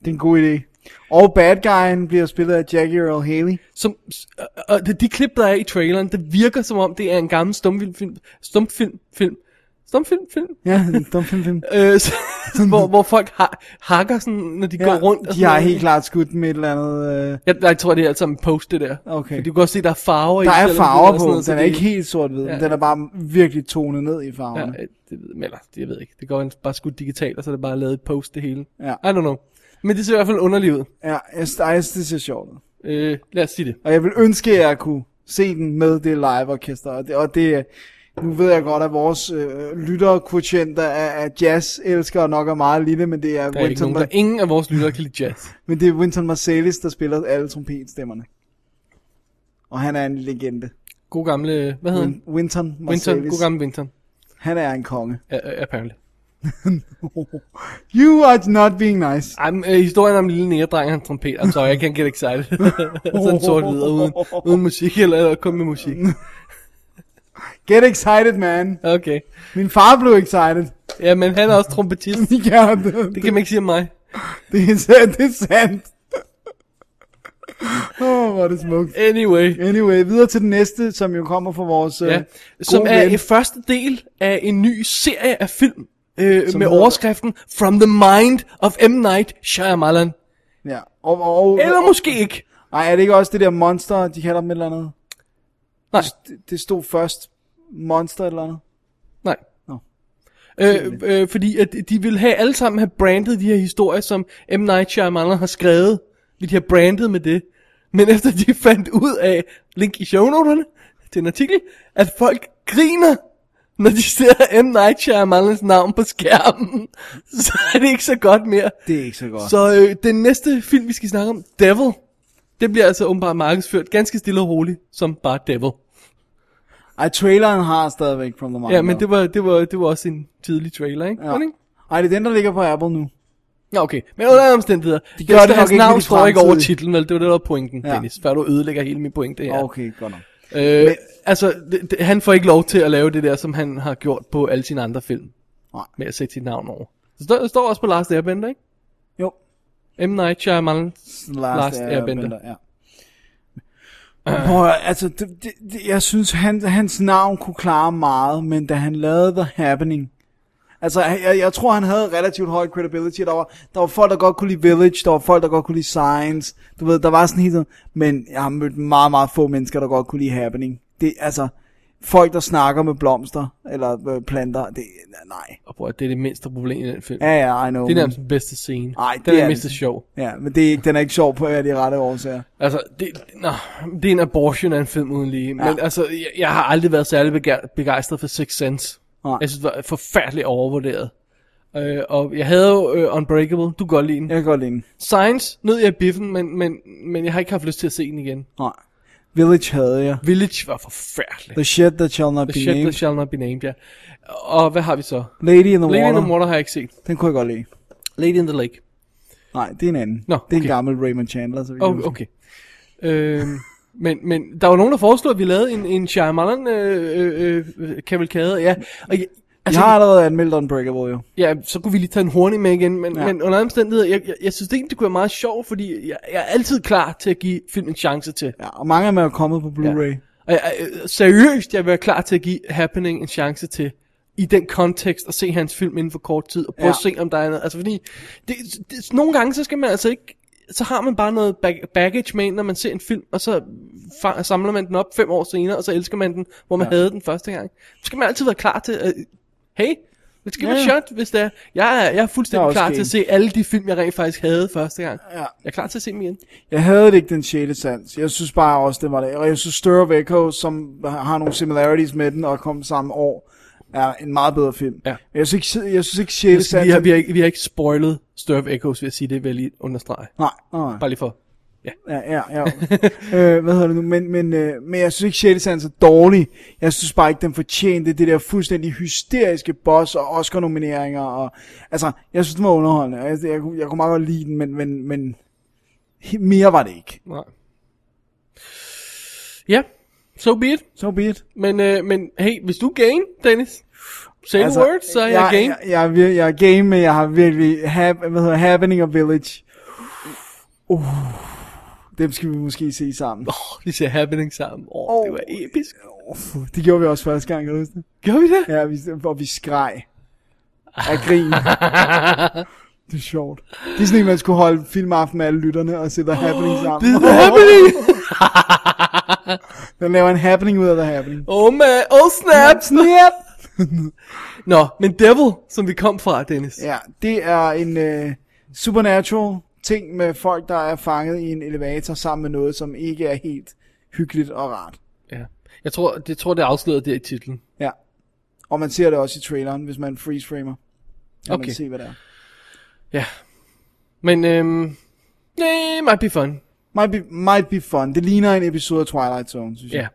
[SPEAKER 5] det er en god idé. Og bad guyen bliver spillet af Jackie Earl Haley.
[SPEAKER 6] Som, og det, de klip, der er i traileren, det virker som om, det er en gammel stumfilm, film, stumfilm, film, stumfilm, film.
[SPEAKER 5] Ja, en stumfilm, film.
[SPEAKER 6] øh, så, hvor, hvor folk har, hakker sådan, når de ja, går rundt.
[SPEAKER 5] De
[SPEAKER 6] og sådan
[SPEAKER 5] har
[SPEAKER 6] noget.
[SPEAKER 5] helt klart skudt med et eller andet... Øh...
[SPEAKER 6] Jeg, jeg tror, det er alt sammen post, det der.
[SPEAKER 5] Okay.
[SPEAKER 6] For du kan også se, der er farver i.
[SPEAKER 5] Der er
[SPEAKER 6] selvom
[SPEAKER 5] farver
[SPEAKER 6] det
[SPEAKER 5] på,
[SPEAKER 6] sådan
[SPEAKER 5] den
[SPEAKER 6] så
[SPEAKER 5] er
[SPEAKER 6] det-
[SPEAKER 5] ikke helt sort-hvid,
[SPEAKER 6] Ja,
[SPEAKER 5] ja, den er bare virkelig tonet ned i farverne.
[SPEAKER 6] Ja, øh, det ved, men eller, det jeg ved ikke. Det går han bare skudt digitalt, og så er det bare lavet i post det hele.
[SPEAKER 5] Ja.
[SPEAKER 6] I don't know. Men det ser i hvert fald underligt ud.
[SPEAKER 5] Ja, jeg, ej, jeg synes, det ser sjovt ud.
[SPEAKER 6] Øh, lad os sige det.
[SPEAKER 5] Og jeg vil ønske, at jeg kunne se den med det live-orkester. Og det, og det nu ved jeg godt, at vores øh, lytterquotienter af, af jazz-elskere nok er meget lille, men det er,
[SPEAKER 6] Der er ikke nogen, der
[SPEAKER 5] Mar-
[SPEAKER 6] ingen af vores lyttere kan lide jazz.
[SPEAKER 5] men det er Winton Marsalis, der spiller alle trompetstemmerne. Og han er en legende.
[SPEAKER 6] God gamle, hvad hedder han?
[SPEAKER 5] Win- Winton Marsalis.
[SPEAKER 6] Winton, god gamle Winton.
[SPEAKER 5] Han er en konge.
[SPEAKER 6] Ja, ja, apparently.
[SPEAKER 5] You are not being nice.
[SPEAKER 6] Ej, øh, historien om lille næredreng og hans trompet. I'm sorry, I can't get excited. Sådan sort videre, uden, uden musik, eller, eller kun med musik.
[SPEAKER 5] Get excited, man.
[SPEAKER 6] Okay.
[SPEAKER 5] Min far blev excited.
[SPEAKER 6] Ja, men han er også trompetist.
[SPEAKER 5] ja, det,
[SPEAKER 6] det kan man ikke sige om mig.
[SPEAKER 5] Det er, sandt, det er sandt. Åh, oh, hvor er det smukt.
[SPEAKER 6] Anyway.
[SPEAKER 5] Anyway, videre til den næste, som jo kommer fra vores
[SPEAKER 6] Ja,
[SPEAKER 5] ja,
[SPEAKER 6] som
[SPEAKER 5] gode
[SPEAKER 6] er
[SPEAKER 5] ven.
[SPEAKER 6] en første del af en ny serie af film, øh,
[SPEAKER 5] Som
[SPEAKER 6] med
[SPEAKER 5] hedder-
[SPEAKER 6] overskriften From the Mind of M. Night Shyamalan.
[SPEAKER 5] Ja, og, og,
[SPEAKER 6] Eller måske ikke.
[SPEAKER 5] Nej, er det ikke også det der monster, de kalder dem et eller andet?
[SPEAKER 6] Nej.
[SPEAKER 5] Det, det stod først monster et eller andet.
[SPEAKER 6] Nej.
[SPEAKER 5] Nå.
[SPEAKER 6] Øh, øh, fordi at de vil have alle sammen have brandet de her historier, som M. Night Shyamalan har skrevet. Vil de have brandet med det. Men efter de fandt ud af, link i shownoterne til en artikel, at folk griner, når de ser M. Night Shyamalans navn på skærmen. Så er det ikke så godt mere.
[SPEAKER 5] Det er ikke så godt.
[SPEAKER 6] Så øh, den næste film, vi skal snakke om, Devil, det bliver altså åbenbart markedsført ganske stille og roligt, som bare Devil.
[SPEAKER 5] Ej, traileren har stadigvæk From the Mind.
[SPEAKER 6] Ja, men det var, det var, det var også en tidlig trailer, ikke? Var det ikke?
[SPEAKER 5] Ej, det er den, der ligger på Apple nu.
[SPEAKER 6] Nå, okay. Men under alle omstændigheder,
[SPEAKER 5] De
[SPEAKER 6] de
[SPEAKER 5] gør
[SPEAKER 6] gør
[SPEAKER 5] det
[SPEAKER 6] det
[SPEAKER 5] nok
[SPEAKER 6] hans
[SPEAKER 5] ikke med
[SPEAKER 6] navn
[SPEAKER 5] de
[SPEAKER 6] står ikke over
[SPEAKER 5] fremtidige.
[SPEAKER 6] titlen, vel? Det var det, der var pointen,
[SPEAKER 5] Ja.
[SPEAKER 6] ja. Dennis. Før du ødelægger hele min pointe her.
[SPEAKER 5] Okay, godt nok.
[SPEAKER 6] Øh, Altså, det, det, han får ikke lov til at lave det der, som han har gjort på alle sine andre film.
[SPEAKER 5] Nej.
[SPEAKER 6] Med at sætte sit navn over. Det står, det står også på Last Airbender, ikke?
[SPEAKER 5] Jo.
[SPEAKER 6] M. Night Shyamalan. Last,
[SPEAKER 5] Last
[SPEAKER 6] Last Airbender.
[SPEAKER 5] Airbender, ja. Prøv, at- altså, det, det, det, jeg synes, han, hans navn kunne klare meget, men da han lavede The Happening, altså, jeg, jeg tror, han havde relativt høj credibility, der var, der var folk, der godt kunne lide Village, der var folk, der godt kunne lide Science, du ved, der var sådan helt sådan, men jeg har mødt meget, meget få mennesker, der godt kunne lide Happening. Det, altså, folk, der snakker med blomster, eller øh, planter, det, nej.
[SPEAKER 6] Og prøv, at det er det mindste problem i den film.
[SPEAKER 5] Ja, ja, I know.
[SPEAKER 6] Det er
[SPEAKER 5] men-
[SPEAKER 6] nærmest den bedste scene.
[SPEAKER 5] Ej,
[SPEAKER 6] den er den
[SPEAKER 5] den.
[SPEAKER 6] mest sjov.
[SPEAKER 5] Ja, men det er ikke, den er ikke sjov på af de rette årsager.
[SPEAKER 6] Altså, det, nå, det er en abortion af en film uden lige. Men
[SPEAKER 5] Ja.
[SPEAKER 6] altså, jeg, jeg har aldrig været særlig begær, begejstret for Six Sense.
[SPEAKER 5] Nej.
[SPEAKER 6] Jeg synes, det var forfærdeligt overvurderet. Øh, og jeg havde jo øh, Unbreakable. Du kan godt lide den.
[SPEAKER 5] Jeg kan godt lide den.
[SPEAKER 6] Science nød jeg i biffen, men, men, men jeg har ikke haft lyst til at se den igen.
[SPEAKER 5] Nej. Village havde jeg.
[SPEAKER 6] Village var forfærdelig.
[SPEAKER 5] The Shit That Shall Not Be
[SPEAKER 6] The Shit
[SPEAKER 5] Named.
[SPEAKER 6] That Shall Not Be Named, ja. Og hvad har vi så?
[SPEAKER 5] Lady in the
[SPEAKER 6] Lady
[SPEAKER 5] Water.
[SPEAKER 6] in the Water har jeg ikke set.
[SPEAKER 5] Den kunne jeg godt lide.
[SPEAKER 6] Lady in the Lake.
[SPEAKER 5] Nej, det er en anden.
[SPEAKER 6] Nå,
[SPEAKER 5] Det er en
[SPEAKER 6] okay.
[SPEAKER 5] gammel Raymond Chandler. Så vi
[SPEAKER 6] Okay. okay. Øhm, men, men der var nogen, der foreslog, at vi lavede en, en Shyamalan øh, øh, øh, kavalkade. Ja, og jeg,
[SPEAKER 5] Altså, jeg har allerede anmeldt Unbreakable, jo.
[SPEAKER 6] Ja, så kunne vi lige tage en horny med igen, men,
[SPEAKER 5] Ja.
[SPEAKER 6] ja. men under alle omstændigheder, jeg, jeg, jeg synes egentlig, det kunne være meget sjovt, fordi jeg, jeg er altid klar til at give film en chance til.
[SPEAKER 5] Ja, og mange af dem er jo kommet på Blu-ray. Ja.
[SPEAKER 6] Og jeg, jeg- seriøst, jeg vil være klar til at give Happening en chance til i den kontekst og se hans film inden for kort tid og prøve
[SPEAKER 5] Ja.
[SPEAKER 6] ja. at se om der er noget. Altså fordi det, det, nogle gange så skal man altså ikke så har man bare noget bag- baggage med ind, når man ser en film, og så fa- samler man den op fem år senere, og så elsker man den, hvor man
[SPEAKER 5] Ja.
[SPEAKER 6] ja. havde den første gang. Så skal man altid være klar til, at, hey, let's give
[SPEAKER 5] Ja,
[SPEAKER 6] ja.
[SPEAKER 5] ja.
[SPEAKER 6] a shot, hvis det er. Jeg er, jeg er
[SPEAKER 5] Jeg er
[SPEAKER 6] fuldstændig
[SPEAKER 5] også
[SPEAKER 6] klar til
[SPEAKER 5] game.
[SPEAKER 6] at se alle de film, jeg rent faktisk havde første gang.
[SPEAKER 5] Ja.
[SPEAKER 6] Jeg er klar til at se dem igen.
[SPEAKER 5] Jeg havde det ikke den 6. sans. Jeg synes bare også, det var det. Og jeg synes, Stir of Echo, som har nogle similarities med den og kom samme år, er en meget bedre film.
[SPEAKER 6] Ja.
[SPEAKER 5] Men Jeg synes ikke, jeg synes ikke
[SPEAKER 6] Vi
[SPEAKER 5] 6. sans...
[SPEAKER 6] har, vi, har, ikke- vi har ikke spoilet Stir of Echoes, vil jeg sige, det vil jeg lige understrege.
[SPEAKER 5] Nej, nej.
[SPEAKER 6] Bare lige for
[SPEAKER 5] Ja, ja, ja. øh, hvad hedder det nu? Men, men, øh, men jeg synes ikke, Shady Sands er dårlig. Jeg synes bare ikke, den fortjente det der fuldstændig hysteriske boss og Oscar-nomineringer. Og, altså, jeg synes, den var underholdende. og Jeg, jeg, kunne- jeg kunne meget godt lide den, men, men, men he- mere var det ikke.
[SPEAKER 6] Nej. Ja, so be it.
[SPEAKER 5] So be it.
[SPEAKER 6] Men, øh, men hey, hvis du er game, Dennis, say altså, the word, så er jeg, game.
[SPEAKER 5] Jeg, jeg, er vir- jeg er game, men jeg har virkelig hap, hvad hedder, Happening og Village. Uh, dem skal vi måske se sammen.
[SPEAKER 6] Oh, de ser Happening sammen. Åh, oh, oh, det var episk.
[SPEAKER 5] Oh, det gjorde vi også første gang, kan du huske det?
[SPEAKER 6] Gjorde vi det?
[SPEAKER 5] Ja, vi, og vi skreg. Af grin. det er sjovt. Det er sådan en, man skulle holde filmaften med alle lytterne og sætte oh, Happening sammen.
[SPEAKER 6] Det er The Happening!
[SPEAKER 5] Den laver en happening ud af The Happening.
[SPEAKER 6] oh man, oh snap!
[SPEAKER 5] Snap!
[SPEAKER 6] Nå, men Devil, som vi kom fra, Dennis.
[SPEAKER 5] Ja, det er en øh, supernatural ting med folk, der er fanget i en elevator sammen med noget, som ikke er helt hyggeligt og rart.
[SPEAKER 6] Ja. Jeg tror, det, tror, det er afsløret der i titlen.
[SPEAKER 5] Ja. Og man ser det også i traileren, hvis man freeze-framer. Kan
[SPEAKER 6] Okay.
[SPEAKER 5] man se, hvad det er.
[SPEAKER 6] Ja. Men, øhm, nej, might be fun.
[SPEAKER 5] Might be, might be fun. Det ligner en episode af Twilight Zone, synes jeg.
[SPEAKER 6] Ja.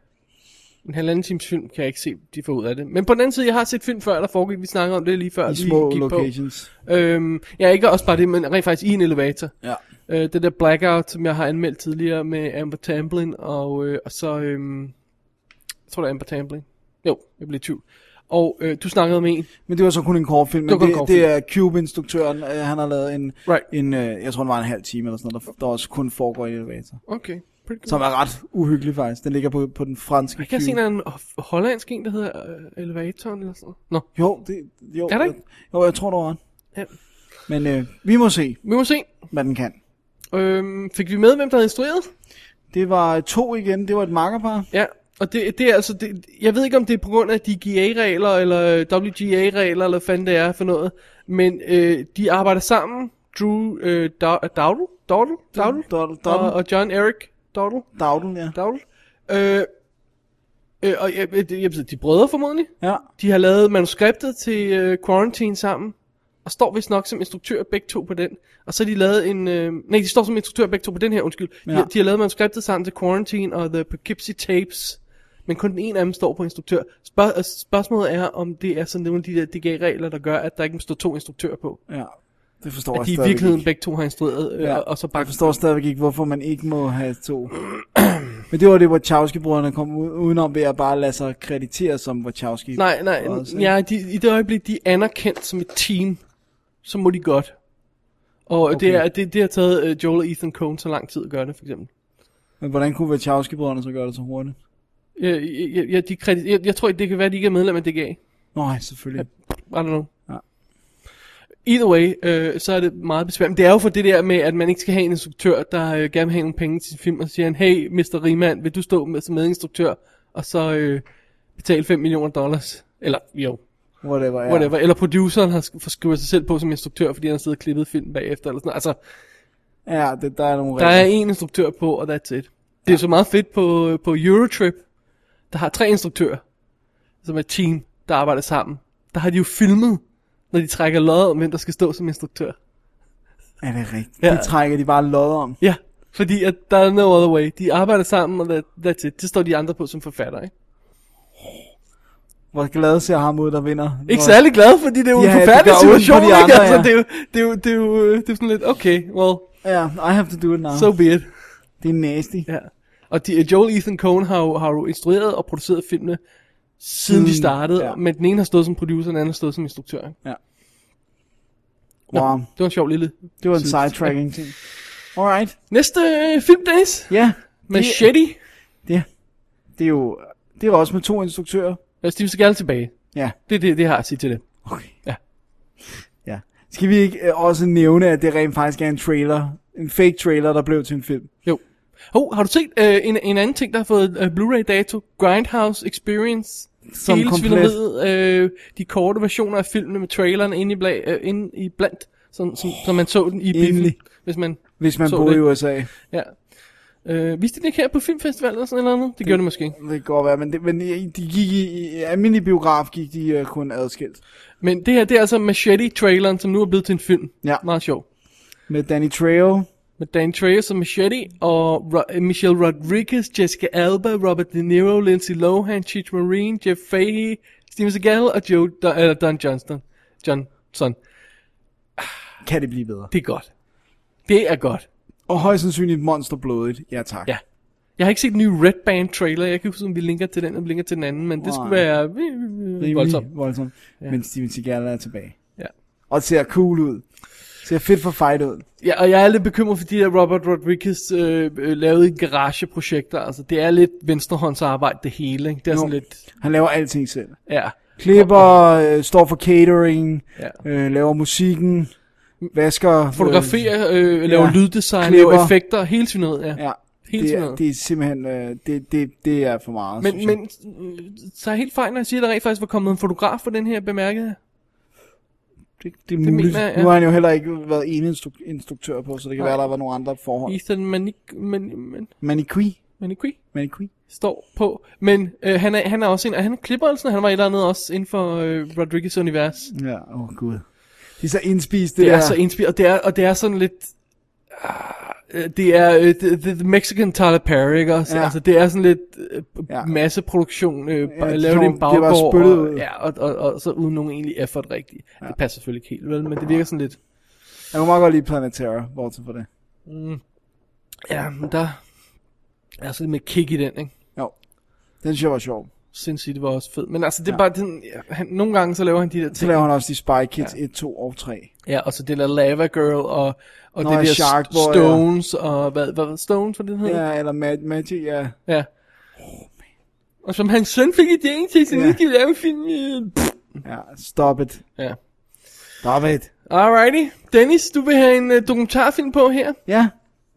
[SPEAKER 6] En halvanden times film kan jeg ikke se, de får ud af det. Men på den anden side, jeg har set film før, der foregik, vi snakker om det lige før.
[SPEAKER 5] I
[SPEAKER 6] vi
[SPEAKER 5] små
[SPEAKER 6] gik på.
[SPEAKER 5] locations.
[SPEAKER 6] Øhm, ja, ikke også bare det, men rent faktisk i en elevator.
[SPEAKER 5] Ja.
[SPEAKER 6] Øh, det der Blackout, som jeg har anmeldt tidligere med Amber Tamblyn, og, øh, og så, øhm, jeg tror det er Amber Tamblyn. Jo, jeg blev i tvivl. Og øh, du snakkede med en.
[SPEAKER 5] Men det var så kun en kort film.
[SPEAKER 6] Det var
[SPEAKER 5] Men
[SPEAKER 6] kun
[SPEAKER 5] det,
[SPEAKER 6] en
[SPEAKER 5] det, det er
[SPEAKER 6] kortfilm.
[SPEAKER 5] Cube-instruktøren, øh, han har lavet en,
[SPEAKER 6] right.
[SPEAKER 5] en øh, jeg tror, det var en halv time eller sådan noget, der, der også kun foregår i en elevator.
[SPEAKER 6] Okay, pretty good.
[SPEAKER 5] Som er ret uhyggelig faktisk. Den ligger på, på den franske
[SPEAKER 6] Jeg kan se,
[SPEAKER 5] Cube.
[SPEAKER 6] der er en ho- hollandsk en, der hedder øh, Elevatoren eller sådan noget. Nå.
[SPEAKER 5] Jo, det, jo,
[SPEAKER 6] Er der ikke?
[SPEAKER 5] jo, jeg tror, der var en.
[SPEAKER 6] Ja.
[SPEAKER 5] Men øh, vi må se,
[SPEAKER 6] Vi må se.
[SPEAKER 5] hvad den kan.
[SPEAKER 6] Øhm, fik vi med, hvem der havde instrueret?
[SPEAKER 5] Det var to igen, det var et makkerpar.
[SPEAKER 6] Ja, og det, det er altså, det, jeg ved ikke om det er på grund af de GA-regler, eller øh, WGA-regler, eller hvad fanden det er for noget, men øh, de arbejder sammen, Drew øh, Dowdle, Dowdle, Dowdle, Dowdle,
[SPEAKER 5] Dowdle,
[SPEAKER 6] og, og John Eric Dowdle,
[SPEAKER 5] Dowdle, ja.
[SPEAKER 6] Dowdle, øh, øh, og jeg, jeg, jeg, ved, de er brødre formodentlig,
[SPEAKER 5] Ja.
[SPEAKER 6] de har lavet manuskriptet til øh, Quarantine sammen, og står vist nok som instruktør begge to på den. Og så har de lavet en... Øh, nej, de står som instruktør begge to på den her, undskyld. De,
[SPEAKER 5] Ja.
[SPEAKER 6] ja. de har lavet manuskriptet sammen til Quarantine og The Poughkeepsie Tapes. Men kun den ene af dem står på instruktør. Spørg- øh, spørgsmålet er, om det er sådan nogle af de der DGA-regler, der gør, at der ikke må stå to instruktører på.
[SPEAKER 5] Ja, det forstår jeg
[SPEAKER 6] At de i
[SPEAKER 5] stadigvæk
[SPEAKER 6] virkeligheden
[SPEAKER 5] ikke.
[SPEAKER 6] begge to har instrueret, øh, ja.
[SPEAKER 5] Ja,
[SPEAKER 6] og, og så
[SPEAKER 5] jeg
[SPEAKER 6] bare...
[SPEAKER 5] forstår stadigvæk ikke, hvorfor man ikke må have to. Men det var det, Wachowski-brødrene kom u- udenom ved at bare lade sig kreditere som Wachowski.
[SPEAKER 6] Nej, nej,
[SPEAKER 5] Også, ikke?
[SPEAKER 6] ja, de, i det øjeblik, de er anerkendt som et team, så må de godt. Og okay. det, er, det, det har taget øh, Joel og Ethan Coen så lang tid at gøre det, for eksempel.
[SPEAKER 5] Men hvordan kunne Wachowski-brødrene så gøre det så hurtigt?
[SPEAKER 6] Jeg, jeg, jeg, de kredit, jeg, jeg tror, det kan være, at de ikke er medlem af DGA.
[SPEAKER 5] Nej, selvfølgelig.
[SPEAKER 6] I don't know.
[SPEAKER 5] Ja.
[SPEAKER 6] Either way, øh, så er det meget besværligt. Det er jo for det der med, at man ikke skal have en instruktør, der øh, gerne vil have nogle penge til sin film, og så siger han, hey, Mr. Riemann, vil du stå med som medinstruktør, og så øh, betale 5 millioner dollars? Eller, jo,
[SPEAKER 5] Whatever, ja.
[SPEAKER 6] whatever. Eller produceren har sk- forskriver sig selv på som instruktør, fordi han sidder og klippet film bagefter, eller sådan noget. Altså,
[SPEAKER 5] Ja, det, der er nogle
[SPEAKER 6] der er
[SPEAKER 5] regler.
[SPEAKER 6] en instruktør på, og that's it. Det er så meget fedt på, på Eurotrip, der har tre instruktører, som er et team, der arbejder sammen. Der har de jo filmet, når de trækker lod om, hvem der skal stå som instruktør.
[SPEAKER 5] Er det rigtigt?
[SPEAKER 6] Ja.
[SPEAKER 5] Ja. Det trækker de bare lod om.
[SPEAKER 6] Ja, fordi at der er no other way. De arbejder sammen, og that, that's it. Det står de andre på som forfatter, ikke?
[SPEAKER 5] Hvor glad ser ham ud, der vinder.
[SPEAKER 6] Ikke
[SPEAKER 5] Hvor-
[SPEAKER 6] særlig glad, fordi det er jo
[SPEAKER 5] Ja,
[SPEAKER 6] en
[SPEAKER 5] det
[SPEAKER 6] forfærdelig
[SPEAKER 5] gør ondt på
[SPEAKER 6] situation,
[SPEAKER 5] de
[SPEAKER 6] ikke?
[SPEAKER 5] andre,
[SPEAKER 6] altså,
[SPEAKER 5] ja.
[SPEAKER 6] det, er jo, det, er jo, det, er jo, øh, det er sådan lidt, okay, well,
[SPEAKER 5] Ja, I have to do it now.
[SPEAKER 6] so be it.
[SPEAKER 5] Det er nasty.
[SPEAKER 6] Ja. Og de, Joel Ethan Coen har jo, har jo instrueret og produceret filmene, siden
[SPEAKER 5] Siden,
[SPEAKER 6] de startede,
[SPEAKER 5] ja.
[SPEAKER 6] ja. men den ene har stået som producer, den anden har stået som instruktør. ikke?
[SPEAKER 5] Ja.
[SPEAKER 6] Nå,
[SPEAKER 5] Wow.
[SPEAKER 6] det var en sjov lille...
[SPEAKER 5] Det var en
[SPEAKER 6] side-
[SPEAKER 5] sidetracking ting. Alright.
[SPEAKER 6] Næste øh, film, Dennis,
[SPEAKER 5] Ja.
[SPEAKER 6] Machete.
[SPEAKER 5] Det, det er jo... Det er også med to instruktører.
[SPEAKER 6] Ja, Steve Øh, Seagal tilbage.
[SPEAKER 5] Ja.
[SPEAKER 6] Det er det, det har jeg at sige til det.
[SPEAKER 5] Ja. Skal vi ikke øh, også nævne, at det rent faktisk er en trailer? En fake trailer, der blev til en film.
[SPEAKER 6] Jo. Hov, har du set øh, en, en anden ting, der har fået øh, Blu-ray-dato? Grindhouse Experience.
[SPEAKER 5] Som
[SPEAKER 6] Hele
[SPEAKER 5] komplet.
[SPEAKER 6] svineriet, øh, de korte versioner af filmene med traileren inde i, bla, øh, inde i blandt, som, som, som man så den i biffen,
[SPEAKER 5] Endelig.
[SPEAKER 6] hvis man
[SPEAKER 5] Hvis man
[SPEAKER 6] så
[SPEAKER 5] boede
[SPEAKER 6] det.
[SPEAKER 5] i USA.
[SPEAKER 6] Ja. Øh, viste de den ikke her på Filmfestivalen eller sådan eller andet? Det, det gjorde det måske.
[SPEAKER 5] Det kan godt være, men, det, men i- de gik i, i almindelig biograf gik de uh, kun adskilt.
[SPEAKER 6] Men det her, det er altså Machete-traileren, som nu er blevet til en film.
[SPEAKER 5] Ja.
[SPEAKER 6] Meget sjov.
[SPEAKER 5] Med Danny Trejo.
[SPEAKER 6] Med Dan Trejo som Machete, og Ro- øh, Michelle Rodriguez, Jessica Alba, Robert De Niro, Lindsay Lohan, Cheech Marine, Jeff Fahey, Steven Seagal og Joe Don, eller Don Johnston. Johnson.
[SPEAKER 5] Kan det blive bedre?
[SPEAKER 6] Det er godt. Det er godt.
[SPEAKER 5] Og højst sandsynligt monsterblodigt. Ja tak.
[SPEAKER 6] Ja. Jeg har ikke set den nye Red Band trailer. Jeg kan ikke huske, om vi linker til den, og vi linker til den anden, men det skulle
[SPEAKER 5] Nej.
[SPEAKER 6] være... øh,
[SPEAKER 5] Rimelig
[SPEAKER 6] voldsomt.
[SPEAKER 5] voldsomt.
[SPEAKER 6] Ja.
[SPEAKER 5] Ja. Men Steven Seagal er tilbage.
[SPEAKER 6] Ja.
[SPEAKER 5] Og ser cool ud. Ser fedt for fight ud.
[SPEAKER 6] Ja, og jeg er lidt bekymret for de der Robert Rodriguez øh, øh, lavede garageprojekter. Altså, det er lidt venstrehåndsarbejde, det hele. Ikke? Det er
[SPEAKER 5] Jo.
[SPEAKER 6] sådan lidt...
[SPEAKER 5] Han laver alting selv.
[SPEAKER 6] Ja.
[SPEAKER 5] Klipper, øh, står for catering,
[SPEAKER 6] Ja.
[SPEAKER 5] øh, laver musikken, vasker...
[SPEAKER 6] Fotograferer, øh, laver lyddesign, laver effekter, hele syndet, ja.
[SPEAKER 5] ja.
[SPEAKER 6] Hele
[SPEAKER 5] det, er,
[SPEAKER 6] tiden.
[SPEAKER 5] det er simpelthen, øh, det, det, det er for meget,
[SPEAKER 6] Men,
[SPEAKER 5] synes jeg.
[SPEAKER 6] men øh, så er jeg helt fejl, når jeg siger, at der rent faktisk var kommet en fotograf for den her bemærket.
[SPEAKER 5] Det, det er muligt.
[SPEAKER 6] mener jeg, ja.
[SPEAKER 5] Nu har han jo heller ikke været ene instru- instruktør på, så det kan
[SPEAKER 6] Nej.
[SPEAKER 5] være, der var nogle andre forhold.
[SPEAKER 6] Ethan Manik, man, man,
[SPEAKER 5] Maniqui.
[SPEAKER 6] Maniqui
[SPEAKER 5] Maniqui.
[SPEAKER 6] står på. Men øh, han, er, han er også en, og han klipper altså, han var et eller andet også inden for øh, Rodriguez' univers.
[SPEAKER 5] Ja, åh oh, gud. Det er så indspist,
[SPEAKER 6] Det,
[SPEAKER 5] det,
[SPEAKER 6] det
[SPEAKER 5] der.
[SPEAKER 6] er så indspil, og det er, og det er sådan lidt... ah, Det er uh, the, the Mexican Tyler Perry, ikke også?
[SPEAKER 5] Ja.
[SPEAKER 6] Altså, det er sådan lidt uh, ja. masseproduktion,
[SPEAKER 5] Ja,
[SPEAKER 6] uh, ja,
[SPEAKER 5] det
[SPEAKER 6] lavet i en
[SPEAKER 5] får- det var
[SPEAKER 6] baggård,
[SPEAKER 5] spyttet
[SPEAKER 6] og,
[SPEAKER 5] ud.
[SPEAKER 6] ja, og, og, og, så uden nogen egentlig effort rigtigt. Ja. Det passer selvfølgelig ikke helt, vel? Men det virker sådan lidt...
[SPEAKER 5] Jeg kunne meget godt lide Planetara, bortset fra det.
[SPEAKER 6] Mm, ja, men der er sådan lidt med kick i den, ikke?
[SPEAKER 5] Jo, den synes jeg var sjov.
[SPEAKER 6] Sindssygt, det var også fed. Men altså, det er
[SPEAKER 5] Ja.
[SPEAKER 6] ja. bare den... ja, Han, nogle gange, så laver han de der ting.
[SPEAKER 5] Så laver han også de Spy Kids ja. 1, 2 og 3.
[SPEAKER 6] Ja, og så det der Lava Girl, og, og
[SPEAKER 5] Nå,
[SPEAKER 6] det
[SPEAKER 5] ja,
[SPEAKER 6] der
[SPEAKER 5] Shark Boy, ja.
[SPEAKER 6] Stones, og hvad, hvad var det, Stones, hvad det hed?
[SPEAKER 5] Ja, eller Mad Magic, ja.
[SPEAKER 6] Ja. Og som hans søn fik idéen til sin
[SPEAKER 5] Ja.
[SPEAKER 6] yeah. udgivelse af en film. øh, pff.
[SPEAKER 5] Ja, stop it.
[SPEAKER 6] Ja.
[SPEAKER 5] Stop it.
[SPEAKER 6] Alrighty. Dennis, du vil have en uh, dokumentarfilm på her.
[SPEAKER 5] Ja.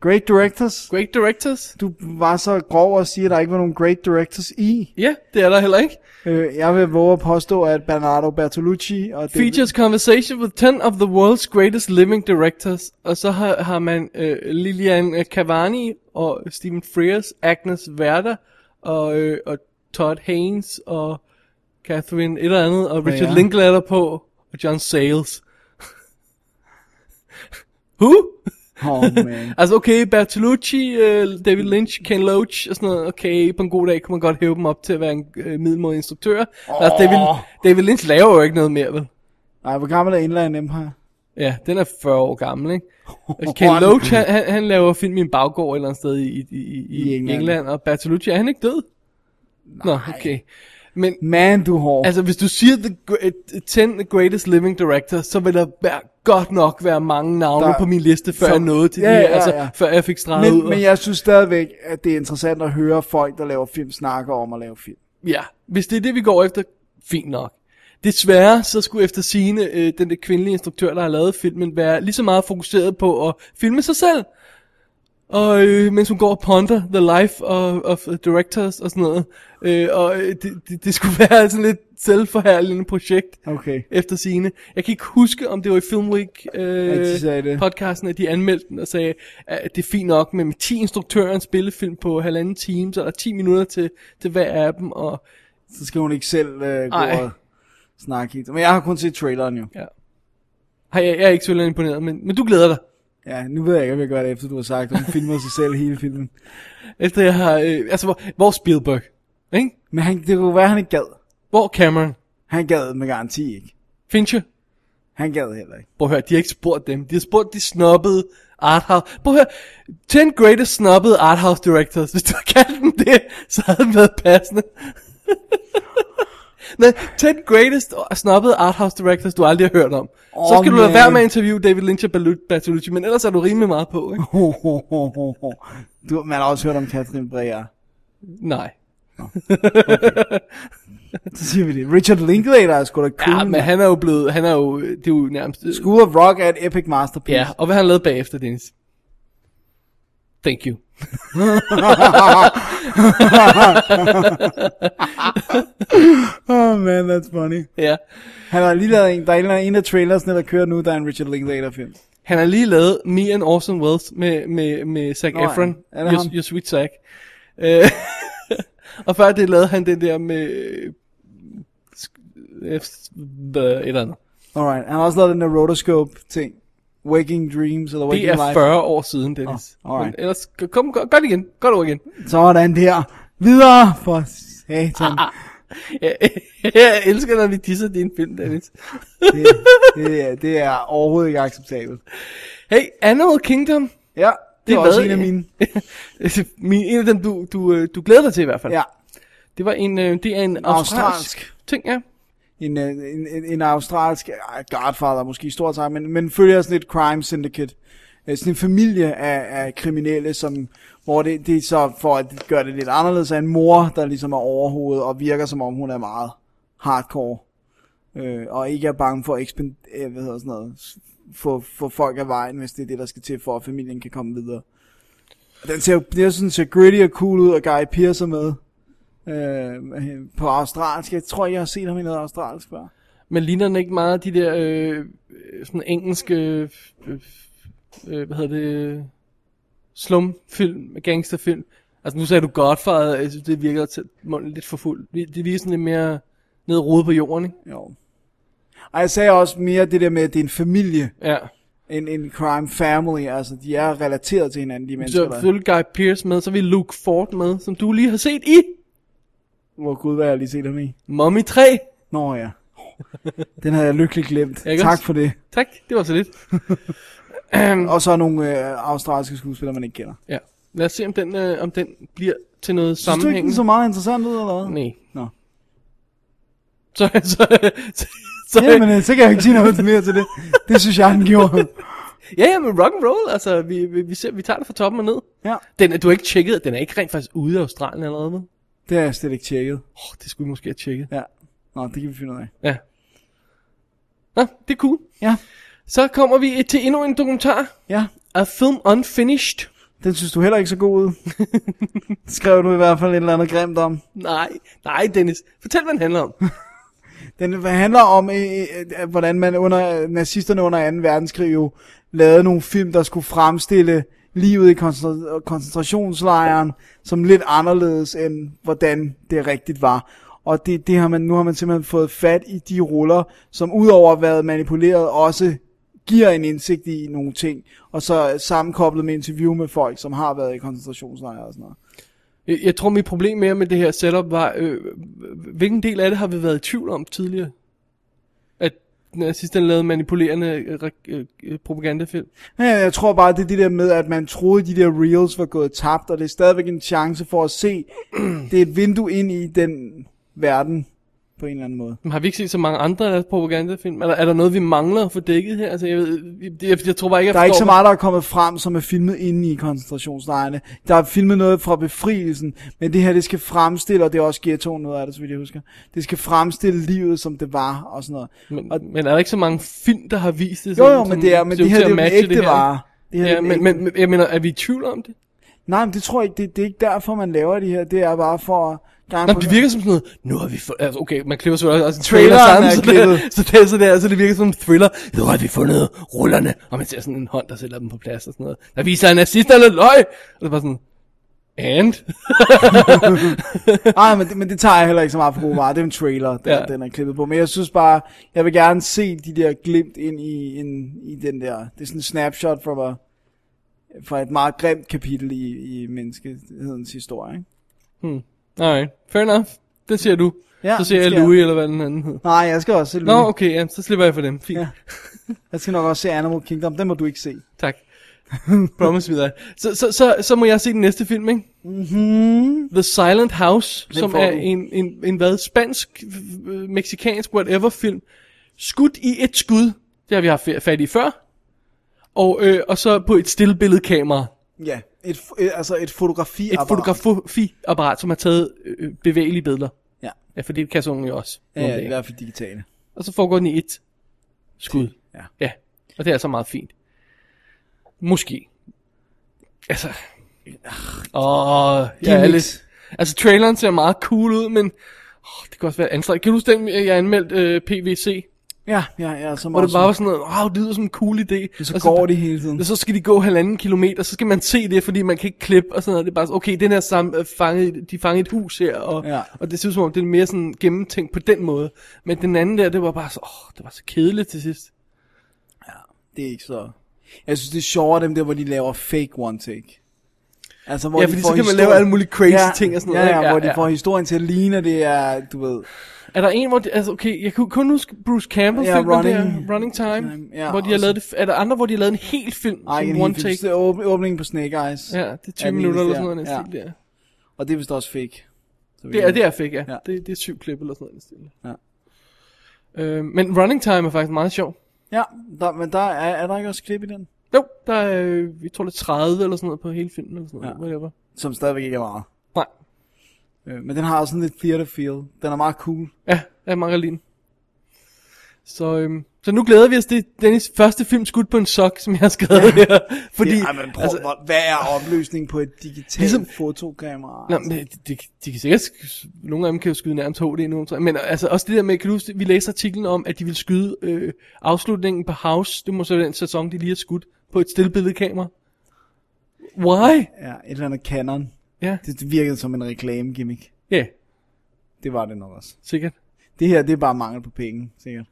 [SPEAKER 5] Great Directors.
[SPEAKER 6] Great Directors.
[SPEAKER 5] Du var så grov at sige, at der ikke var nogen Great Directors i.
[SPEAKER 6] Ja, det er der heller ikke.
[SPEAKER 5] Øh, jeg vil våge at påstå, at Bernardo Bertolucci og David...
[SPEAKER 6] Features conversation with 10 of the world's greatest living directors. Og så har, har man øh, Lilian øh, Cavani og Stephen Frears, Agnes Werder og, øh, og Todd Haynes og Catherine et eller andet og Richard
[SPEAKER 5] ja.
[SPEAKER 6] ja. Linklater på og John Sayles. Who?
[SPEAKER 5] Oh, man.
[SPEAKER 6] altså okay, Bertolucci, øh, David Lynch, Ken Loach og sådan noget. Okay, på en god dag kunne man godt hæve dem op til at være en øh, middelmodig instruktør. Oh. Altså, David, David Lynch laver jo ikke noget mere, vel?
[SPEAKER 5] Nej, hvor gammel er Inland Empire?
[SPEAKER 6] Ja, den er 40 år gammel, ikke? Og Ken Loach, han, han, han laver film i en baggård et eller andet sted i, i, i, i England. England, og Bertolucci, er han ikke død? Nej. Nå, okay. Men,
[SPEAKER 5] Man, du hård.
[SPEAKER 6] Altså, hvis du siger the gre- 10 Greatest Living Director, så vil der være, godt nok være mange navne
[SPEAKER 5] Der-
[SPEAKER 6] der, på min liste, før
[SPEAKER 5] som-
[SPEAKER 6] jeg nåede til
[SPEAKER 5] Ja,
[SPEAKER 6] ja, det her,
[SPEAKER 5] ja, ja,
[SPEAKER 6] altså,
[SPEAKER 5] ja.
[SPEAKER 6] før jeg fik streget ud.
[SPEAKER 5] Men,
[SPEAKER 6] og-
[SPEAKER 5] men jeg synes stadigvæk, at det er interessant at høre folk, der laver film, snakke om at lave film.
[SPEAKER 6] Ja, hvis det er det, vi går efter, fint nok. Desværre, så skulle efter sine øh, den der kvindelige instruktør, der har lavet filmen, være lige så meget fokuseret på at filme sig selv. Og øh, mens hun går og ponder the life of, of directors og sådan noget. Øh, og øh, det, det, det skulle være sådan lidt selvforherligende projekt
[SPEAKER 5] Okay.
[SPEAKER 6] efter sine. Jeg kan ikke huske, om det var i Filmweek
[SPEAKER 5] At
[SPEAKER 6] øh,
[SPEAKER 5] de sagde det.
[SPEAKER 6] podcasten, at de anmeldte den og sagde, at det er fint nok, men med 10 instruktørens spillefilm på halvanden time, så er der 10 minutter til, til hver af dem. Og
[SPEAKER 5] Så skal hun ikke selv øh, gå
[SPEAKER 6] Ej.
[SPEAKER 5] og snakke i det. Men jeg har kun set traileren jo.
[SPEAKER 6] Ja. Har jeg, jeg er ikke så imponeret, men, men du glæder dig.
[SPEAKER 5] Ja, nu ved jeg ikke, om jeg gør det, efter du har sagt, at hun filmer sig selv hele filmen.
[SPEAKER 6] Efter jeg har... Øh, altså, hvor, hvor er Spielberg? Ikke?
[SPEAKER 5] Men han, det kunne være, han ikke gad.
[SPEAKER 6] Hvor er Cameron?
[SPEAKER 5] Han gad med garanti ikke.
[SPEAKER 6] Fincher?
[SPEAKER 5] Han gad heller ikke.
[SPEAKER 6] Prøv at høre, de har ikke spurgt dem. De har spurgt de snobbede arthouse. Prøv at høre, 10 greatest snobbede arthouse directors. Hvis du har kaldt dem det, så havde det været passende. Nej, 10 greatest snobbede arthouse directors, du aldrig har hørt om. Oh, så
[SPEAKER 5] Åh,
[SPEAKER 6] skal du lade være
[SPEAKER 5] man.
[SPEAKER 6] med at interviewe David Lynch og Balu- Bertolucci, men ellers er du rimelig meget på, ikke?
[SPEAKER 5] Ho, ho, ho, ho, ho. Du, man har også hørt om Catherine Breyer.
[SPEAKER 6] Nej.
[SPEAKER 5] Så siger vi det. Richard Linklater er sgu da cool.
[SPEAKER 6] Ja, men han er jo blevet, han er jo, det er jo nærmest...
[SPEAKER 5] School of Rock er et epic masterpiece.
[SPEAKER 6] Ja, og hvad han lavede bagefter, Dennis? Thank you.
[SPEAKER 5] oh man, that's funny.
[SPEAKER 6] Ja.
[SPEAKER 5] Han har lige lavet en, der er en, eller anden- en af trailersne, der kører nu, der er en Richard Linklater film.
[SPEAKER 6] Han har lige lavet Me and Orson Welles med, med, med Zac
[SPEAKER 5] Nå, ja.
[SPEAKER 6] Efron.
[SPEAKER 5] Er det
[SPEAKER 6] Your,
[SPEAKER 5] ham?
[SPEAKER 6] your Sweet Zac. Øh, og før det lavede han den der med... øh, sk- øh, s- øh, Et eller andet.
[SPEAKER 5] Alright, han har også lavet den der rotoscope ting. Waking Dreams eller Waking
[SPEAKER 6] Det
[SPEAKER 5] Life.
[SPEAKER 6] er 40 år siden, Dennis.
[SPEAKER 5] Nå, alright.
[SPEAKER 6] Men ellers, kom, kom, godt igen. Godt over igen.
[SPEAKER 5] Sådan der. Videre for satan.
[SPEAKER 6] Ah, Jeg, jeg elsker, når vi disser din film, Dennis.
[SPEAKER 5] Det, det, er- det er overhovedet ikke acceptabelt.
[SPEAKER 6] Hey, Animal Kingdom.
[SPEAKER 5] Ja,
[SPEAKER 6] Det
[SPEAKER 5] var
[SPEAKER 6] var
[SPEAKER 5] også
[SPEAKER 6] en
[SPEAKER 5] en
[SPEAKER 6] af
[SPEAKER 5] af
[SPEAKER 6] mine. Min, en af dem, du, du, øh, du glæder dig til i hvert fald.
[SPEAKER 5] Ja.
[SPEAKER 6] Det var en, øh, det er en australsk. ting, ja.
[SPEAKER 5] En, øh, en, en, en australsk, ej, Godfather måske i stor træk, men, men følger sådan et crime syndicate. Øh, Sådan en familie af, af kriminelle, som, hvor det, det er så, for at gøre det lidt anderledes, er en mor, der ligesom er overhovedet, og virker som om hun er meget hardcore. Øh, og ikke er bange for at ekspand, øh, hvad hedder sådan noget, s- få, få folk af vejen, hvis det er det, der skal til, for at familien kan komme videre. Og den ser, jo- det er sådan, ser gritty og cool ud, og Guy Pearce er med. Øh, på australsk. Jeg tror, jeg har set ham i noget australsk før.
[SPEAKER 6] Men ligner den ikke meget de der øh, øh, sådan engelske, øh, øh, hvad hedder det, øh, slumfilm, gangsterfilm? Altså nu sagde du Godfather, jeg synes, det virker til munden lidt for fuld. Det det virker sådan lidt mere ned rode på jorden, ikke?
[SPEAKER 5] Jo. Og jeg sagde også mere det der med, at det er en familie.
[SPEAKER 6] Ja.
[SPEAKER 5] En, en crime family, altså de er relateret til hinanden, de
[SPEAKER 6] Så
[SPEAKER 5] mennesker.
[SPEAKER 6] er selvfølgelig Guy Pearce med, så er vi Luke Ford med, som du lige har set i
[SPEAKER 5] Hvor gud, hvad har jeg lige set ham i?
[SPEAKER 6] Mommy 3.
[SPEAKER 5] Nå ja. Den havde jeg lykkeligt glemt.
[SPEAKER 6] Ikke
[SPEAKER 5] tak
[SPEAKER 6] også?
[SPEAKER 5] for det.
[SPEAKER 6] Tak, det var så lidt.
[SPEAKER 5] og så er nogle øh, australske skuespillere, man ikke kender.
[SPEAKER 6] Ja. Lad os se, om den, øh, om den bliver til noget
[SPEAKER 5] Synes du ikke, den
[SPEAKER 6] sammenhængende.
[SPEAKER 5] så meget interessant ud, eller hvad?
[SPEAKER 6] Nej.
[SPEAKER 5] Nå.
[SPEAKER 6] Så, så, så, så,
[SPEAKER 5] Jamen, øh, så kan jeg ikke sige noget mere til det. Det synes jeg, han gjorde.
[SPEAKER 6] Ja, ja, men rock and roll, altså, vi, vi, vi, ser, vi tager det fra toppen og ned.
[SPEAKER 5] Ja.
[SPEAKER 6] Den, er- du har ikke tjekket, den er ikke rent faktisk ude af Australien allerede nu.
[SPEAKER 5] Det har jeg slet ikke tjekket.
[SPEAKER 6] Åh, oh, det skulle vi måske have tjekket.
[SPEAKER 5] Ja. Nå, det kan vi finde ud af.
[SPEAKER 6] Ja. Nå, det er cool.
[SPEAKER 5] Ja.
[SPEAKER 6] Så kommer vi til endnu en dokumentar.
[SPEAKER 5] Ja.
[SPEAKER 6] A Film Unfinished.
[SPEAKER 5] Den synes du heller ikke så god ud. Skrev du i hvert fald et eller andet grimt om.
[SPEAKER 6] Nej, nej Dennis. Fortæl, hvad den handler om.
[SPEAKER 5] Den handler om, øh, øh, hvordan man under nazisterne under 2. verdenskrig jo lavede nogle film, der skulle fremstille livet i koncentra- koncentrationslejren som lidt anderledes end hvordan det rigtigt var. Og det, det har man, nu har man simpelthen fået fat i de ruller, som udover at været manipuleret, også giver en indsigt i nogle ting, og så sammenkoblet med interview med folk, som har været i koncentrationslejre og sådan noget.
[SPEAKER 6] Jeg, jeg tror, mit problem mere med det her setup var, øh, hvilken del af det har vi været i tvivl om tidligere? At nazisterne lavede manipulerende øh, re- øh, øh, propagandafilm.
[SPEAKER 5] Ja, jeg tror bare, det er det der med, at man troede, de der reels var gået tabt, og det er stadigvæk en chance for at se. Det er et vindue ind i den verden, på en eller anden måde.
[SPEAKER 6] Men har vi ikke set så mange andre af deres propagandafilm? Er der, er der noget, vi mangler at få dækket her? Altså, jeg, ved, jeg, jeg, jeg tror bare ikke, jeg
[SPEAKER 5] Der er ikke
[SPEAKER 6] forstår,
[SPEAKER 5] så meget, der er kommet frem, som er filmet inde i koncentrationslejrene. Der er filmet noget fra befrielsen, men det her, det skal fremstille, og det er også ghettoen noget af det, så vidt jeg husker. Det skal fremstille livet, som det var, og sådan noget.
[SPEAKER 6] Men, og, men er der ikke så mange film, der har vist det?
[SPEAKER 5] Jo, jo, men det er- men
[SPEAKER 6] ser
[SPEAKER 5] det her,
[SPEAKER 6] ud
[SPEAKER 5] det er
[SPEAKER 6] til at
[SPEAKER 5] jo den
[SPEAKER 6] matche
[SPEAKER 5] ægte
[SPEAKER 6] her?
[SPEAKER 5] vare. Det her er
[SPEAKER 6] ja,
[SPEAKER 5] den
[SPEAKER 6] men,
[SPEAKER 5] ægte.
[SPEAKER 6] men, men jeg mener, er vi i tvivl om det?
[SPEAKER 5] Nej, men det tror jeg ikke, det, det er ikke derfor, man laver det her. Det er bare for at...
[SPEAKER 6] Nej, men det virker som sådan noget, nu har vi fået, altså okay, man klipper selvfølgelig også en trailer
[SPEAKER 5] Traileren
[SPEAKER 6] sammen,
[SPEAKER 5] er
[SPEAKER 6] så det,
[SPEAKER 5] klippet.
[SPEAKER 6] så, det, så, det, er- så det virker som en thriller, nu har vi fundet rullerne, og man ser sådan en hånd, der sætter dem på plads og sådan noget, der viser en nazist eller løg, og det er bare sådan, and?
[SPEAKER 5] Nej, men, det- men det tager jeg heller ikke så meget for gode varer. Det er en trailer, der,
[SPEAKER 6] Ja.
[SPEAKER 5] ja. den er klippet på. Men jeg synes bare, jeg vil gerne se de der glimt ind i, ind i den der... Det er sådan en snapshot fra, fra et meget grimt kapitel i, i menneskehedens historie. Ikke?
[SPEAKER 6] hmm. Nej, fair enough, det siger du.
[SPEAKER 5] Ja,
[SPEAKER 6] så ser
[SPEAKER 5] det
[SPEAKER 6] jeg
[SPEAKER 5] skal
[SPEAKER 6] Louis,
[SPEAKER 5] jeg.
[SPEAKER 6] eller hvad den anden hed.
[SPEAKER 5] Nej, jeg skal også se
[SPEAKER 6] Nå,
[SPEAKER 5] Louis.
[SPEAKER 6] okay, ja, så slipper jeg for dem, fint.
[SPEAKER 5] Mm. Ja. Jeg skal nok også se Animal Kingdom. Den må du ikke se.
[SPEAKER 6] Tak. Promise me that. Så, så, så, så må jeg se den næste film, ikke?
[SPEAKER 5] Mm-hmm.
[SPEAKER 6] The Silent House,
[SPEAKER 5] Den
[SPEAKER 6] som
[SPEAKER 5] får
[SPEAKER 6] er
[SPEAKER 5] du.
[SPEAKER 6] en, en, en hvad, spansk, øh, meksikansk, whatever film. Skudt i et skud. Det har vi haft fat i før. Og, øh, og så på et stillbilledkamera.
[SPEAKER 5] Ja, et, fo- et, altså et fotografi
[SPEAKER 6] Et fotografi-apparat, som har taget øh, bevægelige billeder.
[SPEAKER 5] Ja.
[SPEAKER 6] Ja, for det kan sådan jo også.
[SPEAKER 5] Ja,
[SPEAKER 6] nogle
[SPEAKER 5] ja, i
[SPEAKER 6] dage.
[SPEAKER 5] hvert fald digitale.
[SPEAKER 6] Og så foregår den i et skud.
[SPEAKER 5] Ja.
[SPEAKER 6] ja. Og det er altså meget fint. Måske. Altså. Åh,
[SPEAKER 5] Giv
[SPEAKER 6] jeg er
[SPEAKER 5] mix.
[SPEAKER 6] lidt... Altså, traileren ser meget cool ud, men... Åh, det kan også være anstrengt. Kan du huske den, jeg anmeldte øh, PVC?
[SPEAKER 5] Ja, ja, ja. Som
[SPEAKER 6] Hvor det
[SPEAKER 5] også-
[SPEAKER 6] bare var sådan noget, wow, det lyder som en cool idé.
[SPEAKER 5] Så
[SPEAKER 6] Og
[SPEAKER 5] går det hele tiden.
[SPEAKER 6] Og så skal de gå halvanden kilometer, så skal man se det, fordi man kan ikke klippe og sådan noget. Det er bare sådan, okay, den her sam- øh, fanget, de fangede et hus her, og, ja. og det synes som om, det er mere sådan gennemtænkt på den måde. Men den anden der, det var bare så, åh, det var så kedeligt til sidst.
[SPEAKER 5] Det er ikke så... Jeg synes, det er sjovere dem der, hvor de laver fake one take. Altså, hvor
[SPEAKER 6] Ja,
[SPEAKER 5] de
[SPEAKER 6] fordi
[SPEAKER 5] får
[SPEAKER 6] så kan man
[SPEAKER 5] historien-
[SPEAKER 6] lave alle mulige crazy ting og sådan
[SPEAKER 5] Ja,
[SPEAKER 6] noget, ikke?
[SPEAKER 5] ja, hvor
[SPEAKER 6] Ja,
[SPEAKER 5] de
[SPEAKER 6] ja.
[SPEAKER 5] får historien til at ligne, og det er, du ved...
[SPEAKER 6] Er der en, hvor de, altså okay, jeg kunne kun huske Bruce Campbell
[SPEAKER 5] Ja,
[SPEAKER 6] filmen
[SPEAKER 5] Running-
[SPEAKER 6] der, Running Time,
[SPEAKER 5] Time, ja,
[SPEAKER 6] hvor de har
[SPEAKER 5] og så-
[SPEAKER 6] lavet det, er der andre, hvor de har lavet en hel film,
[SPEAKER 5] Ej,
[SPEAKER 6] som
[SPEAKER 5] en
[SPEAKER 6] one
[SPEAKER 5] one
[SPEAKER 6] take?
[SPEAKER 5] take. Åb- åbningen på Snake Eyes.
[SPEAKER 6] Ja, det er 20
[SPEAKER 5] den
[SPEAKER 6] minutter eller
[SPEAKER 5] eneste,
[SPEAKER 6] sådan noget,
[SPEAKER 5] ja.
[SPEAKER 6] den stil der.
[SPEAKER 5] Og det er vist også fake. Så vi
[SPEAKER 6] Det er
[SPEAKER 5] kan-
[SPEAKER 6] det, jeg fik, ja. ja. Det, det er syv klip eller sådan noget. i den
[SPEAKER 5] stil.
[SPEAKER 6] Ja. Øh, men Running Time er faktisk meget sjov.
[SPEAKER 5] Ja, der, men der er, er der ikke også klip i den?
[SPEAKER 6] Jo, der er, øh, jeg tror det er 30 eller sådan noget på hele filmen eller sådan noget, ja. whatever.
[SPEAKER 5] Som stadigvæk ikke er meget.
[SPEAKER 6] Nej.
[SPEAKER 5] Øh, men den har også sådan lidt theater feel. Den er meget cool.
[SPEAKER 6] Ja, jeg er meget lide Så, øhm, så nu glæder vi os, det er Dennis første film skudt på en sok, som jeg har skrevet ja. her. Fordi,
[SPEAKER 5] det, ej, men prøv, altså, hvad er opløsningen på et digitalt ligesom, fotokamera?
[SPEAKER 6] Nå, men det- de, de kan sikkert, sk- nogle af dem kan jo skyde nærmest HD nu, tror jeg. men altså også det der med, kan du huske, vi læste artiklen om, at de ville skyde øh, afslutningen på House, det må så være den sæson, de lige har skudt, på et stillbilledkamera. Why?
[SPEAKER 5] Ja, et eller andet Canon.
[SPEAKER 6] Ja.
[SPEAKER 5] Det det virkede som en reklame gimmick.
[SPEAKER 6] Ja. Yeah.
[SPEAKER 5] Det var det nok også.
[SPEAKER 6] Sikkert.
[SPEAKER 5] Det her, det er bare mangel på penge, sikkert.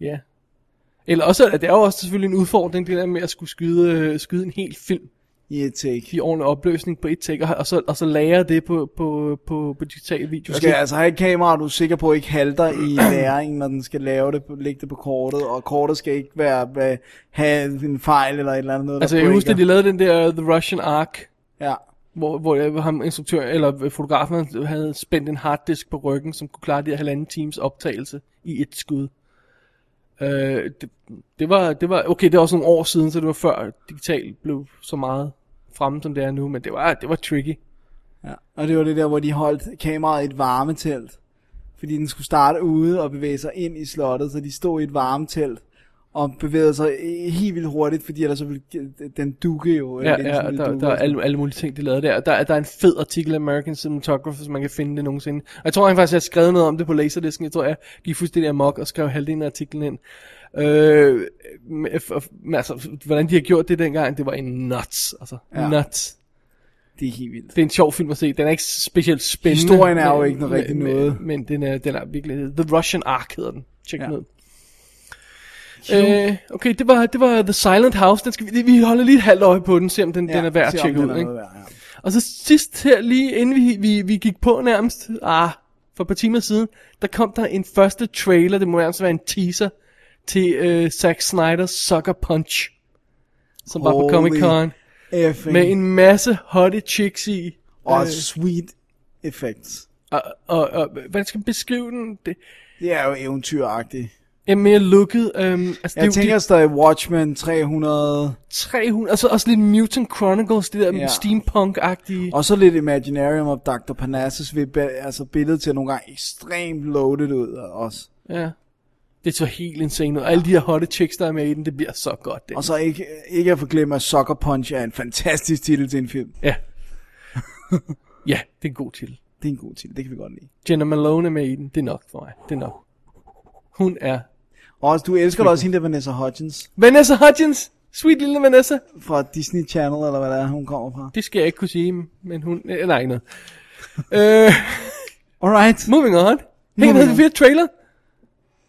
[SPEAKER 6] Ja. Eller også, at det er jo også selvfølgelig en udfordring, det der med at skulle skyde, øh, skyde en hel film.
[SPEAKER 5] I et take.
[SPEAKER 6] I ordentlig opløsning på et take, og, og, så, og så lære det på, på, på, på digital video.
[SPEAKER 5] Du skal altså have et kamera, du er sikker på ikke halter i læringen, når den skal lave det, på- lægge det på kortet, og kortet skal ikke være, hvad- have en fejl eller et eller andet. noget, der
[SPEAKER 6] Altså, jeg
[SPEAKER 5] breaker.
[SPEAKER 6] husker, at de lavede den der The Russian Ark.
[SPEAKER 5] Ja.
[SPEAKER 6] Hvor, hvor jeg- ham instruktør, eller fotografen han havde spændt en harddisk på ryggen, som kunne klare de her halvanden times optagelse i et skud. Øh, det, det, var, det var, okay, det var også nogle år siden, så det var før digital blev så meget fremme, som det er nu, men det var, det var tricky.
[SPEAKER 5] Ja. Og det var det der, hvor de holdt kameraet i et varmetelt. Fordi den skulle starte ude og bevæge sig ind i slottet, så de stod i et varmetelt og bevægede sig øh, helt vildt hurtigt, fordi ellers så ville øh, den dukke jo. øh,
[SPEAKER 6] Ja,
[SPEAKER 5] linsen
[SPEAKER 6] ja
[SPEAKER 5] ville
[SPEAKER 6] der,
[SPEAKER 5] dukke
[SPEAKER 6] der er
[SPEAKER 5] og sådan
[SPEAKER 6] alle, alle mulige ting, de lavede der. Og Der, er- der er en fed artikel af American Cinematographers, man kan finde det nogensinde. Og jeg tror han faktisk, jeg har skrevet noget om det på Laserdisken. Jeg tror, jeg gik fuldstændig amok og skrev halvdelen af artiklen ind. Øh, men, f- men altså, hvordan de har gjort det dengang, det var en nuts. Altså, ja.
[SPEAKER 5] Ja.
[SPEAKER 6] nuts.
[SPEAKER 5] Det er helt vildt.
[SPEAKER 6] Det er en sjov film at se. Den er ikke specielt spændende.
[SPEAKER 5] Historien er jo
[SPEAKER 6] men-
[SPEAKER 5] ikke noget rigtig
[SPEAKER 6] men-
[SPEAKER 5] noget.
[SPEAKER 6] Men den er, den er virkelig... The Russian Ark hedder den. Tjek den ud.
[SPEAKER 5] Jo.
[SPEAKER 6] Øh, okay, det var, det var The Silent House. Den skal vi, vi holder lige et halvt øje på den, se om den,
[SPEAKER 5] Ja,
[SPEAKER 6] den er værd at
[SPEAKER 5] se om
[SPEAKER 6] tjekke
[SPEAKER 5] den
[SPEAKER 6] ud.
[SPEAKER 5] er
[SPEAKER 6] Ikke?
[SPEAKER 5] noget værd,
[SPEAKER 6] Og så sidst her, lige inden vi, vi, vi gik på nærmest, ah, for et par timer siden, der kom der en første trailer, det må nærmest være en teaser, til øh, Zack Snyder's Sucker Punch, som var på
[SPEAKER 5] Holy
[SPEAKER 6] Comic Con.
[SPEAKER 5] effing.
[SPEAKER 6] Med en masse hotte chicks i.
[SPEAKER 5] Og
[SPEAKER 6] Øh,
[SPEAKER 5] sweet effects.
[SPEAKER 6] og, og, og hvordan skal man beskrive den? Det,
[SPEAKER 5] det er jo eventyragtigt.
[SPEAKER 6] Ja, mere lukket. Øhm, altså,
[SPEAKER 5] Jeg
[SPEAKER 6] det, er jo
[SPEAKER 5] tænker stadig Watchmen 300.
[SPEAKER 6] de 300, altså også lidt Mutant Chronicles, det der ja.
[SPEAKER 5] Ja.
[SPEAKER 6] steampunk-agtige.
[SPEAKER 5] Og så lidt Imaginarium of Dr. Parnassus ved ba- altså billedet til nogle gange ekstremt loaded ud også.
[SPEAKER 6] Ja. Det så helt insane ud. Og alle de her hotte chicks, der er med i den, det bliver så godt. Det.
[SPEAKER 5] Og så ikke, ikke at forglemme, at Sucker Punch er en fantastisk titel til en film.
[SPEAKER 6] Ja. ja, det er en god titel.
[SPEAKER 5] Det er en god titel, det kan vi godt lide.
[SPEAKER 6] Jenna Malone er med i den, det er nok for mig. Det er nok. Hun er...
[SPEAKER 5] Og også, du elsker da også hende der Vanessa Hudgens.
[SPEAKER 6] Vanessa Hudgens! Sweet lille Vanessa!
[SPEAKER 5] Fra Disney Channel, eller hvad der er, hun kommer fra.
[SPEAKER 6] Det skal jeg ikke kunne sige, men hun... eh, Nej, ikke noget. øh,
[SPEAKER 5] Alright.
[SPEAKER 6] Moving on. Hey,
[SPEAKER 5] Moving
[SPEAKER 6] havde vi
[SPEAKER 5] on.
[SPEAKER 6] flere trailer?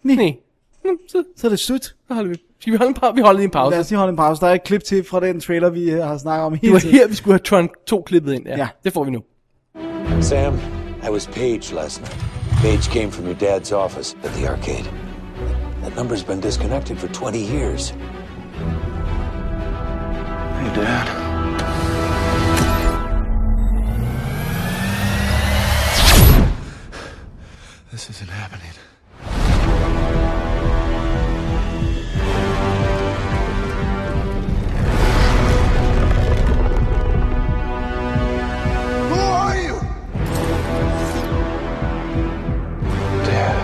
[SPEAKER 5] Nej.
[SPEAKER 6] Nej. Nå, så,
[SPEAKER 5] så er det slut.
[SPEAKER 6] Så holder vi. Skal vi holde en pause? Vi holder lige en pause.
[SPEAKER 5] Lad os lige holde en pause. Der er et klip til fra den trailer, vi øh, har snakket om
[SPEAKER 6] Det
[SPEAKER 5] hele
[SPEAKER 6] var
[SPEAKER 5] tiden.
[SPEAKER 6] her, vi skulle have Tron 2 klippet ind. Ja, ja. det får vi nu.
[SPEAKER 15] Sam, I was Paige last night. Paige came from your dad's office at the arcade. That number's been disconnected for 20 years.
[SPEAKER 9] Hey, Dad. This isn't happening. Who are you? Dad.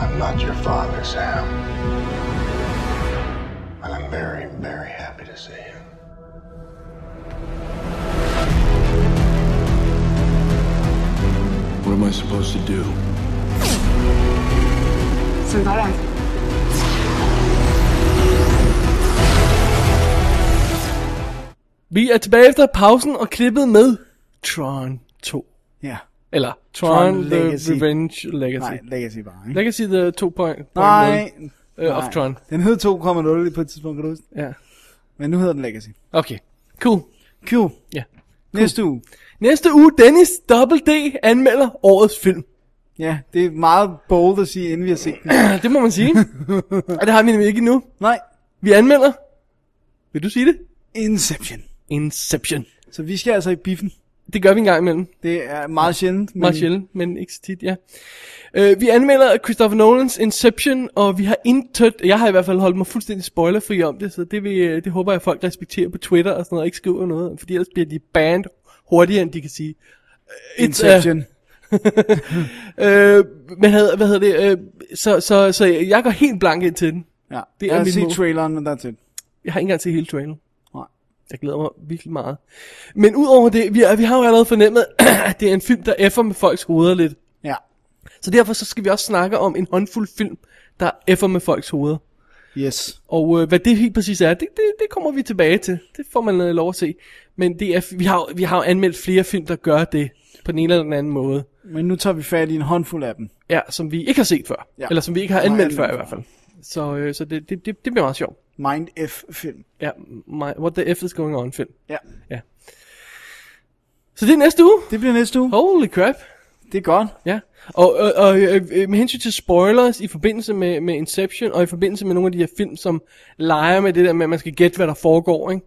[SPEAKER 9] I'm not your father, Sam. And I'm very, very happy to see you.
[SPEAKER 16] What am I supposed to do?
[SPEAKER 17] Survive.
[SPEAKER 6] Vi er tilbage efter pausen og klippet med Tron 2.
[SPEAKER 5] Ja.
[SPEAKER 6] Eller Tron,
[SPEAKER 5] Tron
[SPEAKER 6] Tron The
[SPEAKER 5] Legacy.
[SPEAKER 6] Revenge Legacy.
[SPEAKER 5] Nej, Legacy bare, ikke?
[SPEAKER 6] Legacy The 2.0.
[SPEAKER 5] Nej.
[SPEAKER 6] Uh,
[SPEAKER 5] Nej.
[SPEAKER 6] of Tron.
[SPEAKER 5] Den hed 2,0 på et tidspunkt, kan du huske?
[SPEAKER 6] Ja.
[SPEAKER 5] Men nu hedder den Legacy.
[SPEAKER 6] Okay. Cool.
[SPEAKER 5] Cool.
[SPEAKER 6] Ja.
[SPEAKER 5] Næste uge.
[SPEAKER 6] Næste uge, Dennis Double D anmelder årets film.
[SPEAKER 5] Ja, det er meget bold at sige, inden vi har set den.
[SPEAKER 6] det må man sige. Og det har vi nemlig ikke endnu.
[SPEAKER 5] Nej.
[SPEAKER 6] Vi anmelder. Vil du sige det?
[SPEAKER 5] Inception.
[SPEAKER 6] Inception.
[SPEAKER 5] Så vi skal altså i biffen.
[SPEAKER 6] Det gør vi en gang imellem.
[SPEAKER 5] Det er meget sjældent.
[SPEAKER 6] Men... Meget sjældent, men ikke så tit, ja. Øh, vi anmelder Christopher Nolans Inception, og vi har intet, jeg har i hvert fald holdt mig fuldstændig spoilerfri om det, så det, vil, øh, det håber jeg, folk respekterer på Twitter og sådan noget, og ikke skriver noget, fordi ellers bliver de banned hurtigere, end de kan sige. øh, it's a-
[SPEAKER 5] Inception.
[SPEAKER 6] øh, hvad, hedder, hvad hedder det? Øh, så, så, så jeg går helt blank ind til den.
[SPEAKER 5] Ja.
[SPEAKER 6] Det
[SPEAKER 5] jeg
[SPEAKER 6] er
[SPEAKER 5] har
[SPEAKER 6] min
[SPEAKER 5] set
[SPEAKER 6] mål.
[SPEAKER 5] traileren, men that's it.
[SPEAKER 6] Jeg har ikke engang set hele traileren.
[SPEAKER 5] Nej.
[SPEAKER 6] Jeg glæder mig virkelig meget. Men udover det, vi, er, vi har jo allerede fornemmet, at det er en film, der effer med folks hoveder lidt.
[SPEAKER 5] Ja.
[SPEAKER 6] Så derfor så skal vi også snakke om en håndfuld film, der effer med folks hoveder.
[SPEAKER 5] Yes.
[SPEAKER 6] Og øh, hvad det helt præcis er, det, det, det kommer vi tilbage til. Det får man øh, lov at se. Men det er, vi har jo- vi har jo anmeldt flere film, der gør det på den ene eller den anden måde.
[SPEAKER 5] Men nu tager vi fat i en håndfuld af dem.
[SPEAKER 6] Ja, som vi ikke har set før.
[SPEAKER 5] Ja.
[SPEAKER 6] Ja. Eller som vi ikke har
[SPEAKER 5] Nej,
[SPEAKER 6] anmeldt
[SPEAKER 5] anmeldt
[SPEAKER 6] før i
[SPEAKER 5] før.
[SPEAKER 6] hvert fald. Så, øh, så det, det, det, det bliver meget sjovt.
[SPEAKER 5] Mind F-film.
[SPEAKER 6] Ja, my, what the F is going on film.
[SPEAKER 5] Ja.
[SPEAKER 6] ja. Så det er næste uge.
[SPEAKER 5] Det bliver næste uge.
[SPEAKER 6] Holy crap.
[SPEAKER 5] Det er godt.
[SPEAKER 6] Ja, og, og, og øh, øh, med hensyn til spoilers i forbindelse med, med Inception, og i forbindelse med nogle af de her film, som leger med det der med, at man skal gætte, hvad der foregår, ikke?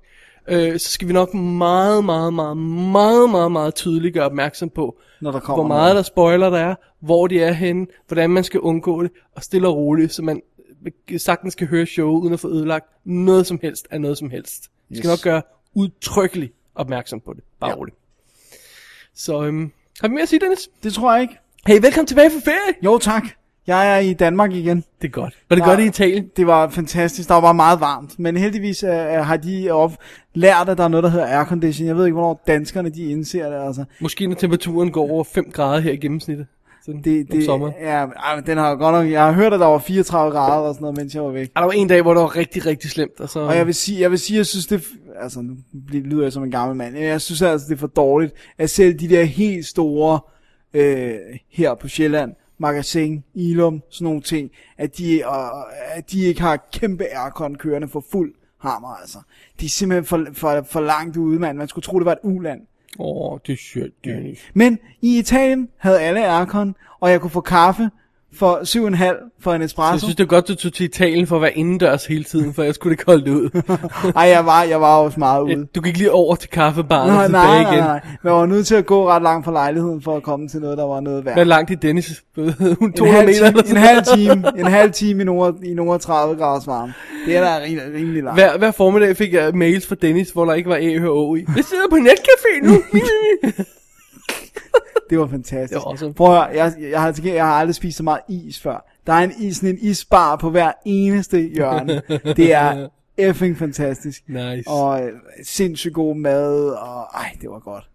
[SPEAKER 6] Øh, så skal vi nok meget, meget, meget, meget, meget, meget tydeligt gøre opmærksom på,
[SPEAKER 5] Når der kommer
[SPEAKER 6] hvor meget der spoiler der er, hvor de er henne, hvordan man skal undgå det, og stille og roligt, så man øh, sagtens kan høre showet, uden at få ødelagt noget som helst af noget som helst. Vi skal
[SPEAKER 5] Yes.
[SPEAKER 6] nok gøre udtrykkelig opmærksom på det, bare
[SPEAKER 5] Ja.
[SPEAKER 6] ja. roligt. Så øhm, har vi mere at sige, Dennis?
[SPEAKER 5] Det tror jeg ikke.
[SPEAKER 6] Hey, velkommen tilbage fra ferie!
[SPEAKER 5] Jo, tak. Jeg er i Danmark igen.
[SPEAKER 6] Det er godt. Var det
[SPEAKER 5] Der-
[SPEAKER 6] godt i Italien?
[SPEAKER 5] Det var fantastisk. Der var meget varmt. Men heldigvis øh, har de op lært, at der er noget, der hedder aircondition. Jeg ved ikke, hvornår danskerne de indser det. Altså.
[SPEAKER 6] Måske når temperaturen går over 5 grader her i gennemsnittet. Sådan
[SPEAKER 5] Det,
[SPEAKER 6] om
[SPEAKER 5] det,
[SPEAKER 6] sommeren.
[SPEAKER 5] ja, ej, men den har jo godt nok... Jeg har hørt, at der var 34 grader og sådan noget, mens jeg var væk.
[SPEAKER 6] Og der var en dag, hvor det var rigtig, rigtig slemt. Og, så...
[SPEAKER 5] Og jeg vil sige, jeg vil sige, jeg synes det, altså nu bliver- lyder jeg som en gammel mand, men jeg synes altså, det er for dårligt, at selv de der helt store, øh, her på Sjælland, Magasin, Ilum, sådan nogle ting, at de, og, at de ikke har kæmpe aircon kørende for fuld hammer, altså. De er simpelthen for, for, for langt ude, mand. Man skulle tro, det var et uland.
[SPEAKER 6] Åh, oh, det er sjovt, Dennis.
[SPEAKER 5] Men i Italien havde alle aircon, og jeg kunne få kaffe for 7,5 for en
[SPEAKER 6] Så
[SPEAKER 5] espresso.
[SPEAKER 6] jeg synes, det er godt, du tog til Italien for at være indendørs hele tiden, for jeg skulle det koldt ud.
[SPEAKER 5] Ej, jeg var, jeg var også meget ude.
[SPEAKER 6] du gik lige over til kaffebaren og
[SPEAKER 5] Nej,
[SPEAKER 6] så
[SPEAKER 5] nej,
[SPEAKER 6] tilbage
[SPEAKER 5] nej,
[SPEAKER 6] igen.
[SPEAKER 5] nej. Man var nødt til at gå ret langt fra lejligheden for at komme til noget, der var noget værd.
[SPEAKER 6] Hvad langt i Dennis? Hun
[SPEAKER 5] en
[SPEAKER 6] 200
[SPEAKER 5] halv,
[SPEAKER 6] meter eller
[SPEAKER 5] time, en
[SPEAKER 6] sådan
[SPEAKER 5] halv
[SPEAKER 6] noget.
[SPEAKER 5] time, en halv time i nord, i nord 30 graders varme. Det er da rimelig, rimelig langt.
[SPEAKER 6] Hver, hver formiddag fik jeg mails fra Dennis, hvor der ikke var æ og å i. Jeg sidder på netcafé nu.
[SPEAKER 5] Det var fantastisk.
[SPEAKER 6] Det var awesome.
[SPEAKER 5] Prøv at høre, jeg, jeg, har, til gengæld- jeg har aldrig spist så meget is før. Der er en, is, sådan en isbar på hver eneste hjørne. Det er effing fantastisk.
[SPEAKER 6] Nice.
[SPEAKER 5] Og øh, sindssygt god mad, og ej, det var godt.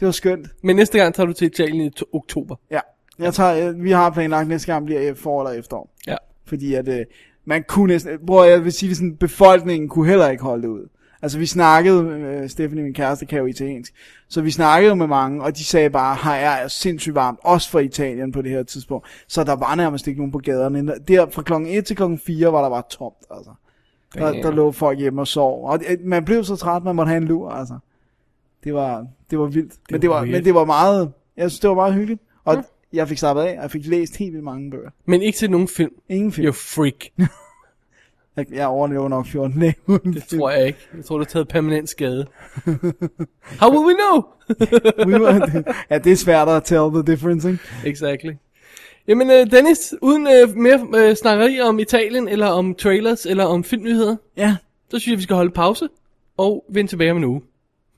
[SPEAKER 5] Det var skønt.
[SPEAKER 6] Men næste gang tager du til Italien i to- oktober.
[SPEAKER 5] Ja, jeg tager, øh, vi har planlagt næste gang bliver øh, forår eller efterår.
[SPEAKER 6] Ja.
[SPEAKER 5] Fordi at øh, man kunne næsten, bror, jeg vil sige det sådan, befolkningen kunne heller ikke holde det ud. Altså vi snakkede, øh, Stephanie, min kæreste, kan jo italiensk, så vi snakkede med mange, og de sagde bare, her er sindssygt varmt, også for Italien på det her tidspunkt. Så der var nærmest ikke nogen på gaderne. Der fra klokken 1 til klokken 4 var der bare tomt, altså. Der,
[SPEAKER 6] Damn.
[SPEAKER 5] der lå folk hjemme og sov. Og øh, man blev så træt, man måtte have en lur, altså. Det var, det var vildt. Det men, det
[SPEAKER 6] var
[SPEAKER 5] var,
[SPEAKER 6] vildt.
[SPEAKER 5] men det var meget, jeg synes, det var meget hyggeligt. Og jeg fik slappet af, og jeg fik læst helt vildt mange bøger.
[SPEAKER 6] Men ikke til nogen film.
[SPEAKER 5] Ingen film.
[SPEAKER 6] You freak.
[SPEAKER 5] Jeg, jeg overlever nok 14 dage uden
[SPEAKER 6] Det tror jeg ikke. Jeg tror, du har taget permanent skade. How will we know?
[SPEAKER 5] We were- ja, det er svært at tell the difference, ikke?
[SPEAKER 6] exactly. Jamen, øh, Dennis, uden øh, mere øh, snakkeri om Italien, eller om trailers, eller om filmnyheder,
[SPEAKER 5] Ja.
[SPEAKER 6] så synes jeg, vi skal holde pause, og vende tilbage om en uge.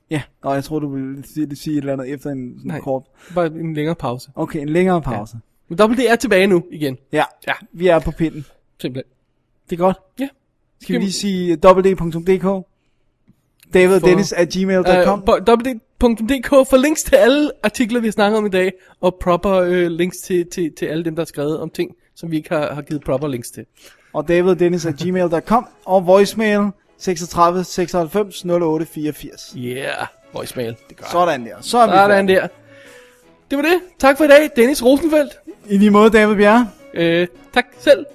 [SPEAKER 5] Ja, og jeg tror, du ville sige, sige et eller andet efter en sådan
[SPEAKER 6] Nej.
[SPEAKER 5] kort...
[SPEAKER 6] Bare en længere pause.
[SPEAKER 5] Okay, en længere pause.
[SPEAKER 6] Men Double D er tilbage nu igen.
[SPEAKER 5] Ja.
[SPEAKER 6] Ja.
[SPEAKER 5] Vi er på pinden.
[SPEAKER 6] Simpelthen.
[SPEAKER 5] Det er godt.
[SPEAKER 6] Ja.
[SPEAKER 5] Skal vi lige sige eh, www.dk? David
[SPEAKER 6] For-
[SPEAKER 5] Dennis at gmail.com.
[SPEAKER 6] Uh, www.dk for links til alle artikler, vi har snakket om i dag, og proper øh, links til, til, til alle dem, der har skrevet om ting, som vi ikke har, har givet proper links til.
[SPEAKER 5] og daviddennis at gmail.com og voicemail 36 96 08 84.
[SPEAKER 6] Yeah, voicemail. Det gør
[SPEAKER 5] Sådan der. Så er vi
[SPEAKER 6] Sådan
[SPEAKER 5] færdige.
[SPEAKER 6] der. Det var det. Tak for i dag, Dennis Rosenfeldt.
[SPEAKER 5] I lige måde, David Bjerre.
[SPEAKER 6] Øh, tak selv.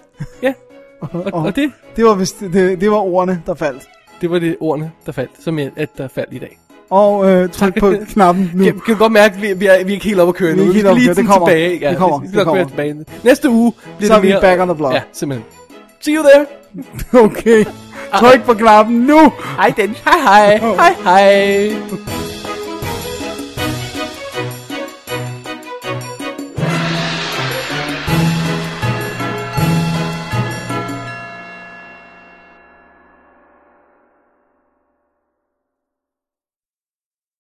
[SPEAKER 6] Ja, og, og det,
[SPEAKER 5] Det var, vist, det, det var ordene, der faldt.
[SPEAKER 6] Det var det ordene, der faldt, som jeg, at der faldt i dag.
[SPEAKER 5] Og øh, tryk på knappen nu.
[SPEAKER 6] Kan, kan du godt mærke, at vi, vi, er, vi er ikke helt oppe at køre
[SPEAKER 5] Vi er
[SPEAKER 6] nu.
[SPEAKER 5] ikke helt
[SPEAKER 6] skal
[SPEAKER 5] oppe
[SPEAKER 6] lige
[SPEAKER 5] at køre. Det kommer. Det
[SPEAKER 6] sådan Tilbage.
[SPEAKER 5] kommer.
[SPEAKER 6] Vi, vi
[SPEAKER 5] Det
[SPEAKER 6] skal nok
[SPEAKER 5] kommer.
[SPEAKER 6] være tilbage. Næste uge bliver
[SPEAKER 5] Så er
[SPEAKER 6] det
[SPEAKER 5] vi
[SPEAKER 6] mere...
[SPEAKER 5] back on the block.
[SPEAKER 6] Ja, simpelthen. See you there.
[SPEAKER 5] Okay. Tryk på knappen nu.
[SPEAKER 6] Hej den. Hej hej. Hej hej.